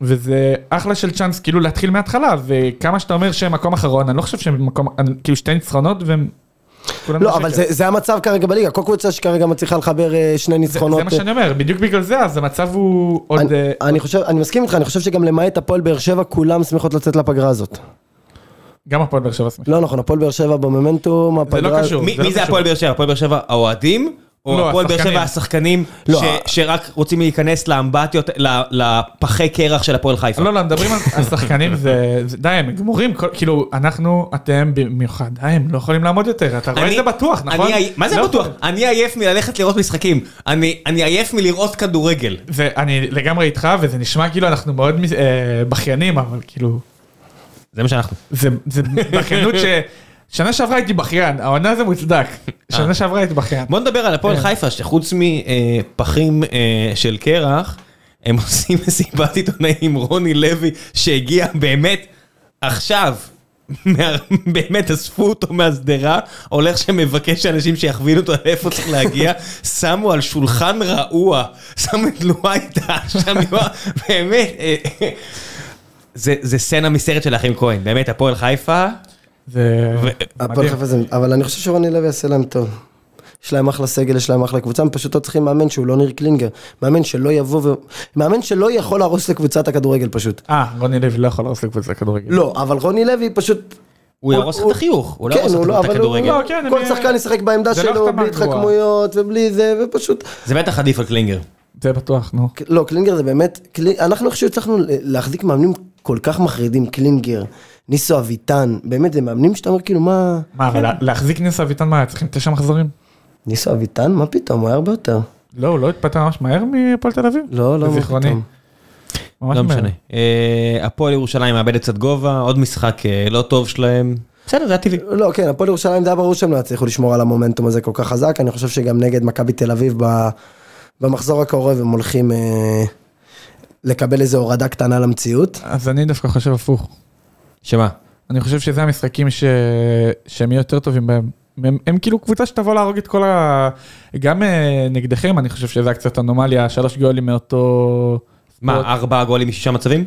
Speaker 1: וזה אחלה של צ'אנס כאילו להתחיל מההתחלה, וכמה שאתה אומר שהם מקום אחרון, אני לא חושב שהם מקום, אני- כאילו שתי ניצחונות והם... כולם
Speaker 2: לא,
Speaker 1: בשקט.
Speaker 2: אבל זה, זה המצב כרגע בליגה, כל קבוצה שכרגע מצליחה לחבר אה, שני
Speaker 1: זה,
Speaker 2: ניצחונות.
Speaker 1: זה מה שאני אומר, בדיוק בגלל זה, אז המצב הוא עוד...
Speaker 2: אני,
Speaker 1: אה,
Speaker 2: אני חושב, אני מסכים איתך, אני חושב שגם למעט הפועל באר שבע, כולם שמחות לצאת לפגרה הזאת.
Speaker 1: גם הפועל באר שבע שמחה.
Speaker 2: לא נכון, הפועל באר שבע במומנטום, הפגרה...
Speaker 1: קשור.
Speaker 3: מי
Speaker 1: זה לא
Speaker 3: מי זה
Speaker 1: קשור.
Speaker 3: הפועל באר שבע? הפועל באר שבע האוהדים? או
Speaker 1: לא,
Speaker 3: הפועל באר
Speaker 1: השחקנים.
Speaker 3: שבע השחקנים
Speaker 2: לא,
Speaker 3: ש-
Speaker 2: ה-
Speaker 3: שרק רוצים להיכנס לאמבטיות, ל- לפחי קרח של הפועל חיפה?
Speaker 1: לא, לא, מדברים על השחקנים, זה... זה- די, הם גמורים, כל- כאילו, אנחנו, אתם במיוחד, די, הם לא יכולים לעמוד יותר, אתה רואה את
Speaker 3: אני-
Speaker 1: זה בטוח, נכון?
Speaker 3: אני עי- מה זה
Speaker 1: לא
Speaker 3: בטוח?
Speaker 1: יכול.
Speaker 3: אני עייף מללכת לראות משחקים. אני אני עייף מלראות כדורגל.
Speaker 1: זה, אני לגמרי איתך, וזה נשמע כאילו אנחנו מאוד מס- אה, בכיינים, אבל כאילו,
Speaker 3: זה מה שאנחנו.
Speaker 1: זה זה בכיינות ש... שנה שעברה הייתי בכיין, העונה זה מוצדק. שנה שעברה הייתי בכיין.
Speaker 3: אה. בוא נדבר על הפועל חיפה, שחוץ מפחים אה, של קרח, הם עושים מסיבת עיתונאים עם רוני לוי, שהגיע באמת עכשיו. מה- באמת אספו אותו מהשדרה, הולך שמבקש שאנשים שיכווינו אותו לאיפה צריך להגיע, שמו על שולחן רעוע, שם את לואייטה, שם יואב, באמת, אה, אה, זה זה סצנה מסרט של האחים כהן, באמת, הפועל חיפה,
Speaker 1: זה
Speaker 2: הפועל
Speaker 1: מדהים.
Speaker 2: חיפה זה... אבל אני חושב שרוני לוי יעשה להם טוב. יש להם אחלה סגל, יש להם אחלה קבוצה, הם פשוט לא צריכים מאמן שהוא לא ניר קלינגר. מאמן שלא יבוא ו... מאמן שלא יכול להרוס לקבוצת הכדורגל פשוט.
Speaker 1: אה, רוני לוי לא יכול להרוס לקבוצה כדורגל.
Speaker 2: לא, אבל רוני לוי פשוט...
Speaker 3: הוא יהרוס לך את החיוך, הוא לא
Speaker 2: כן,
Speaker 3: יהרוס לך את
Speaker 2: אבל
Speaker 3: הכדורגל.
Speaker 1: לא, כן,
Speaker 2: כל
Speaker 1: אני-
Speaker 2: שחקן ישחק בעמדה
Speaker 1: זה לא
Speaker 2: שלו,
Speaker 1: החתמה
Speaker 2: בלי
Speaker 1: גרועה.
Speaker 2: התחכמויות ובלי זה, ופשוט...
Speaker 3: זה בטח עדיף על קלינגר.
Speaker 1: זה בטוח, נו.
Speaker 2: לא, קלינגר זה באמת, קלי- אנחנו איכשהו הצלחנו ל- להחזיק מאמנים כל כך מחרידים, קלינגר, ניסו אביטן, באמת זה מאמנים שאתה אומר כאילו מה,
Speaker 1: מה,
Speaker 3: כן.
Speaker 1: אבל להחזיק ניסו אביטן, מה, היה צריכים תשע מחזורים?
Speaker 2: ניסו אביטן? מה פתאום, הוא היה הרבה יותר.
Speaker 1: לא, הוא לא התפטר ממש מהר מהפועל תל אביב?
Speaker 2: לא, לא, מה
Speaker 1: בזיכרוני.
Speaker 2: פתאום.
Speaker 1: ממש
Speaker 3: לא
Speaker 1: מהר.
Speaker 3: משנה. אה, הפועל ירושלים מאבדת קצת גובה, עוד משחק אה, לא טוב שלהם. בסדר, זה היה טבעי.
Speaker 2: לא, כן, הפועל ירושלים זה היה ברור שהם לא יצליחו לשמור על המומנטום הזה כל כך חזק, אני חושב שגם נגד מכבי תל אביב ב- במחזור הקרוב הם הולכים אה, לקבל איזו הורדה קטנה למציאות.
Speaker 1: אז אני דווקא חושב הפוך.
Speaker 3: שמה?
Speaker 1: אני חושב שזה המשחקים ש... שהם יהיו יותר טובים בהם. הם, הם כאילו קבוצה שתבוא להרוג את כל ה... גם אה, נגדכם, אני חושב שזה היה קצת אנומליה, שלוש גולים מאותו...
Speaker 3: מה, ארבעה גולים משישה מצבים?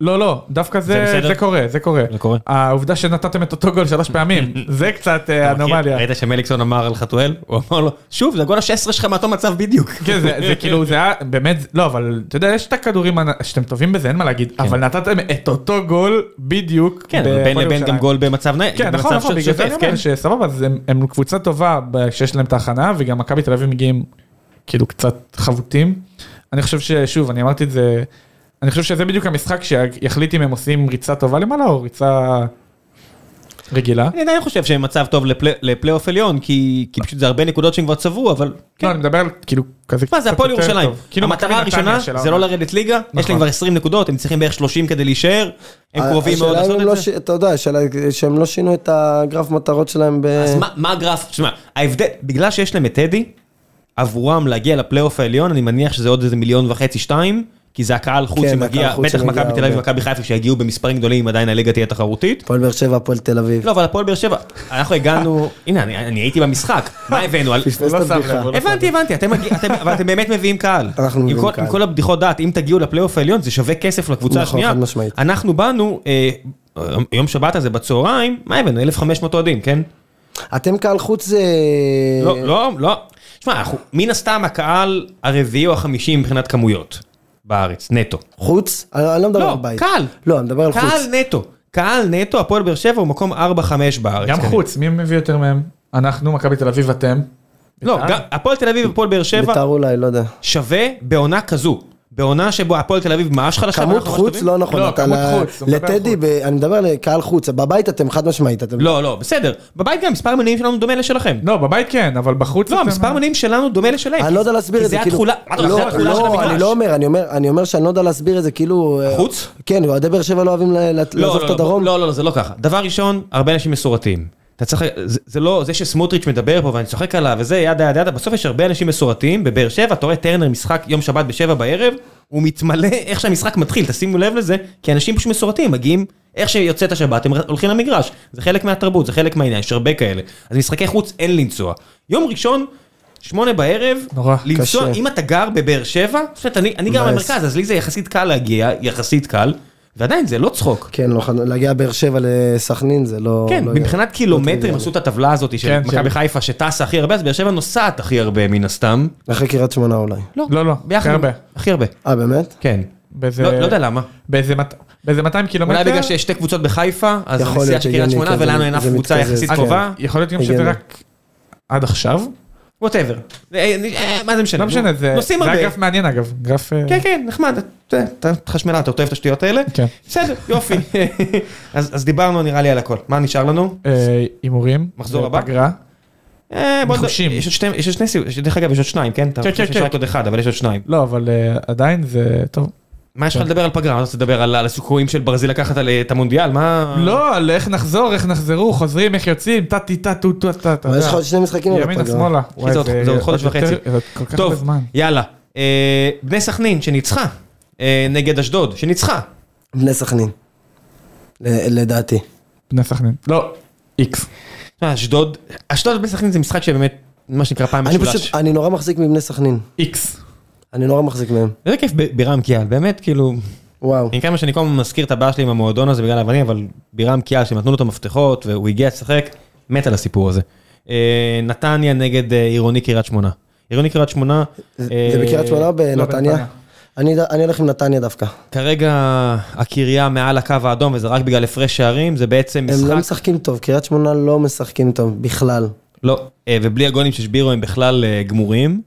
Speaker 1: לא, לא, דווקא
Speaker 3: זה
Speaker 1: זה,
Speaker 3: בסדר?
Speaker 1: זה קורה, זה קורה.
Speaker 3: זה קורה.
Speaker 1: העובדה שנתתם את אותו גול שלוש פעמים, זה קצת אה,
Speaker 3: אתה מכיר?
Speaker 1: אנומליה.
Speaker 3: ראית שמליקסון אמר על חתואל? הוא אמר לו, שוב, זה הגול ה-16 שלך מאותו מצב בדיוק.
Speaker 1: כן, זה זה כאילו, זה היה באמת, לא, אבל אתה יודע, יש את הכדורים הנ- שאתם טובים בזה, אין מה להגיד, אבל נתתם את אותו גול בדיוק.
Speaker 3: כן, אבל
Speaker 1: בהפועל
Speaker 3: בין לבין
Speaker 1: ירושלים.
Speaker 3: גם גול במצב נאי.
Speaker 1: כן, נכון, נכון, בגלל זה אני אומר שסבבה, אז הם- הם קבוצה טובה ב- שיש להם את ההכנה, וגם מכבי תל אביב מגיעים כאילו קצת חבוטים. אני חושב ששוב, אני אמרתי את זה, אני חושב שזה בדיוק המשחק שיחליט אם הם עושים ריצה טובה למעלה או ריצה רגילה.
Speaker 3: אני עדיין חושב שהם מצב טוב לפלי- לפלייאוף עליון, כי כי פשוט זה הרבה נקודות שהם כבר צברו, אבל... כן.
Speaker 1: לא, אני מדבר על כאילו כזה
Speaker 3: מה, זה
Speaker 1: קצת
Speaker 3: הפועל
Speaker 1: יותר
Speaker 3: ירושלים.
Speaker 1: טוב. כאילו, מכבי
Speaker 3: המטרה
Speaker 1: נתניה
Speaker 3: הראשונה
Speaker 1: של
Speaker 3: זה לא
Speaker 1: העונה.
Speaker 3: לרדת ליגה, יש להם
Speaker 1: נכון.
Speaker 3: כבר 20 נקודות, הם צריכים בערך 30 כדי להישאר, הם קרובים מאוד
Speaker 2: השאלה אם
Speaker 3: לעשות
Speaker 2: הם לא
Speaker 3: את זה.
Speaker 2: ש- אתה יודע, השאלה היא שהם לא שינו את הגרף מטרות שלהם ב...
Speaker 3: אז מה- מה הגרף? תשמע, ההבדל, בגלל שיש להם את טדי, עבורם להגיע לפלייאוף העליון, אני מניח שזה עוד איזה מיליון וחצי, שתיים, כי זה הקהל חוץ
Speaker 2: כן,
Speaker 3: שמגיע,
Speaker 2: הקהל חוץ
Speaker 3: בטח
Speaker 2: שמגיע
Speaker 3: מכבי תל אביב
Speaker 2: הרבה.
Speaker 3: ומכבי חיפה שיגיעו במספרים גדולים, עדיין הליגה תהיה תחרותית.
Speaker 2: הפועל באר שבע, הפועל תל אביב.
Speaker 3: לא, אבל הפועל באר שבע, אנחנו הגענו, הנה, אני אני הייתי במשחק, מה הבאנו? על-
Speaker 2: פספס
Speaker 1: הוא
Speaker 2: את
Speaker 1: לא שם
Speaker 2: הבדיחה.
Speaker 1: לב, הוא לא שם
Speaker 3: הבנתי, הבנתי, אתם מגיע- אתם- אבל אתם באמת מביאים קהל.
Speaker 2: אנחנו
Speaker 3: עם
Speaker 2: מביאים
Speaker 3: כל-
Speaker 2: קהל.
Speaker 3: עם כל הבדיחות דעת, אם תגיעו לפלייאוף העליון, זה שווה כסף לקבוצה
Speaker 2: נכון,
Speaker 3: השנייה.
Speaker 2: חד משמעית.
Speaker 3: אנחנו באנו, אה, יום שבת הזה בצהריים, מה הבאנו? 1,500 אוהדים, כן?
Speaker 2: אתם קהל חוץ אה, זה...
Speaker 3: לא, לא, לא. שמע, אנחנו- מן הסתם הקהל הרביעי או החמישי מבחינת כמויות בארץ, נטו.
Speaker 2: חוץ? אני אני לא מדבר
Speaker 3: לא,
Speaker 2: על בית.
Speaker 3: קהל.
Speaker 2: לא, אני מדבר על חוץ.
Speaker 3: קהל נטו. קהל נטו, הפועל באר שבע הוא מקום 4-5 בארץ. כן.
Speaker 1: גם
Speaker 3: כנראה.
Speaker 1: חוץ, מי מביא יותר מהם? אנחנו, מכבי תל אביב, אתם.
Speaker 3: לא,
Speaker 1: בית"ר?
Speaker 3: גם- הפועל תל אביב והפועל באר שבע
Speaker 2: ביתר אולי, לא יודע.
Speaker 3: שווה בעונה כזו. בעונה שבו הפועל תל אביב ממש חלשה.
Speaker 2: כמות
Speaker 3: ואנחנו ממש
Speaker 2: חוץ
Speaker 3: טובים.
Speaker 2: לא נכון,
Speaker 1: לא,
Speaker 2: אתה
Speaker 1: כמות
Speaker 2: ל-
Speaker 1: חוץ, הוא מדבר על
Speaker 2: לטדי,
Speaker 1: חוץ.
Speaker 2: ב- אני מדבר על קהל חוץ, בבית אתם חד משמעית, אתם
Speaker 3: לא, לא, בסדר. בבית גם מספר המנויים שלנו דומה לשלכם.
Speaker 1: לא, בבית כן, אבל בחוץ...
Speaker 3: לא,
Speaker 1: אתם-
Speaker 3: מספר המנויים שלנו דומה לשלהם.
Speaker 2: אני לא יודע להסביר את זה,
Speaker 3: כי
Speaker 2: כאילו...
Speaker 3: זה התכולה, מה אתה אומר, זה
Speaker 2: לא,
Speaker 3: התכולה של
Speaker 2: לא,
Speaker 3: המגרש.
Speaker 2: אני לא אומר, אני אומר, אני אומר שאני לא יודע להסביר את זה, כאילו... אה,
Speaker 3: חוץ?
Speaker 2: כן, אוהדי באר שבע לא אוהבים ל- ל-
Speaker 3: לא,
Speaker 2: לעזוב
Speaker 3: לא,
Speaker 2: את
Speaker 3: לא,
Speaker 2: הדרום.
Speaker 3: לא, לא, לא, זה לא ככה. דבר ראשון, הרבה אנשים מסורתיים. אתה צריך, זה, זה לא, זה שסמוטריץ' מדבר פה ואני צוחק עליו וזה, ידה ידה ידה, בסוף יש הרבה אנשים מסורתיים בבאר שבע, אתה רואה טרנר משחק יום שבת בשבע בערב, הוא מתמלא איך שהמשחק מתחיל, תשימו לב לזה, כי אנשים פשוט מסורתיים מגיעים, איך שיוצאת השבת הם הולכים למגרש, זה חלק מהתרבות, זה חלק מהעניין, יש הרבה כאלה. אז משחקי חוץ אין לנסוע. יום ראשון, שמונה בערב,
Speaker 1: נורא,
Speaker 3: לנסוע,
Speaker 2: קשה.
Speaker 3: אם אתה גר בבאר שבע, זאת אומרת, אני, אני גר
Speaker 2: מבאס.
Speaker 3: במרכז, אז לי זה יחסית קל להגיע, יחסית קל, ועדיין זה לא צחוק.
Speaker 2: כן, לא, חד- להגיע באר שבע לסכנין זה לא...
Speaker 3: כן,
Speaker 2: לא
Speaker 3: מבחינת קילומטרים עשו את הטבלה הזאת של
Speaker 1: כן,
Speaker 3: מכבי
Speaker 1: של-
Speaker 3: חיפה שטסה הכי הרבה, אז באר שבע נוסעת הכי הרבה מן הסתם.
Speaker 2: יודע. אחרי קריית שמונה אולי.
Speaker 1: לא, לא,
Speaker 3: ביחד.
Speaker 1: הכי הרבה.
Speaker 3: הכי הרבה,
Speaker 2: אה, באמת?
Speaker 3: כן.
Speaker 1: באיזה-
Speaker 3: לא לא יודע למה.
Speaker 1: באיזה מת- באיזה 200 קילומטר.
Speaker 3: אולי בגלל שיש שתי קבוצות בחיפה, אז
Speaker 2: יכול
Speaker 3: נסיעה
Speaker 2: להיות
Speaker 3: של קריית
Speaker 2: הגיוני,
Speaker 3: שמונה
Speaker 2: כן,
Speaker 3: ולנו
Speaker 2: זה-
Speaker 3: אין אף
Speaker 2: זה
Speaker 3: קבוצה
Speaker 2: מתקזז,
Speaker 3: יחסית
Speaker 2: כן.
Speaker 3: קרובה,
Speaker 1: אוקיי, יכול להיות גם שזה
Speaker 2: הגיוני.
Speaker 1: רק עד עכשיו.
Speaker 3: ווטאבר. אה, מה זה משנה?
Speaker 1: לא משנה, זה
Speaker 3: נוסעים
Speaker 1: זה היה
Speaker 3: הרבה.
Speaker 1: גרף מעניין אגב. גרף... אה,
Speaker 3: כן, כן, נחמד. אתה- אתה חשמלן, אתה אוהב את השטויות האלה?
Speaker 1: כן.
Speaker 3: בסדר, יופי. אז אז דיברנו נראה לי על הכל. מה נשאר לנו?
Speaker 1: אה, הימורים.
Speaker 3: מחזור
Speaker 1: זה
Speaker 3: הבא?
Speaker 1: פגרה.
Speaker 3: אה, בוא נדבר-
Speaker 1: נחושים.
Speaker 3: יש עוד שתי- יש עוד שני סיבובים, דרך אגב, יש עוד שניים, כן? אתה
Speaker 1: כן,
Speaker 3: חושב
Speaker 1: כן,
Speaker 3: שיש
Speaker 1: כן.
Speaker 3: רק עוד אחד, אבל יש עוד שניים.
Speaker 1: לא, אבל אה, עדיין זה טוב.
Speaker 3: מה יש לך
Speaker 1: כן.
Speaker 3: לדבר על פגרה? מה אתה רוצה לדבר על על הסיכויים של ברזיל לקחת על- אה, את המונדיאל? מה...
Speaker 1: לא, על איך נחזור, איך נחזרו, חוזרים, איך יוצאים, טה טי טה טו טו טה טה.
Speaker 2: אבל יש לך עוד שני משחקים על
Speaker 1: ימינה
Speaker 2: הפגרה.
Speaker 1: שמאלה.
Speaker 3: אחי,
Speaker 1: וואי,
Speaker 3: זה עוד- זה עוד חודש
Speaker 1: יותר-
Speaker 3: וחצי.
Speaker 1: זה כל כך הרבה
Speaker 3: טוב,
Speaker 1: זמן.
Speaker 3: יאללה. אה, בני סכנין שניצחה אה, נגד אשדוד, שניצחה.
Speaker 2: בני סכנין. ל- לדעתי.
Speaker 1: בני סכנין. לא, איקס.
Speaker 3: תשמע, אה, אשדוד, אשדוד ובני סכנין זה משחק שבאמת, מה שנקרא פעם
Speaker 2: אני
Speaker 3: משולש.
Speaker 2: פשוט, אני נורא מחזיק מבני סכנין.
Speaker 1: איקס. על
Speaker 2: אני נורא מחזיק מהם.
Speaker 3: איזה כיף ב- בירם קיאל, באמת, כאילו,
Speaker 2: וואו.
Speaker 3: עם כמה שאני כל הזמן מזכיר את הבעיה שלי עם המועדון הזה בגלל האבנים, אבל בירם קיאל, שנתנו לו את המפתחות והוא הגיע לשחק, מת על הסיפור הזה. אה, נתניה נגד אה, עירוני קריית שמונה. עירוני קריית שמונה...
Speaker 2: זה
Speaker 3: אה,
Speaker 2: זה בקריית שמונה או
Speaker 1: בנתניה.
Speaker 2: בנתניה? אני ד- אני הולך עם נתניה דווקא.
Speaker 3: כרגע הקריה מעל הקו האדום, וזה רק בגלל הפרש שערים, זה בעצם
Speaker 2: הם לא
Speaker 3: משחק...
Speaker 2: משחקים טוב, קריית שמונה לא משחקים טוב בכלל.
Speaker 3: לא, אה, ובלי הגולים ששבירו הם בכלל אה, גמורים,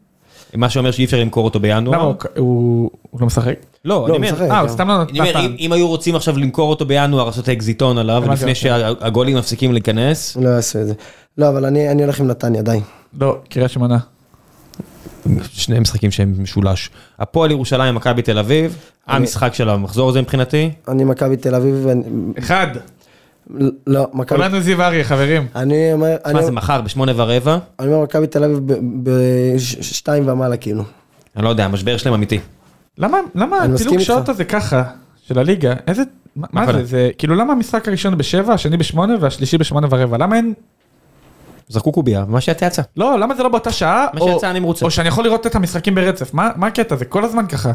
Speaker 3: מה שאומר שאי אפשר למכור אותו בינואר.
Speaker 1: למה הוא- הוא הוא לא משחק?
Speaker 3: לא,
Speaker 2: לא,
Speaker 3: אני
Speaker 2: הוא
Speaker 3: אומר,
Speaker 2: משחק.
Speaker 1: לא? אה,
Speaker 2: גם.
Speaker 1: הוא סתם לא
Speaker 3: אני אומר, אם-
Speaker 1: נתן.
Speaker 3: אם היו רוצים עכשיו למכור אותו בינואר, לעשות אקזיטון עליו,
Speaker 1: הבנתי
Speaker 3: לפני
Speaker 1: אותך.
Speaker 3: שהגולים מפסיקים להיכנס,
Speaker 2: לא יעשו את זה. לא, אבל אני אני הולך עם נתניה, די.
Speaker 1: לא, קריית שמונה.
Speaker 3: שני משחקים שהם משולש. הפועל ירושלים, מכבי תל אביב, המשחק של המחזור הזה מבחינתי.
Speaker 2: אני מכבי תל אביב, ואני-
Speaker 1: אחד.
Speaker 2: לא, מכבי...
Speaker 1: כולנו זיו אריה, חברים.
Speaker 2: אני אומר, אני
Speaker 3: מה זה מחר בשמונה ורבע?
Speaker 2: אני אומר מכבי תל אביב בשתיים ומעלה כאילו.
Speaker 3: אני לא יודע, המשבר שלהם אמיתי.
Speaker 1: למה, למה
Speaker 2: אני מסכים
Speaker 1: הפילוג
Speaker 2: איתך.
Speaker 1: שעות הזה ככה, של הליגה, איזה, מה מה
Speaker 3: הכוונה?
Speaker 1: זה, זה, כאילו למה המשחק הראשון בשבע, השני בשמונה והשלישי בשמונה ורבע, למה אין,
Speaker 3: זרקו קובייה, מה שיצא יצא.
Speaker 1: לא, למה זה לא באותה שעה,
Speaker 3: מה
Speaker 1: או-
Speaker 3: שיצא אני מרוצה.
Speaker 1: או שאני יכול לראות את המשחקים ברצף, מה מה הקטע, זה כל הזמן ככה,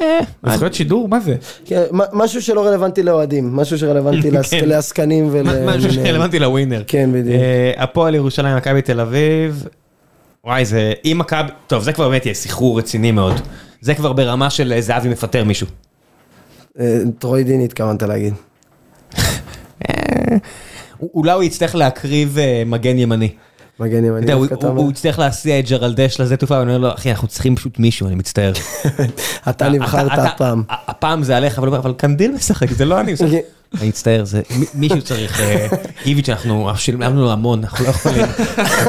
Speaker 3: אה,
Speaker 1: זכויות שידור? מה זה?
Speaker 2: כן, מ- משהו שלא רלוונטי לאוהדים, משהו שרלוונטי לעס-
Speaker 3: כן.
Speaker 2: לעסקנים ול...
Speaker 3: מה- משהו שרלוונטי לווינר.
Speaker 2: כן, בדיוק.
Speaker 3: אה, הפועל ירושלים, מכבי תל אביב. וואי, זה... אם מכבי... טוב, זה כבר באמת יהיה סחרור רציני מאוד. זה כבר ברמה של אה, זהבי מפטר מישהו.
Speaker 2: אה, טרוידין התכוונת להגיד.
Speaker 3: א- אולי הוא יצטרך להקריב אה, מגן ימני.
Speaker 2: מגן
Speaker 3: אתה
Speaker 2: ימני,
Speaker 3: יודע, הוא-
Speaker 2: דווקא אתה
Speaker 3: הוא הוא
Speaker 2: אומר.
Speaker 3: יצטרך להסיע את ג'רלדש לשדה תעופה, ואני אומר לו, אחי, אנחנו צריכים פשוט מישהו, אני מצטער.
Speaker 2: אתה נבחרת
Speaker 3: אתה-
Speaker 2: הפעם. כן,
Speaker 3: ה- הפעם זה עליך, אבל הוא אומר, אבל קנדיל משחק, זה לא אני משחק.
Speaker 2: אוקיי,
Speaker 3: אני מצטער, זה מ- מישהו צריך, אה, איביץ', אנחנו שילמנו לו המון, אנחנו לא יכולים.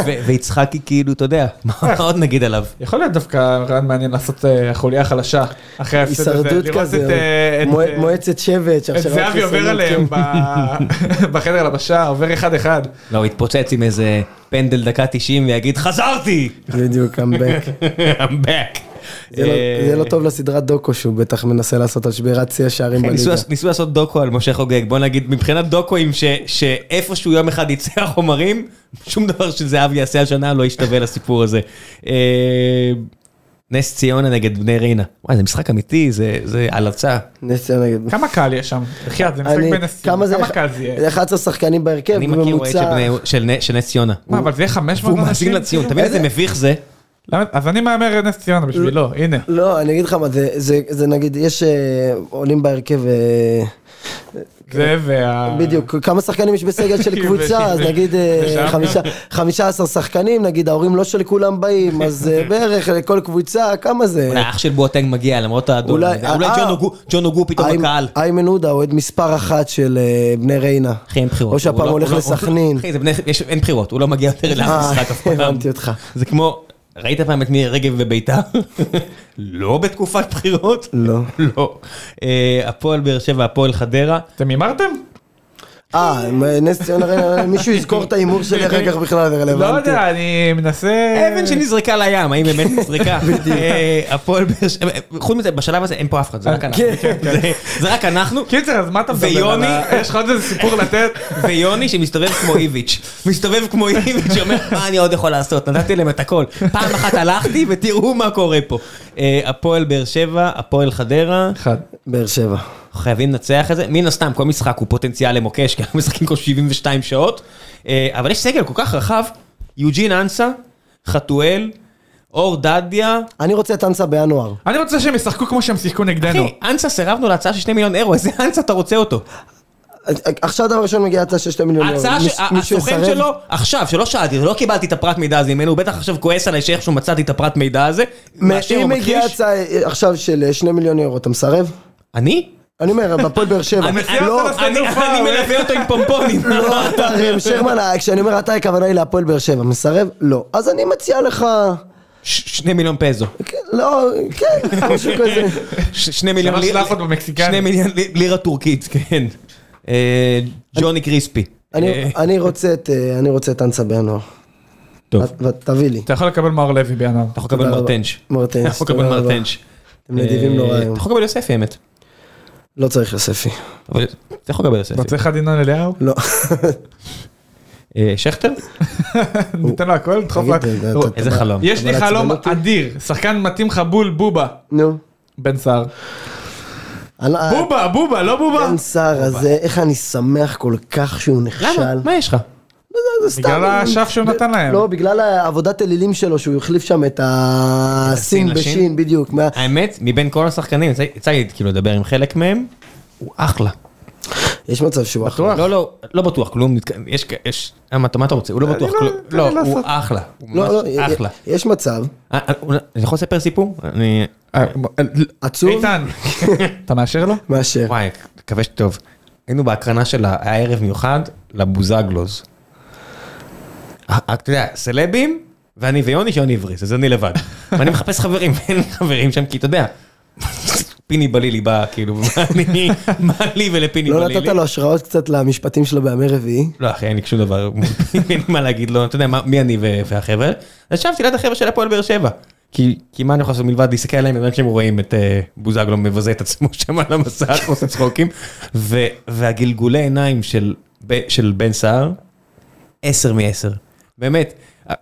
Speaker 3: ו- ויצחקי כאילו, אתה יודע, מה מה עוד נגיד עליו?
Speaker 1: יכול להיות דווקא רעיון מעניין לעשות אה, החוליה החלשה. אחרי ההפסד הזה.
Speaker 2: הישרדות
Speaker 1: לראות
Speaker 2: כזה,
Speaker 1: את, אה, את,
Speaker 2: מוע-
Speaker 1: אה,
Speaker 2: מועצת שבט.
Speaker 1: את
Speaker 2: שרשרת
Speaker 1: זהבי עובר
Speaker 2: חיסונים,
Speaker 1: עליהם
Speaker 2: כן.
Speaker 1: ב- בחדר הלבשה, עובר אחד-אחד.
Speaker 3: לא, הוא יתפוצץ עם איזה פנדל דקה 90 ויגיד, חזרתי!
Speaker 2: בדיוק, קאמבק.
Speaker 3: I'm back.
Speaker 2: זה לא-
Speaker 3: אה,
Speaker 2: זה לא טוב לסדרת דוקו שהוא בטח מנסה לעשות על שבירת שיא השערים
Speaker 3: כן, ניסו
Speaker 2: בליגה.
Speaker 3: לעשות- ניסו לעשות דוקו על משה חוגג, בוא נגיד, מבחינת דוקואים ש- שאיפשהו יום אחד יצא החומרים, שום דבר שזהב יעשה השנה לא ישתווה לסיפור הזה. אה, נס ציונה נגד בני ריינה. וואי, זה משחק אמיתי, זה- זה הלצה.
Speaker 2: נס ציונה נגד...
Speaker 1: כמה קהל יש שם? בחייאת, זה משחק
Speaker 2: אני-
Speaker 1: בין
Speaker 2: כמה
Speaker 1: הסיום.
Speaker 2: זה? אה,
Speaker 1: כמה קהל זה יהיה?
Speaker 2: 11 שחקנים בהרכב,
Speaker 3: אני מכיר אוהד של
Speaker 2: בממוצע.
Speaker 3: בני- של נ- של נס ציונה.
Speaker 1: מה, אבל זה יהיה 500 אנשים?
Speaker 3: והוא מאזין לציון, אתה מבין איזה מביך זה?
Speaker 1: למה- אז אני מהמר נס ציונה בשבילו, הנה.
Speaker 2: לא, אני אגיד לך מה, זה- זה זה נגיד, יש אה, עולים בהרכב... אה,
Speaker 1: זה וה...
Speaker 2: בדיוק, כמה שחקנים יש בסגל של קבוצה, אז נגיד אה,
Speaker 1: ושם?
Speaker 2: חמישה- 15 שחקנים, נגיד ההורים לא של כולם באים, אז אה, בערך לכל קבוצה, כמה זה?
Speaker 3: אולי אח של בואטנג מגיע למרות האדום.
Speaker 2: אה. אולי-
Speaker 3: הזה. אולי
Speaker 2: אה,
Speaker 3: ג'ון הוגו- ג'ון הוגו פתאום
Speaker 2: איימן-
Speaker 3: בקהל.
Speaker 2: איימן עודה, אוהד מספר אחת של אה, בני ריינה.
Speaker 3: אחי, אין בחירות.
Speaker 2: או שהפעם
Speaker 3: הוא לא-
Speaker 2: הולך
Speaker 3: הוא לא-
Speaker 2: לסכנין.
Speaker 3: אחי, זה בני- יש- אין בחירות, הוא לא מגיע יותר לאף
Speaker 2: אה,
Speaker 3: משחק אף פעם.
Speaker 2: הבנתי אותך.
Speaker 3: זה כמו, ראית פעם את מירי רגב וביתר? לא בתקופת בחירות?
Speaker 2: לא.
Speaker 3: לא. אה, הפועל באר שבע, הפועל חדרה.
Speaker 1: אתם הימרתם?
Speaker 2: אה, נס ציונה ריינה, מישהו יזכור את ההימור שלי אחר כך בכלל, זה
Speaker 1: לא
Speaker 2: רלוונטי.
Speaker 1: יודע, אני מנסה...
Speaker 2: אה.
Speaker 3: אבן שנזרקה לים, האם באמת נזרקה? אה, הפועל באר שבע, חוץ מזה, בשלב הזה אין פה אף אחד, זה רק
Speaker 2: אה,
Speaker 3: אנחנו.
Speaker 2: כן,
Speaker 3: זה- זה רק אנחנו.
Speaker 1: קיצר, אז מה אתה מדבר?
Speaker 3: ויוני?
Speaker 1: על ה- יש לך עוד איזה סיפור לתת?
Speaker 3: ויוני שמסתובב כמו איביץ', מסתובב כמו איביץ', שאומר, מה אני עוד יכול לעשות? נתתי להם את הכל. פעם אחת הלכתי ותראו מה קורה פה. אה, הפועל באר שבע, הפועל חדרה,
Speaker 1: אחד.
Speaker 2: באר שבע.
Speaker 3: חייבים לנצח את זה. מן הסתם, כל משחק הוא פוטנציאל למוקש, כי אנחנו משחקים כל 72 שעות. אה, אבל יש סגל כל כך רחב, יוג'ין אנסה, חתואל, אור דדיה.
Speaker 2: אני רוצה את אנסה בינואר.
Speaker 1: אני רוצה שהם ישחקו כמו שהם שיחקו נגדנו.
Speaker 3: אחי, אנסה סירבנו להצעה של 2 מיליון אירו, איזה אנסה אתה רוצה אותו?
Speaker 2: עכשיו דבר ראשון מגיע הצעה של 2 מיליון יורו.
Speaker 3: ההצעה, ש-
Speaker 2: מיש- מישהו
Speaker 3: הסוכן
Speaker 2: יסרב?
Speaker 3: שלו, עכשיו, שלא שאלתי, לא קיבלתי את הפרט מידע הזה ממנו, הוא בטח עכשיו כועס עליי שאיכשהו מצאתי את הפרט מידע הזה. מאשר
Speaker 2: אם
Speaker 3: הוא
Speaker 2: מגיעה
Speaker 3: מכחיש.
Speaker 2: הצעה אה, עכשיו של אה, 2 מיליון יורו, אתה מסרב?
Speaker 3: אני?
Speaker 2: אני אומר, אה, בהפועל באר שבע.
Speaker 3: אני- אני-
Speaker 2: לא,
Speaker 1: לשדה
Speaker 3: אני-
Speaker 1: תעופה,
Speaker 3: אני
Speaker 1: אוי.
Speaker 3: מלווה אותו עם פומפונים.
Speaker 2: לא, אתה ראם שרמן, אה, כשאני אומר אתה, הכוונה היא להפועל באר שבע. מסרב? לא. אז אני מציע לך...
Speaker 3: ש- שני מיליון פזו.
Speaker 2: כן, לא, כן, משהו כזה.
Speaker 3: ש- שני מיליון
Speaker 1: שלוש
Speaker 3: ליר-
Speaker 1: לאפות במקסיקני.
Speaker 3: שני מיליון ל- לירה טורקית, כן. אה, ג'וני קריספי.
Speaker 2: אני-
Speaker 3: אה,
Speaker 2: אני רוצה את, אה, אני רוצה את אנסה בינואר.
Speaker 3: טוב. אה,
Speaker 2: ת- ת- תביא לי.
Speaker 1: אתה יכול לקבל מאור לוי בינואר.
Speaker 3: אתה יכול לקבל
Speaker 2: תודה רבה.
Speaker 3: מרטנץ'.
Speaker 2: מרטנץ',
Speaker 3: אתה יכול לקבל
Speaker 2: תודה רבה.
Speaker 3: מרטנץ'.
Speaker 2: אתם נדיבים
Speaker 3: אה,
Speaker 2: נורא
Speaker 3: אתה
Speaker 2: היום.
Speaker 3: יכול לקבל יוספי האמת.
Speaker 2: לא צריך יוספי.
Speaker 3: אבל אתה יכול לקבל יוספי.
Speaker 1: רוצה לך דינן אליהו?
Speaker 2: לא.
Speaker 3: אה, שכטר?
Speaker 1: ניתן לו הכל? נדחוף לו.
Speaker 2: תגיד, אתה- אתה-
Speaker 3: איזה חלום.
Speaker 1: יש לי
Speaker 2: אבל
Speaker 1: חלום
Speaker 2: עצבן אותי.
Speaker 1: אדיר. שחקן מתאים לך בול בובה.
Speaker 2: נו.
Speaker 1: בן סער.
Speaker 2: אני-
Speaker 1: בובה, בובה, לא בובה.
Speaker 2: בן סער הזה, איך אני שמח כל כך שהוא נכשל.
Speaker 3: למה? מה יש לך?
Speaker 2: זה סתם-
Speaker 1: בגלל האשף שהוא
Speaker 2: ב-
Speaker 1: נתן להם.
Speaker 2: לא, בגלל העבודת אלילים שלו, שהוא החליף שם את
Speaker 3: הסין
Speaker 2: הסין
Speaker 3: לשין?
Speaker 2: בשין, בדיוק. מה-
Speaker 3: האמת, מבין כל השחקנים, יצא- יצא לי כאילו לדבר עם חלק מהם, הוא אחלה.
Speaker 2: יש מצב שהוא
Speaker 1: נכון.
Speaker 2: אחלה.
Speaker 3: לא, לא, לא בטוח כלום, נתק- יש, כ- יש, למה, אתה- מה אתה רוצה? הוא לא בטוח
Speaker 1: לא-
Speaker 3: כלום.
Speaker 1: תן לי
Speaker 3: לא, הוא
Speaker 1: לעשות.
Speaker 3: אחלה. הוא
Speaker 2: לא, לא,
Speaker 3: ממש אחלה.
Speaker 2: יש מצב.
Speaker 3: אה, אה, אולי- אני יכול לספר סיפור? אני...
Speaker 1: אה,
Speaker 2: עצוב?
Speaker 1: איתן, אתה מאשר לו?
Speaker 2: מאשר.
Speaker 3: וואי, מקווה שטוב. היינו בהקרנה של ה- היה ערב מיוחד לבוזגלוז. אה, אה, אתה יודע, סלבים, ואני ויוני שיוני הבריס, אז אני לבד. ואני מחפש חברים, ואין לי חברים שם, כי אתה יודע, פיני בלילי בא, כאילו, מה אני- מה לי ולפיני
Speaker 2: לא
Speaker 3: בלילי?
Speaker 2: נתת לו השראות קצת למשפטים שלו בימי רביעי?
Speaker 3: לא אחי, אין לי שום דבר, אין לי מה להגיד לו, אתה יודע מה- מי אני ו- והחבר'ה. אז ישבתי ליד החבר'ה של הפועל באר שבע. כי, כי מה אני יכול לעשות מלבד להסתכל עליהם, באמת שהם רואים את אה, בוזגלו מבזה את עצמו שם על המסך, עושה צחוקים. ו, והגלגולי עיניים של, ב- של בן אה, סער, עשר מעשר. באמת,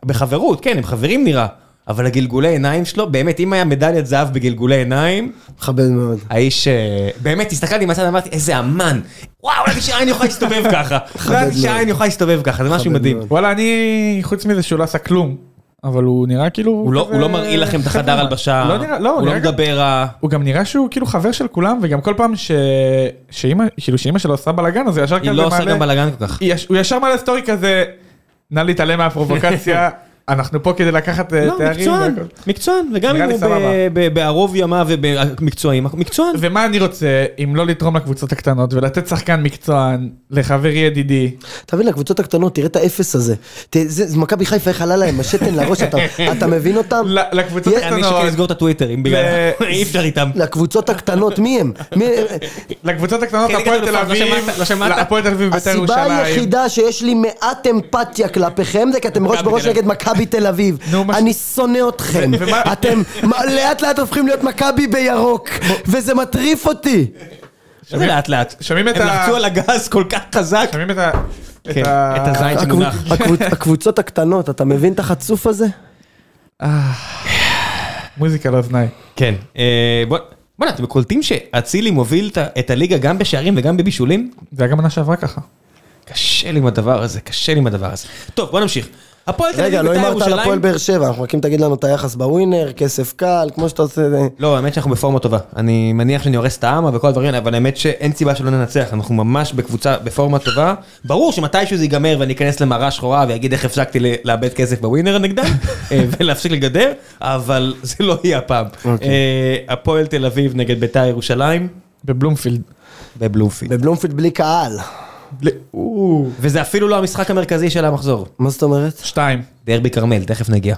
Speaker 3: בחברות, כן, הם חברים נראה. אבל הגלגולי עיניים שלו, באמת, אם היה מדליית זהב בגלגולי עיניים,
Speaker 2: מכבד מאוד.
Speaker 3: האיש, אה, באמת, הסתכלתי מהצד, אמרתי, איזה אמן. וואו, לא ידעתי שעין יוכל להסתובב ככה. לא
Speaker 2: מכבד
Speaker 3: ידעתי
Speaker 2: מאוד.
Speaker 3: שעין יוכל להסתובב ככה, זה משהו
Speaker 2: מכבד
Speaker 3: מדהים.
Speaker 2: מאוד.
Speaker 1: וואלה, אני, חוץ מזה שהוא לא עשה כלום, אבל הוא נראה כאילו...
Speaker 3: הוא לא-
Speaker 1: כזה-
Speaker 3: הוא לא מראה לכם את החדר
Speaker 1: חבר'ה,
Speaker 3: הלבשה,
Speaker 1: לא נראה, לא, הוא
Speaker 3: הוא לא
Speaker 1: נראה גם-
Speaker 3: מדבר רע.
Speaker 1: הוא גם נראה שהוא כאילו חבר של כולם, וגם כל פעם ש... שאימא, כאילו שאימא שלו עושה בלאגן, אז הוא ישר כזה
Speaker 3: היא
Speaker 1: מעלה...
Speaker 3: לא עושה גם בלאגן כל כך.
Speaker 1: היא יש- הוא ישר מעלה סטורי כזה, נא להתעלם מהפרובוקציה, אנחנו פה כדי לקחת אה,
Speaker 3: לא,
Speaker 1: תארים.
Speaker 3: מקצוען,
Speaker 1: והכל."
Speaker 3: מקצוען, וגם
Speaker 1: נראה
Speaker 3: אם
Speaker 1: לי
Speaker 3: הוא
Speaker 1: סבבה.
Speaker 3: ב- ב- בערוב ימיו ובמקצועי, מקצוען.
Speaker 1: ומה אני רוצה, אם לא לתרום לקבוצות הקטנות ולתת שחקן מקצוען לחברי ידידי.
Speaker 2: תבין לקבוצות הקטנות, תראה את האפס הזה. ת- זה זה מכבי חיפה, איך עלה להם השתן לראש, אתה- אתה מבין אותם?
Speaker 1: ל- לקבוצות
Speaker 2: יש-
Speaker 3: אני שקל
Speaker 1: הקטנות,
Speaker 3: לסגור את הטוויטר, אם בגלל...
Speaker 1: ו-
Speaker 3: אי אפשר איתם.
Speaker 2: לקבוצות הקטנות, מי הם? מי-
Speaker 1: לקבוצות הקטנות,
Speaker 3: כן,
Speaker 1: הפועל
Speaker 3: נגד
Speaker 1: תל
Speaker 3: אלופות, לא
Speaker 1: אביב,
Speaker 3: שמעת, לא שמעת.
Speaker 1: הפועל תל אביב ובית"ר
Speaker 2: הסיבה
Speaker 1: ירושלים.
Speaker 2: היחידה שיש לי מעט אמפתיה כלפיכם זה כי אתם ראש
Speaker 3: מכבי
Speaker 2: בראש
Speaker 3: תל אביב.
Speaker 2: נגד מכבי תל אביב.
Speaker 1: נו, מה ש-
Speaker 2: אני שונא אתכם.
Speaker 1: ומה-
Speaker 2: אתם מה- לאט לאט הופכים להיות מכבי בירוק, וזה מטריף אותי.
Speaker 3: זה לאט לאט.
Speaker 1: שומעים את
Speaker 3: הם
Speaker 1: ה-
Speaker 3: לחצו על הגז כל כך חזק.
Speaker 1: שומעים את ה...
Speaker 3: כן, את הזין שמונח.
Speaker 2: הקבוצ- הקבוצ- הקבוצות הקטנות, אתה מבין את החצוף הזה?
Speaker 1: מוזיקה לאוזניים.
Speaker 3: כן. אה, בוא- בוא'נה, אתם קולטים שאצילי מוביל את ה- את הליגה גם בשערים וגם בבישולים?
Speaker 1: זה היה גם עונה שעברה ככה.
Speaker 3: קשה לי עם הדבר הזה, קשה לי עם הדבר הזה. טוב, בוא נמשיך. הפועל תל
Speaker 2: רגע,
Speaker 3: אביב
Speaker 2: לא
Speaker 3: בית"ר
Speaker 2: אמרת על הפועל
Speaker 3: ירושלים...
Speaker 2: באר שבע, אנחנו מחכים תגיד לנו את היחס בווינר, כסף קל, כמו שאתה עושה... אה, זה.
Speaker 3: לא, האמת שאנחנו בפורמה טובה. אני מניח שאני הורס את העם וכל הדברים האלה, אבל האמת שאין סיבה שלא ננצח. אנחנו ממש בקבוצה, בפורמה טובה. ברור שמתישהו זה ייגמר ואני אכנס למראה שחורה ואגיד איך הפסקתי ל- לאבד כסף בווינר נגדם, אה, ולהפסיק לגדר, אבל זה לא יהיה הפעם.
Speaker 2: אוקיי.
Speaker 3: אה, הפועל תל אביב נגד בית"ר ירושלים
Speaker 1: בבלומפילד.
Speaker 3: בבלומפילד.
Speaker 2: בבלומפילד בלי קהל.
Speaker 3: וזה אפילו לא המשחק המרכזי של המחזור.
Speaker 2: מה זאת אומרת?
Speaker 1: שתיים.
Speaker 3: דרבי כרמל, תכף נגיע.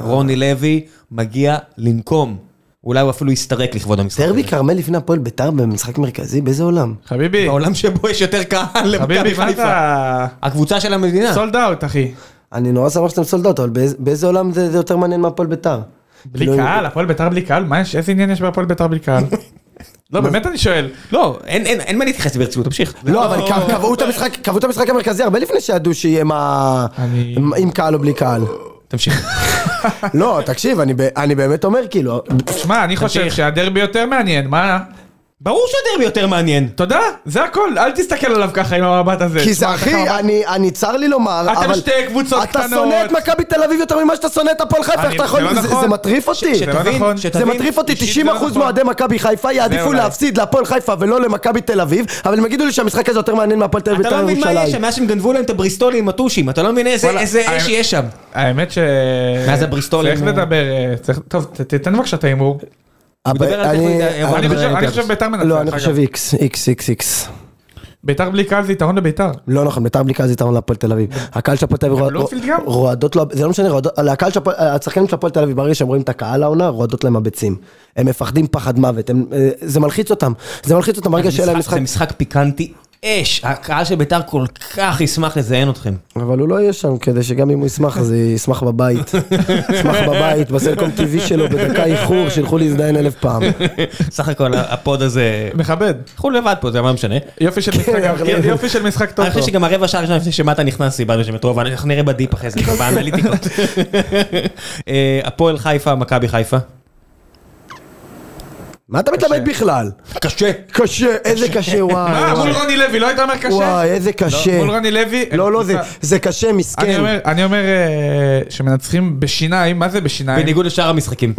Speaker 3: רוני לוי מגיע לנקום. אולי הוא אפילו יסתרק לכבוד המשחק.
Speaker 2: דרבי
Speaker 3: הזה.
Speaker 2: כרמל לפני הפועל ביתר במשחק מרכזי? באיזה עולם?
Speaker 1: חביבי,
Speaker 3: בעולם שבו יש יותר
Speaker 1: חביבי,
Speaker 3: קהל למכבי
Speaker 1: מה
Speaker 3: חיפה.
Speaker 1: אתה?
Speaker 3: הקבוצה של המדינה.
Speaker 1: סולד אאוט, אחי.
Speaker 2: אני נורא שמח שאתם סולדות, אבל באיזה- באיזה עולם זה זה יותר מעניין מהפועל ביתר?
Speaker 1: בלי
Speaker 2: לא-
Speaker 1: קהל? הפועל בית"ר בלי קהל? מה יש? איזה עניין יש בהפועל בית"ר בלי קהל? לא, באמת אני שואל.
Speaker 3: לא, אין- אין אין מה להתייחס ברצינות, תמשיך.
Speaker 2: לא, אבל קב- קבעו את המשחק- קבעו את המשחק המרכזי הרבה לפני שידעו שיהיה מה...
Speaker 1: אני-
Speaker 2: עם- עם קהל או בלי קהל.
Speaker 3: תמשיך.
Speaker 2: לא, תקשיב, אני ב- אני באמת אומר, כאילו...
Speaker 1: שמע, אני חושב
Speaker 3: תמשיך.
Speaker 1: שהדרבי יותר מעניין, מה?
Speaker 3: ברור שהדרבי יותר מעניין.
Speaker 1: תודה, זה הכל, אל תסתכל עליו ככה עם המבט הזה.
Speaker 2: כי זה
Speaker 1: שמע, אתה
Speaker 2: אחי,
Speaker 1: כמה-
Speaker 2: אני- אני צר לי לומר,
Speaker 1: אתם
Speaker 2: אבל...
Speaker 1: שתי קבוצות
Speaker 2: אתה
Speaker 1: קטנות.
Speaker 2: שונא את מכבי תל אביב יותר ממה שאתה שונא את הפועל חיפה,
Speaker 1: אני-
Speaker 2: איך אתה
Speaker 1: זה
Speaker 2: יכול...
Speaker 1: לא
Speaker 2: זה-
Speaker 1: נכון.
Speaker 2: זה מטריף אותי.
Speaker 1: זה לא
Speaker 3: שתבין,
Speaker 1: נכון.
Speaker 2: אה, זה
Speaker 3: שתבין.
Speaker 2: מטריף אותי,
Speaker 1: אישית זה לא
Speaker 2: 90%
Speaker 1: נכון.
Speaker 2: מאוהדי מכבי חיפה יעדיפו
Speaker 1: אולי.
Speaker 2: להפסיד להפועל חיפה ולא למכבי תל אביב, אבל הם יגידו לי שהמשחק הזה יותר מעניין מהפועל תל אביב
Speaker 3: אתה לא
Speaker 2: בית"ר
Speaker 3: מבין מה יש שם,
Speaker 2: ירושלים.
Speaker 3: מאז שהם גנבו להם את הבריסטולים עם הטושים, אתה לא מבין איזה
Speaker 1: וואלה,
Speaker 3: איזה אש
Speaker 1: האמת-
Speaker 3: יש שם.
Speaker 1: האמת ש...
Speaker 3: מאז הבריסטולים
Speaker 1: צריך
Speaker 3: הוא-
Speaker 1: לדבר, אה, צריך... טוב, ת- תתן בבקשה את ההימור.
Speaker 2: אבל
Speaker 3: מדבר על
Speaker 2: אה, אני-
Speaker 3: טכנולוגיה,
Speaker 2: אבל-
Speaker 3: אבל-
Speaker 1: אני
Speaker 3: נדבר
Speaker 1: חושב- אני
Speaker 3: על אולימפיאקוס.
Speaker 1: חושב בית"ר מנצח.
Speaker 2: לא, אני
Speaker 1: אגב.
Speaker 2: חושב איקס, איקס, איקס, איקס.
Speaker 1: בית"ר בלי קהל זה יתרון לבית"ר.
Speaker 2: לא נכון, ביתר בלי קהל זה יתרון להפועל תל אביב. הקהל של הפועל תל אביב רוע-
Speaker 1: בלומפילד גם?
Speaker 2: רועדות לו, זה לא משנה, רועדות- לקהל של הפועל- השחקנים של הפועל תל אביב, ברגע שהם רואים את הקהל העונה, רועדות להם הביצים. הם מפחדים פחד מוות, הם- אה, זה מלחיץ אותם. זה מלחיץ אותם ברגע שיהיה להם
Speaker 3: משחק-
Speaker 2: משחק.
Speaker 3: זה משחק פיקנטי אש. הקהל של ביתר כל כך ישמח לזיין אתכם.
Speaker 2: אבל הוא לא יהיה שם, כדי שגם אם הוא ישמח, אז ישמח בבית. ישמח בבית, בסלקום TV שלו, בדקה איחור, שילכו להזדיין אלף פעם.
Speaker 3: סך הכל הפוד הזה...
Speaker 1: מכבד.
Speaker 3: אנחנו לבד פה, זה מה משנה.
Speaker 1: יופי
Speaker 2: כן,
Speaker 1: של משחק,
Speaker 2: אחי.
Speaker 1: יופי של משחק טוב.
Speaker 3: אני חושב שגם הרבע שעה הראשונה לפני שמטה נכנס, איבדנו שם את רוב, אנחנו נראה בדיפ אחרי זה, באנליטיקות. אה, הפועל חיפה, מכבי חיפה.
Speaker 2: מה אתה מתלמד בכלל?
Speaker 3: קשה.
Speaker 2: קשה, איזה קשה,
Speaker 1: מה,
Speaker 2: וואי.
Speaker 1: מול
Speaker 2: וואי.
Speaker 1: רוני לוי, לא היית אומר קשה?
Speaker 2: אה,
Speaker 1: לא,
Speaker 2: וואי, איזה קשה.
Speaker 1: מול רוני לוי?
Speaker 2: לא,
Speaker 1: הם
Speaker 2: לא, זה- כן.
Speaker 1: קבוצה-
Speaker 2: זה קשה,
Speaker 1: אני
Speaker 2: מסכן.
Speaker 1: אומר, אני אומר אה, שמנצחים בשיניים, מה זה בשיניים?
Speaker 3: בניגוד לשאר המשחקים.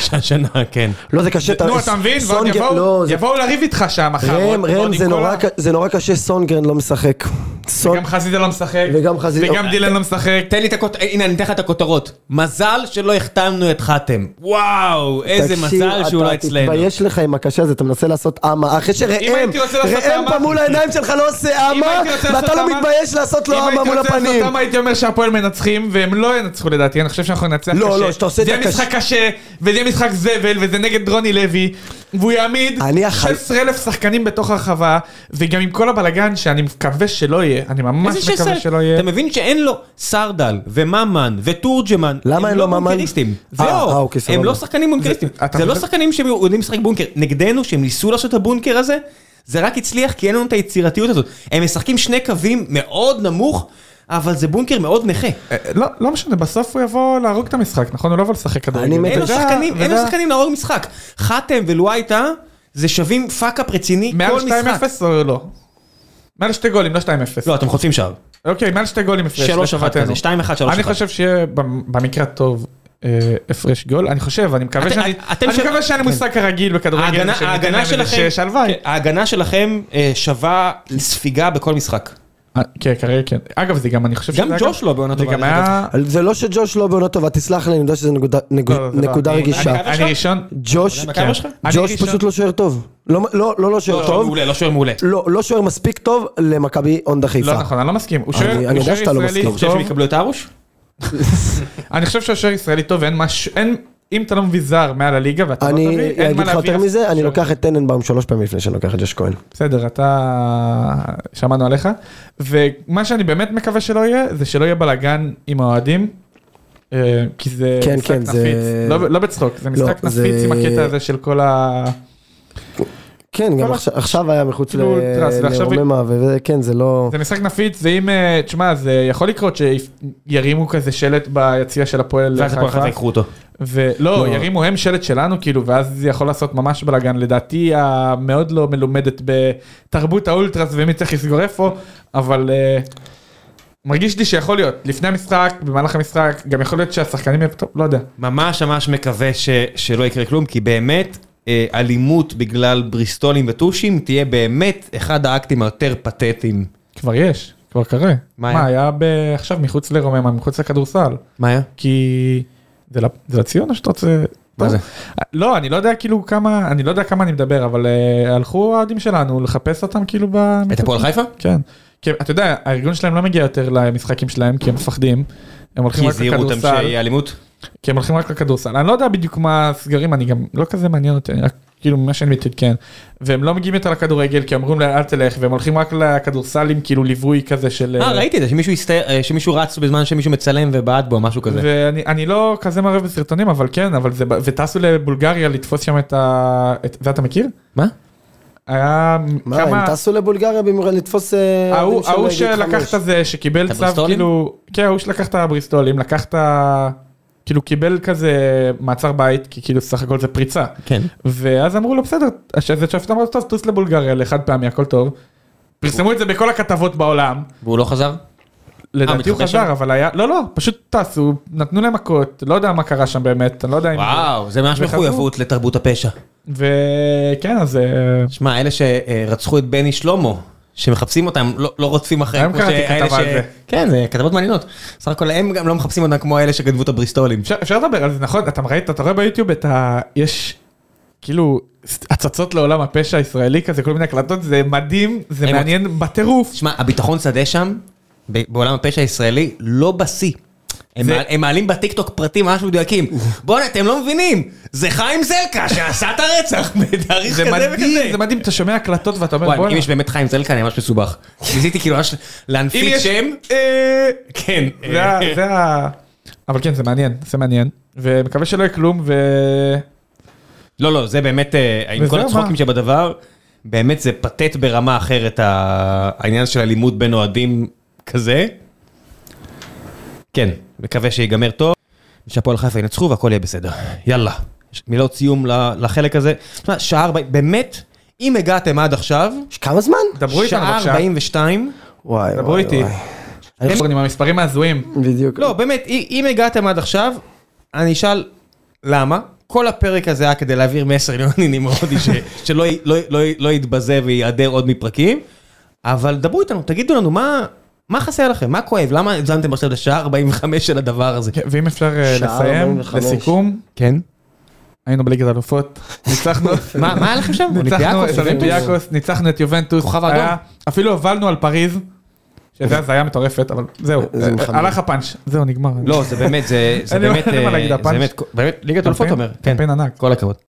Speaker 3: שהשנה, כן.
Speaker 2: לא, זה קשה.
Speaker 1: נו, אתה מבין? ואז
Speaker 2: סונגרן-
Speaker 1: יבואו-
Speaker 2: לא, זה-
Speaker 1: יבואו לריב איתך שם מחר.
Speaker 2: ראם,
Speaker 1: עוד- עוד
Speaker 2: ראם,
Speaker 1: עם
Speaker 2: זה
Speaker 1: כל
Speaker 2: נורא
Speaker 1: ה-
Speaker 2: ק- זה נורא קשה, סונגרן לא משחק. סונ-
Speaker 1: גם חזיזה לא משחק.
Speaker 2: וגם חזיזה- אה,
Speaker 1: וגם דילן לא משחק.
Speaker 3: תן לי את הכותרות, הנה אני אתן לך את הכותרות. מזל שלא החתמנו את חתם. וואו, איזה
Speaker 2: תקשיב,
Speaker 3: מזל שהוא לא אצלנו.
Speaker 2: אתה תתבייש לך עם הקשה הזה, אתה מנסה לעשות אמה. אחרי
Speaker 1: אם
Speaker 2: שראם,
Speaker 1: הייתי רוצה לעשות
Speaker 2: ראם
Speaker 1: אמה-
Speaker 2: פה מול העיניים שלך לא עושה
Speaker 1: אם
Speaker 2: אמה,
Speaker 1: הייתי רוצה לעשות
Speaker 2: ואתה לא
Speaker 1: אמה-
Speaker 2: מתבייש לעשות
Speaker 1: אם
Speaker 2: לו אמה
Speaker 1: הייתי
Speaker 2: מול
Speaker 1: רוצה לעשות
Speaker 2: הפנים.
Speaker 1: אותם, הייתי אומר שהפועל מנצחים, והם לא ינצחו לדעתי, אני חושב שאנחנו ננצח קשה.
Speaker 2: לא, לא, שאתה עושה את
Speaker 1: זה
Speaker 2: הקשה.
Speaker 1: יהיה משחק קשה, וזה יהיה משחק זבל, וזה נגד רוני לוי, והוא יעמיד
Speaker 2: אני החל-
Speaker 1: 16,000 שחקנים בתוך הרחבה, וגם עם כל הבלגן שאני מקווה שלא יהיה, אני ממש
Speaker 3: איזה
Speaker 1: מקווה
Speaker 3: שסל.
Speaker 1: שלא יהיה.
Speaker 3: אתה מבין שאין לו סרדל וממן וטורג'מן.
Speaker 2: למה אין לו ממן?
Speaker 3: הם לא בונקריסטים.
Speaker 2: אה, אה,
Speaker 3: זהו,
Speaker 2: אוקיי, סבבה.
Speaker 3: הם לא שחקנים בונקריסטים.
Speaker 1: אתה
Speaker 3: זה לא
Speaker 1: חושב-
Speaker 3: שחקנים שהם יודעים לשחק בונקר. נגדנו, שהם ניסו לעשות את הבונקר הזה, זה רק הצליח כי אין לנו את היצירתיות הזאת. הם משחקים שני קווים מאוד נמוך. אבל זה בונקר מאוד נכה.
Speaker 1: אה, לא, לא משנה, בסוף הוא יבוא להרוג את המשחק, נכון? הוא לא יבוא לשחק כדורגל.
Speaker 2: אני מת-
Speaker 3: אין לו
Speaker 1: וזה-
Speaker 3: שחקנים, אין לו
Speaker 1: וזה-
Speaker 3: שחקנים להרוג משחק. חתם ולואייטה, זה שווים פאק-אפ רציני
Speaker 1: מעל
Speaker 3: כל משחק.
Speaker 1: 2-0 או לא? מעל שתי גולים, לא 2-0.
Speaker 3: לא, אתם חוטפים שער.
Speaker 1: אוקיי, מעל שתי גולים הפרש.
Speaker 3: 3-1
Speaker 1: לפחדנו.
Speaker 3: כזה, 2-1, 3-1.
Speaker 1: אני חושב שיהיה במ- במקרה הטוב אה, הפרש גול, אני חושב, אני מקווה
Speaker 3: אתם-
Speaker 1: שאני...
Speaker 3: אתם
Speaker 1: אני
Speaker 3: של- כן.
Speaker 1: מקווה שהיה לי מושג כרגיל בכדורגל,
Speaker 3: ההגנה-
Speaker 1: שניתן
Speaker 3: ההגנה
Speaker 1: להם איזה
Speaker 3: שלכם,
Speaker 1: שש, הלוואי.
Speaker 3: כן, ההגנה שלכם אה, שווה ספיגה בכל משחק.
Speaker 1: אה, כן, כרגע כן. אגב, זה גם, אני חושב
Speaker 3: גם
Speaker 1: שזה היה
Speaker 3: ג'וש לא בעונה
Speaker 1: זה
Speaker 3: טובה,
Speaker 1: גם
Speaker 3: אני
Speaker 1: היה...
Speaker 2: אבל זה לא שג'וש לא בעונה טובה, תסלח לי, אני יודע שזו נקודה- נקו-
Speaker 1: לא, לא, זה לא.
Speaker 2: נקודה
Speaker 1: אני-
Speaker 2: רגישה.
Speaker 1: אני- אני ראשון.
Speaker 2: ג'וש,
Speaker 3: אתה יודע מה הקו שלך?
Speaker 1: אני
Speaker 2: ג'וש
Speaker 1: ראשון.
Speaker 2: פשוט לא שוער טוב. לא, לא, לא, לא שוער
Speaker 3: לא, שוער
Speaker 2: טוב.
Speaker 3: מעולה, לא שוער מעולה.
Speaker 2: לא, לא שוער מספיק טוב למכבי הונדה חיפה.
Speaker 1: לא נכון, אני לא מסכים. הוא
Speaker 2: אני-
Speaker 1: שוער
Speaker 2: אני
Speaker 1: הוא
Speaker 2: יודע
Speaker 1: שוער
Speaker 2: שאתה לא
Speaker 1: ישראלי
Speaker 2: מסכים.
Speaker 3: אתה חושב
Speaker 1: טוב.
Speaker 3: שהם יקבלו את ארוש?
Speaker 1: אני חושב שהשוער ישראלי טוב, ואין משהו... אין... אם אתה לא מביא זר מעל הליגה ואתה לא
Speaker 2: אני
Speaker 1: תביא, אין
Speaker 2: אגיד
Speaker 1: מה
Speaker 2: לך
Speaker 1: להביא.
Speaker 2: יותר
Speaker 1: אף
Speaker 2: מזה, אני לא
Speaker 1: שוער.
Speaker 2: לוקח את טננבאום שלוש פעמים לפני שאני לוקח את ג'וש כהן.
Speaker 1: בסדר, אתה... שמענו עליך. ומה שאני באמת מקווה שלא יהיה, זה שלא יהיה בלאגן עם האוהדים. אה, כי זה
Speaker 2: כן,
Speaker 1: משחק
Speaker 2: כן,
Speaker 1: נפיץ.
Speaker 2: זה-
Speaker 1: לא, לא בצחוק, זה
Speaker 2: לא,
Speaker 1: משחק
Speaker 2: זה-
Speaker 1: נפיץ עם הקטע הזה של כל ה...
Speaker 2: כן, גם
Speaker 1: כל
Speaker 2: עכשיו- עכשיו היה מחוץ ל-
Speaker 1: כאילו, טרס, ועכשיו-
Speaker 2: לרוממה, וכן, זה לא...
Speaker 1: זה משחק נפיץ, זה אם... אה, תשמע, זה יכול לקרות שירימו כזה שלט ביציע של הפועל
Speaker 3: ואז הפועל חיפה יקחו אותו.
Speaker 1: ולא,
Speaker 2: לא.
Speaker 1: ירימו הם שלט שלנו, כאילו, ואז זה יכול לעשות ממש בלאגן. לדעתי, המאוד לא מלומדת בתרבות האולטרס ומי צריך לסגור איפה, אבל אה, מרגיש לי שיכול להיות, לפני המשחק, במהלך המשחק, גם יכול להיות שהשחקנים, יהיו- טוב, לא יודע.
Speaker 3: ממש ממש מקווה ש, שלא יקרה כלום, כי באמת אה, אלימות בגלל בריסטולים וטושים תהיה באמת אחד האקטים היותר פתטיים.
Speaker 1: כבר יש, כבר קרה.
Speaker 3: מה
Speaker 1: מה,
Speaker 3: היה?
Speaker 1: היה ב- עכשיו מחוץ לרוממה, מחוץ לכדורסל.
Speaker 3: מה היה?
Speaker 1: כי זה לא- זה לציון או שאתה רוצה...
Speaker 3: מה זה?
Speaker 1: לא, אני לא יודע כאילו כמה, אני לא יודע כמה אני מדבר, אבל אה, הלכו האוהדים שלנו לחפש אותם כאילו ב...
Speaker 3: את הפועל חיפה?
Speaker 1: כן. כי אתה יודע, הארגון שלהם לא מגיע יותר למשחקים שלהם כי הם מפחדים. הם הולכים
Speaker 3: כי
Speaker 1: רק
Speaker 3: הזהירו אותם
Speaker 1: לכדורסל.
Speaker 3: שיהיה אלימות?
Speaker 1: כי הם הולכים רק לכדורסל. אני לא יודע בדיוק מה הסגרים, אני גם לא כזה מעניין אותי, אני רק כאילו ממה שאני מתעדכן. והם לא מגיעים יותר לכדורגל כי אומרים להם אל תלך, והם הולכים רק לכדורסל עם כאילו ליווי כזה של...
Speaker 3: אה, ראיתי את זה, שמישהו, הסתער, אה, שמישהו רץ בזמן שמישהו מצלם ובעט בו, משהו כזה.
Speaker 1: ואני אני לא כזה מערב בסרטונים, אבל כן, אבל זה... ב- וטסו לבולגריה לתפוס שם את ה... את- זה אתה מכיר?
Speaker 3: מה?
Speaker 1: היה
Speaker 2: מה,
Speaker 1: כמה...
Speaker 2: הם טסו לבולגריה במקום לתפוס... אה,
Speaker 1: ההוא
Speaker 2: אוהדים של
Speaker 1: ההוא
Speaker 2: גיל חמש.
Speaker 1: שלקח את זה, שקיבל
Speaker 3: את
Speaker 1: צו,
Speaker 3: הבריסטולים?
Speaker 1: כאילו, כן, ההוא שלקח את הבריסטולים, לקח את ה... כאילו קיבל כזה מעצר בית, כי כאילו סך הכל זה פריצה.
Speaker 3: כן.
Speaker 1: ואז אמרו לו, בסדר, השופט שופט אמר לו, טוב, טוס לבולגריה לחד פעמי, הכל טוב. פרסמו את זה בכל הכתבות בעולם,
Speaker 3: והוא לא חזר?
Speaker 1: לדעתי הוא
Speaker 3: מתחבא שם?
Speaker 1: חזר, אבל היה, לא, לא, פשוט טסו, נתנו להם מכות, לא יודע מה קרה שם באמת, אני לא יודע אם...
Speaker 3: וואו, זה ממש
Speaker 1: וחזרו.
Speaker 3: מחויבות לתרבות הפשע.
Speaker 1: וכן, אז... אה,
Speaker 3: שמע, אלה שרצחו את בני שלמה, שמחפשים אותם, לא, לא רודפים אחריהם.
Speaker 1: היום
Speaker 3: כמו
Speaker 1: קראתי
Speaker 3: שאלה
Speaker 1: כתבה על זה.
Speaker 3: כן, זה כתבות מעניינות. סך הכל הם גם לא מחפשים אותם כמו אלה שגנבו את הבריסטולים.
Speaker 1: אפשר, אפשר לדבר על זה, נכון? אתה ראית, אתה רואה ביוטיוב את ה... יש כאילו הצצות לעולם הפשע הישראלי כזה, כל מיני הקלטות, זה מדהים, זה
Speaker 3: הם
Speaker 1: מעניין בטירוף.
Speaker 3: תשמע, הביטחון שדה שם, ב- בעולם הפשע הישראלי, לא בשיא. הם,
Speaker 1: זה-
Speaker 3: מעל, הם מעלים בטיקטוק פרטים ממש מדויקים. בואנה, אתם לא מבינים, זה חיים זלקה שעשה את הרצח בתאריך
Speaker 1: זה
Speaker 3: כזה
Speaker 1: מדהים,
Speaker 3: וכזה.
Speaker 1: זה מדהים, אתה שומע הקלטות ואתה אומר
Speaker 3: וואי, אם
Speaker 1: בואנה.
Speaker 3: יש באמת חיים זלקה, אני ממש מסובך. ניסיתי כאילו ממש
Speaker 1: אם
Speaker 3: להנפיק
Speaker 1: יש-
Speaker 3: שם.
Speaker 1: אה,
Speaker 3: כן.
Speaker 1: זה ה- זה ה... אבל כן, זה מעניין, זה מעניין, ומקווה שלא יהיה כלום, ו...
Speaker 3: לא, לא, זה באמת, אה, עם
Speaker 1: וזהו,
Speaker 3: כל
Speaker 1: מה?
Speaker 3: הצחוקים שבדבר, באמת זה פתט ברמה אחרת, ה- העניין של אלימות בין אוהדים כזה. כן, מקווה שיגמר טוב, ושהפועל חיפה ינצחו והכל יהיה בסדר. יאללה. יש מילות סיום ל- לחלק הזה. תשמע, שעה 40, באמת, אם הגעתם עד עכשיו,
Speaker 2: כמה זמן?
Speaker 1: דברו איתנו
Speaker 3: שעה
Speaker 1: בבקשה,
Speaker 3: 42,
Speaker 2: וואי,
Speaker 1: דברו
Speaker 2: וואי,
Speaker 1: איתי.
Speaker 2: וואי.
Speaker 1: אני חושב עם המספרים ההזויים.
Speaker 2: בדיוק.
Speaker 3: לא, באמת, אי- אם הגעתם עד עכשיו, אני אשאל למה. כל הפרק הזה היה כדי להעביר מסר ליוני נמרודי ש- שלא י- לא י- לא י- לא יתבזה וייעדר עוד מפרקים. אבל דברו איתנו, תגידו לנו מה... מה חסר לכם? מה כואב? למה הזמנתם עכשיו לשעה 45 של הדבר הזה?
Speaker 1: כן, ואם אפשר אה,
Speaker 2: שעה
Speaker 1: לסיים,
Speaker 2: 45.
Speaker 1: לסיכום,
Speaker 3: כן.
Speaker 1: היינו בליגת אלופות, ניצחנו.
Speaker 3: מה מה היה לכם שם?
Speaker 1: ניצחנו
Speaker 3: אולימפיאקוס?
Speaker 1: את אולימפיאקוס, ניצחנו את יובנטוס,
Speaker 3: כוכב
Speaker 1: היה-
Speaker 3: אדום.
Speaker 1: אפילו הובלנו על פריז, שזה הזיה מטורפת, אבל זהו,
Speaker 2: זה
Speaker 1: אה,
Speaker 2: מחמם.
Speaker 1: הלך הפאנץ', זהו נגמר. אוקיי?
Speaker 3: לא, זה באמת, זה זה
Speaker 1: אין לי-
Speaker 3: באמת,
Speaker 1: אין לי מה
Speaker 3: אה,
Speaker 1: להגיד,
Speaker 3: זה
Speaker 1: הפאנץ'. אוקיי.
Speaker 3: באמת, באמת, ליגת אלופות
Speaker 1: קמפיין-
Speaker 3: אומר, כן,
Speaker 1: קמפיין ענק.
Speaker 3: כל הכבוד.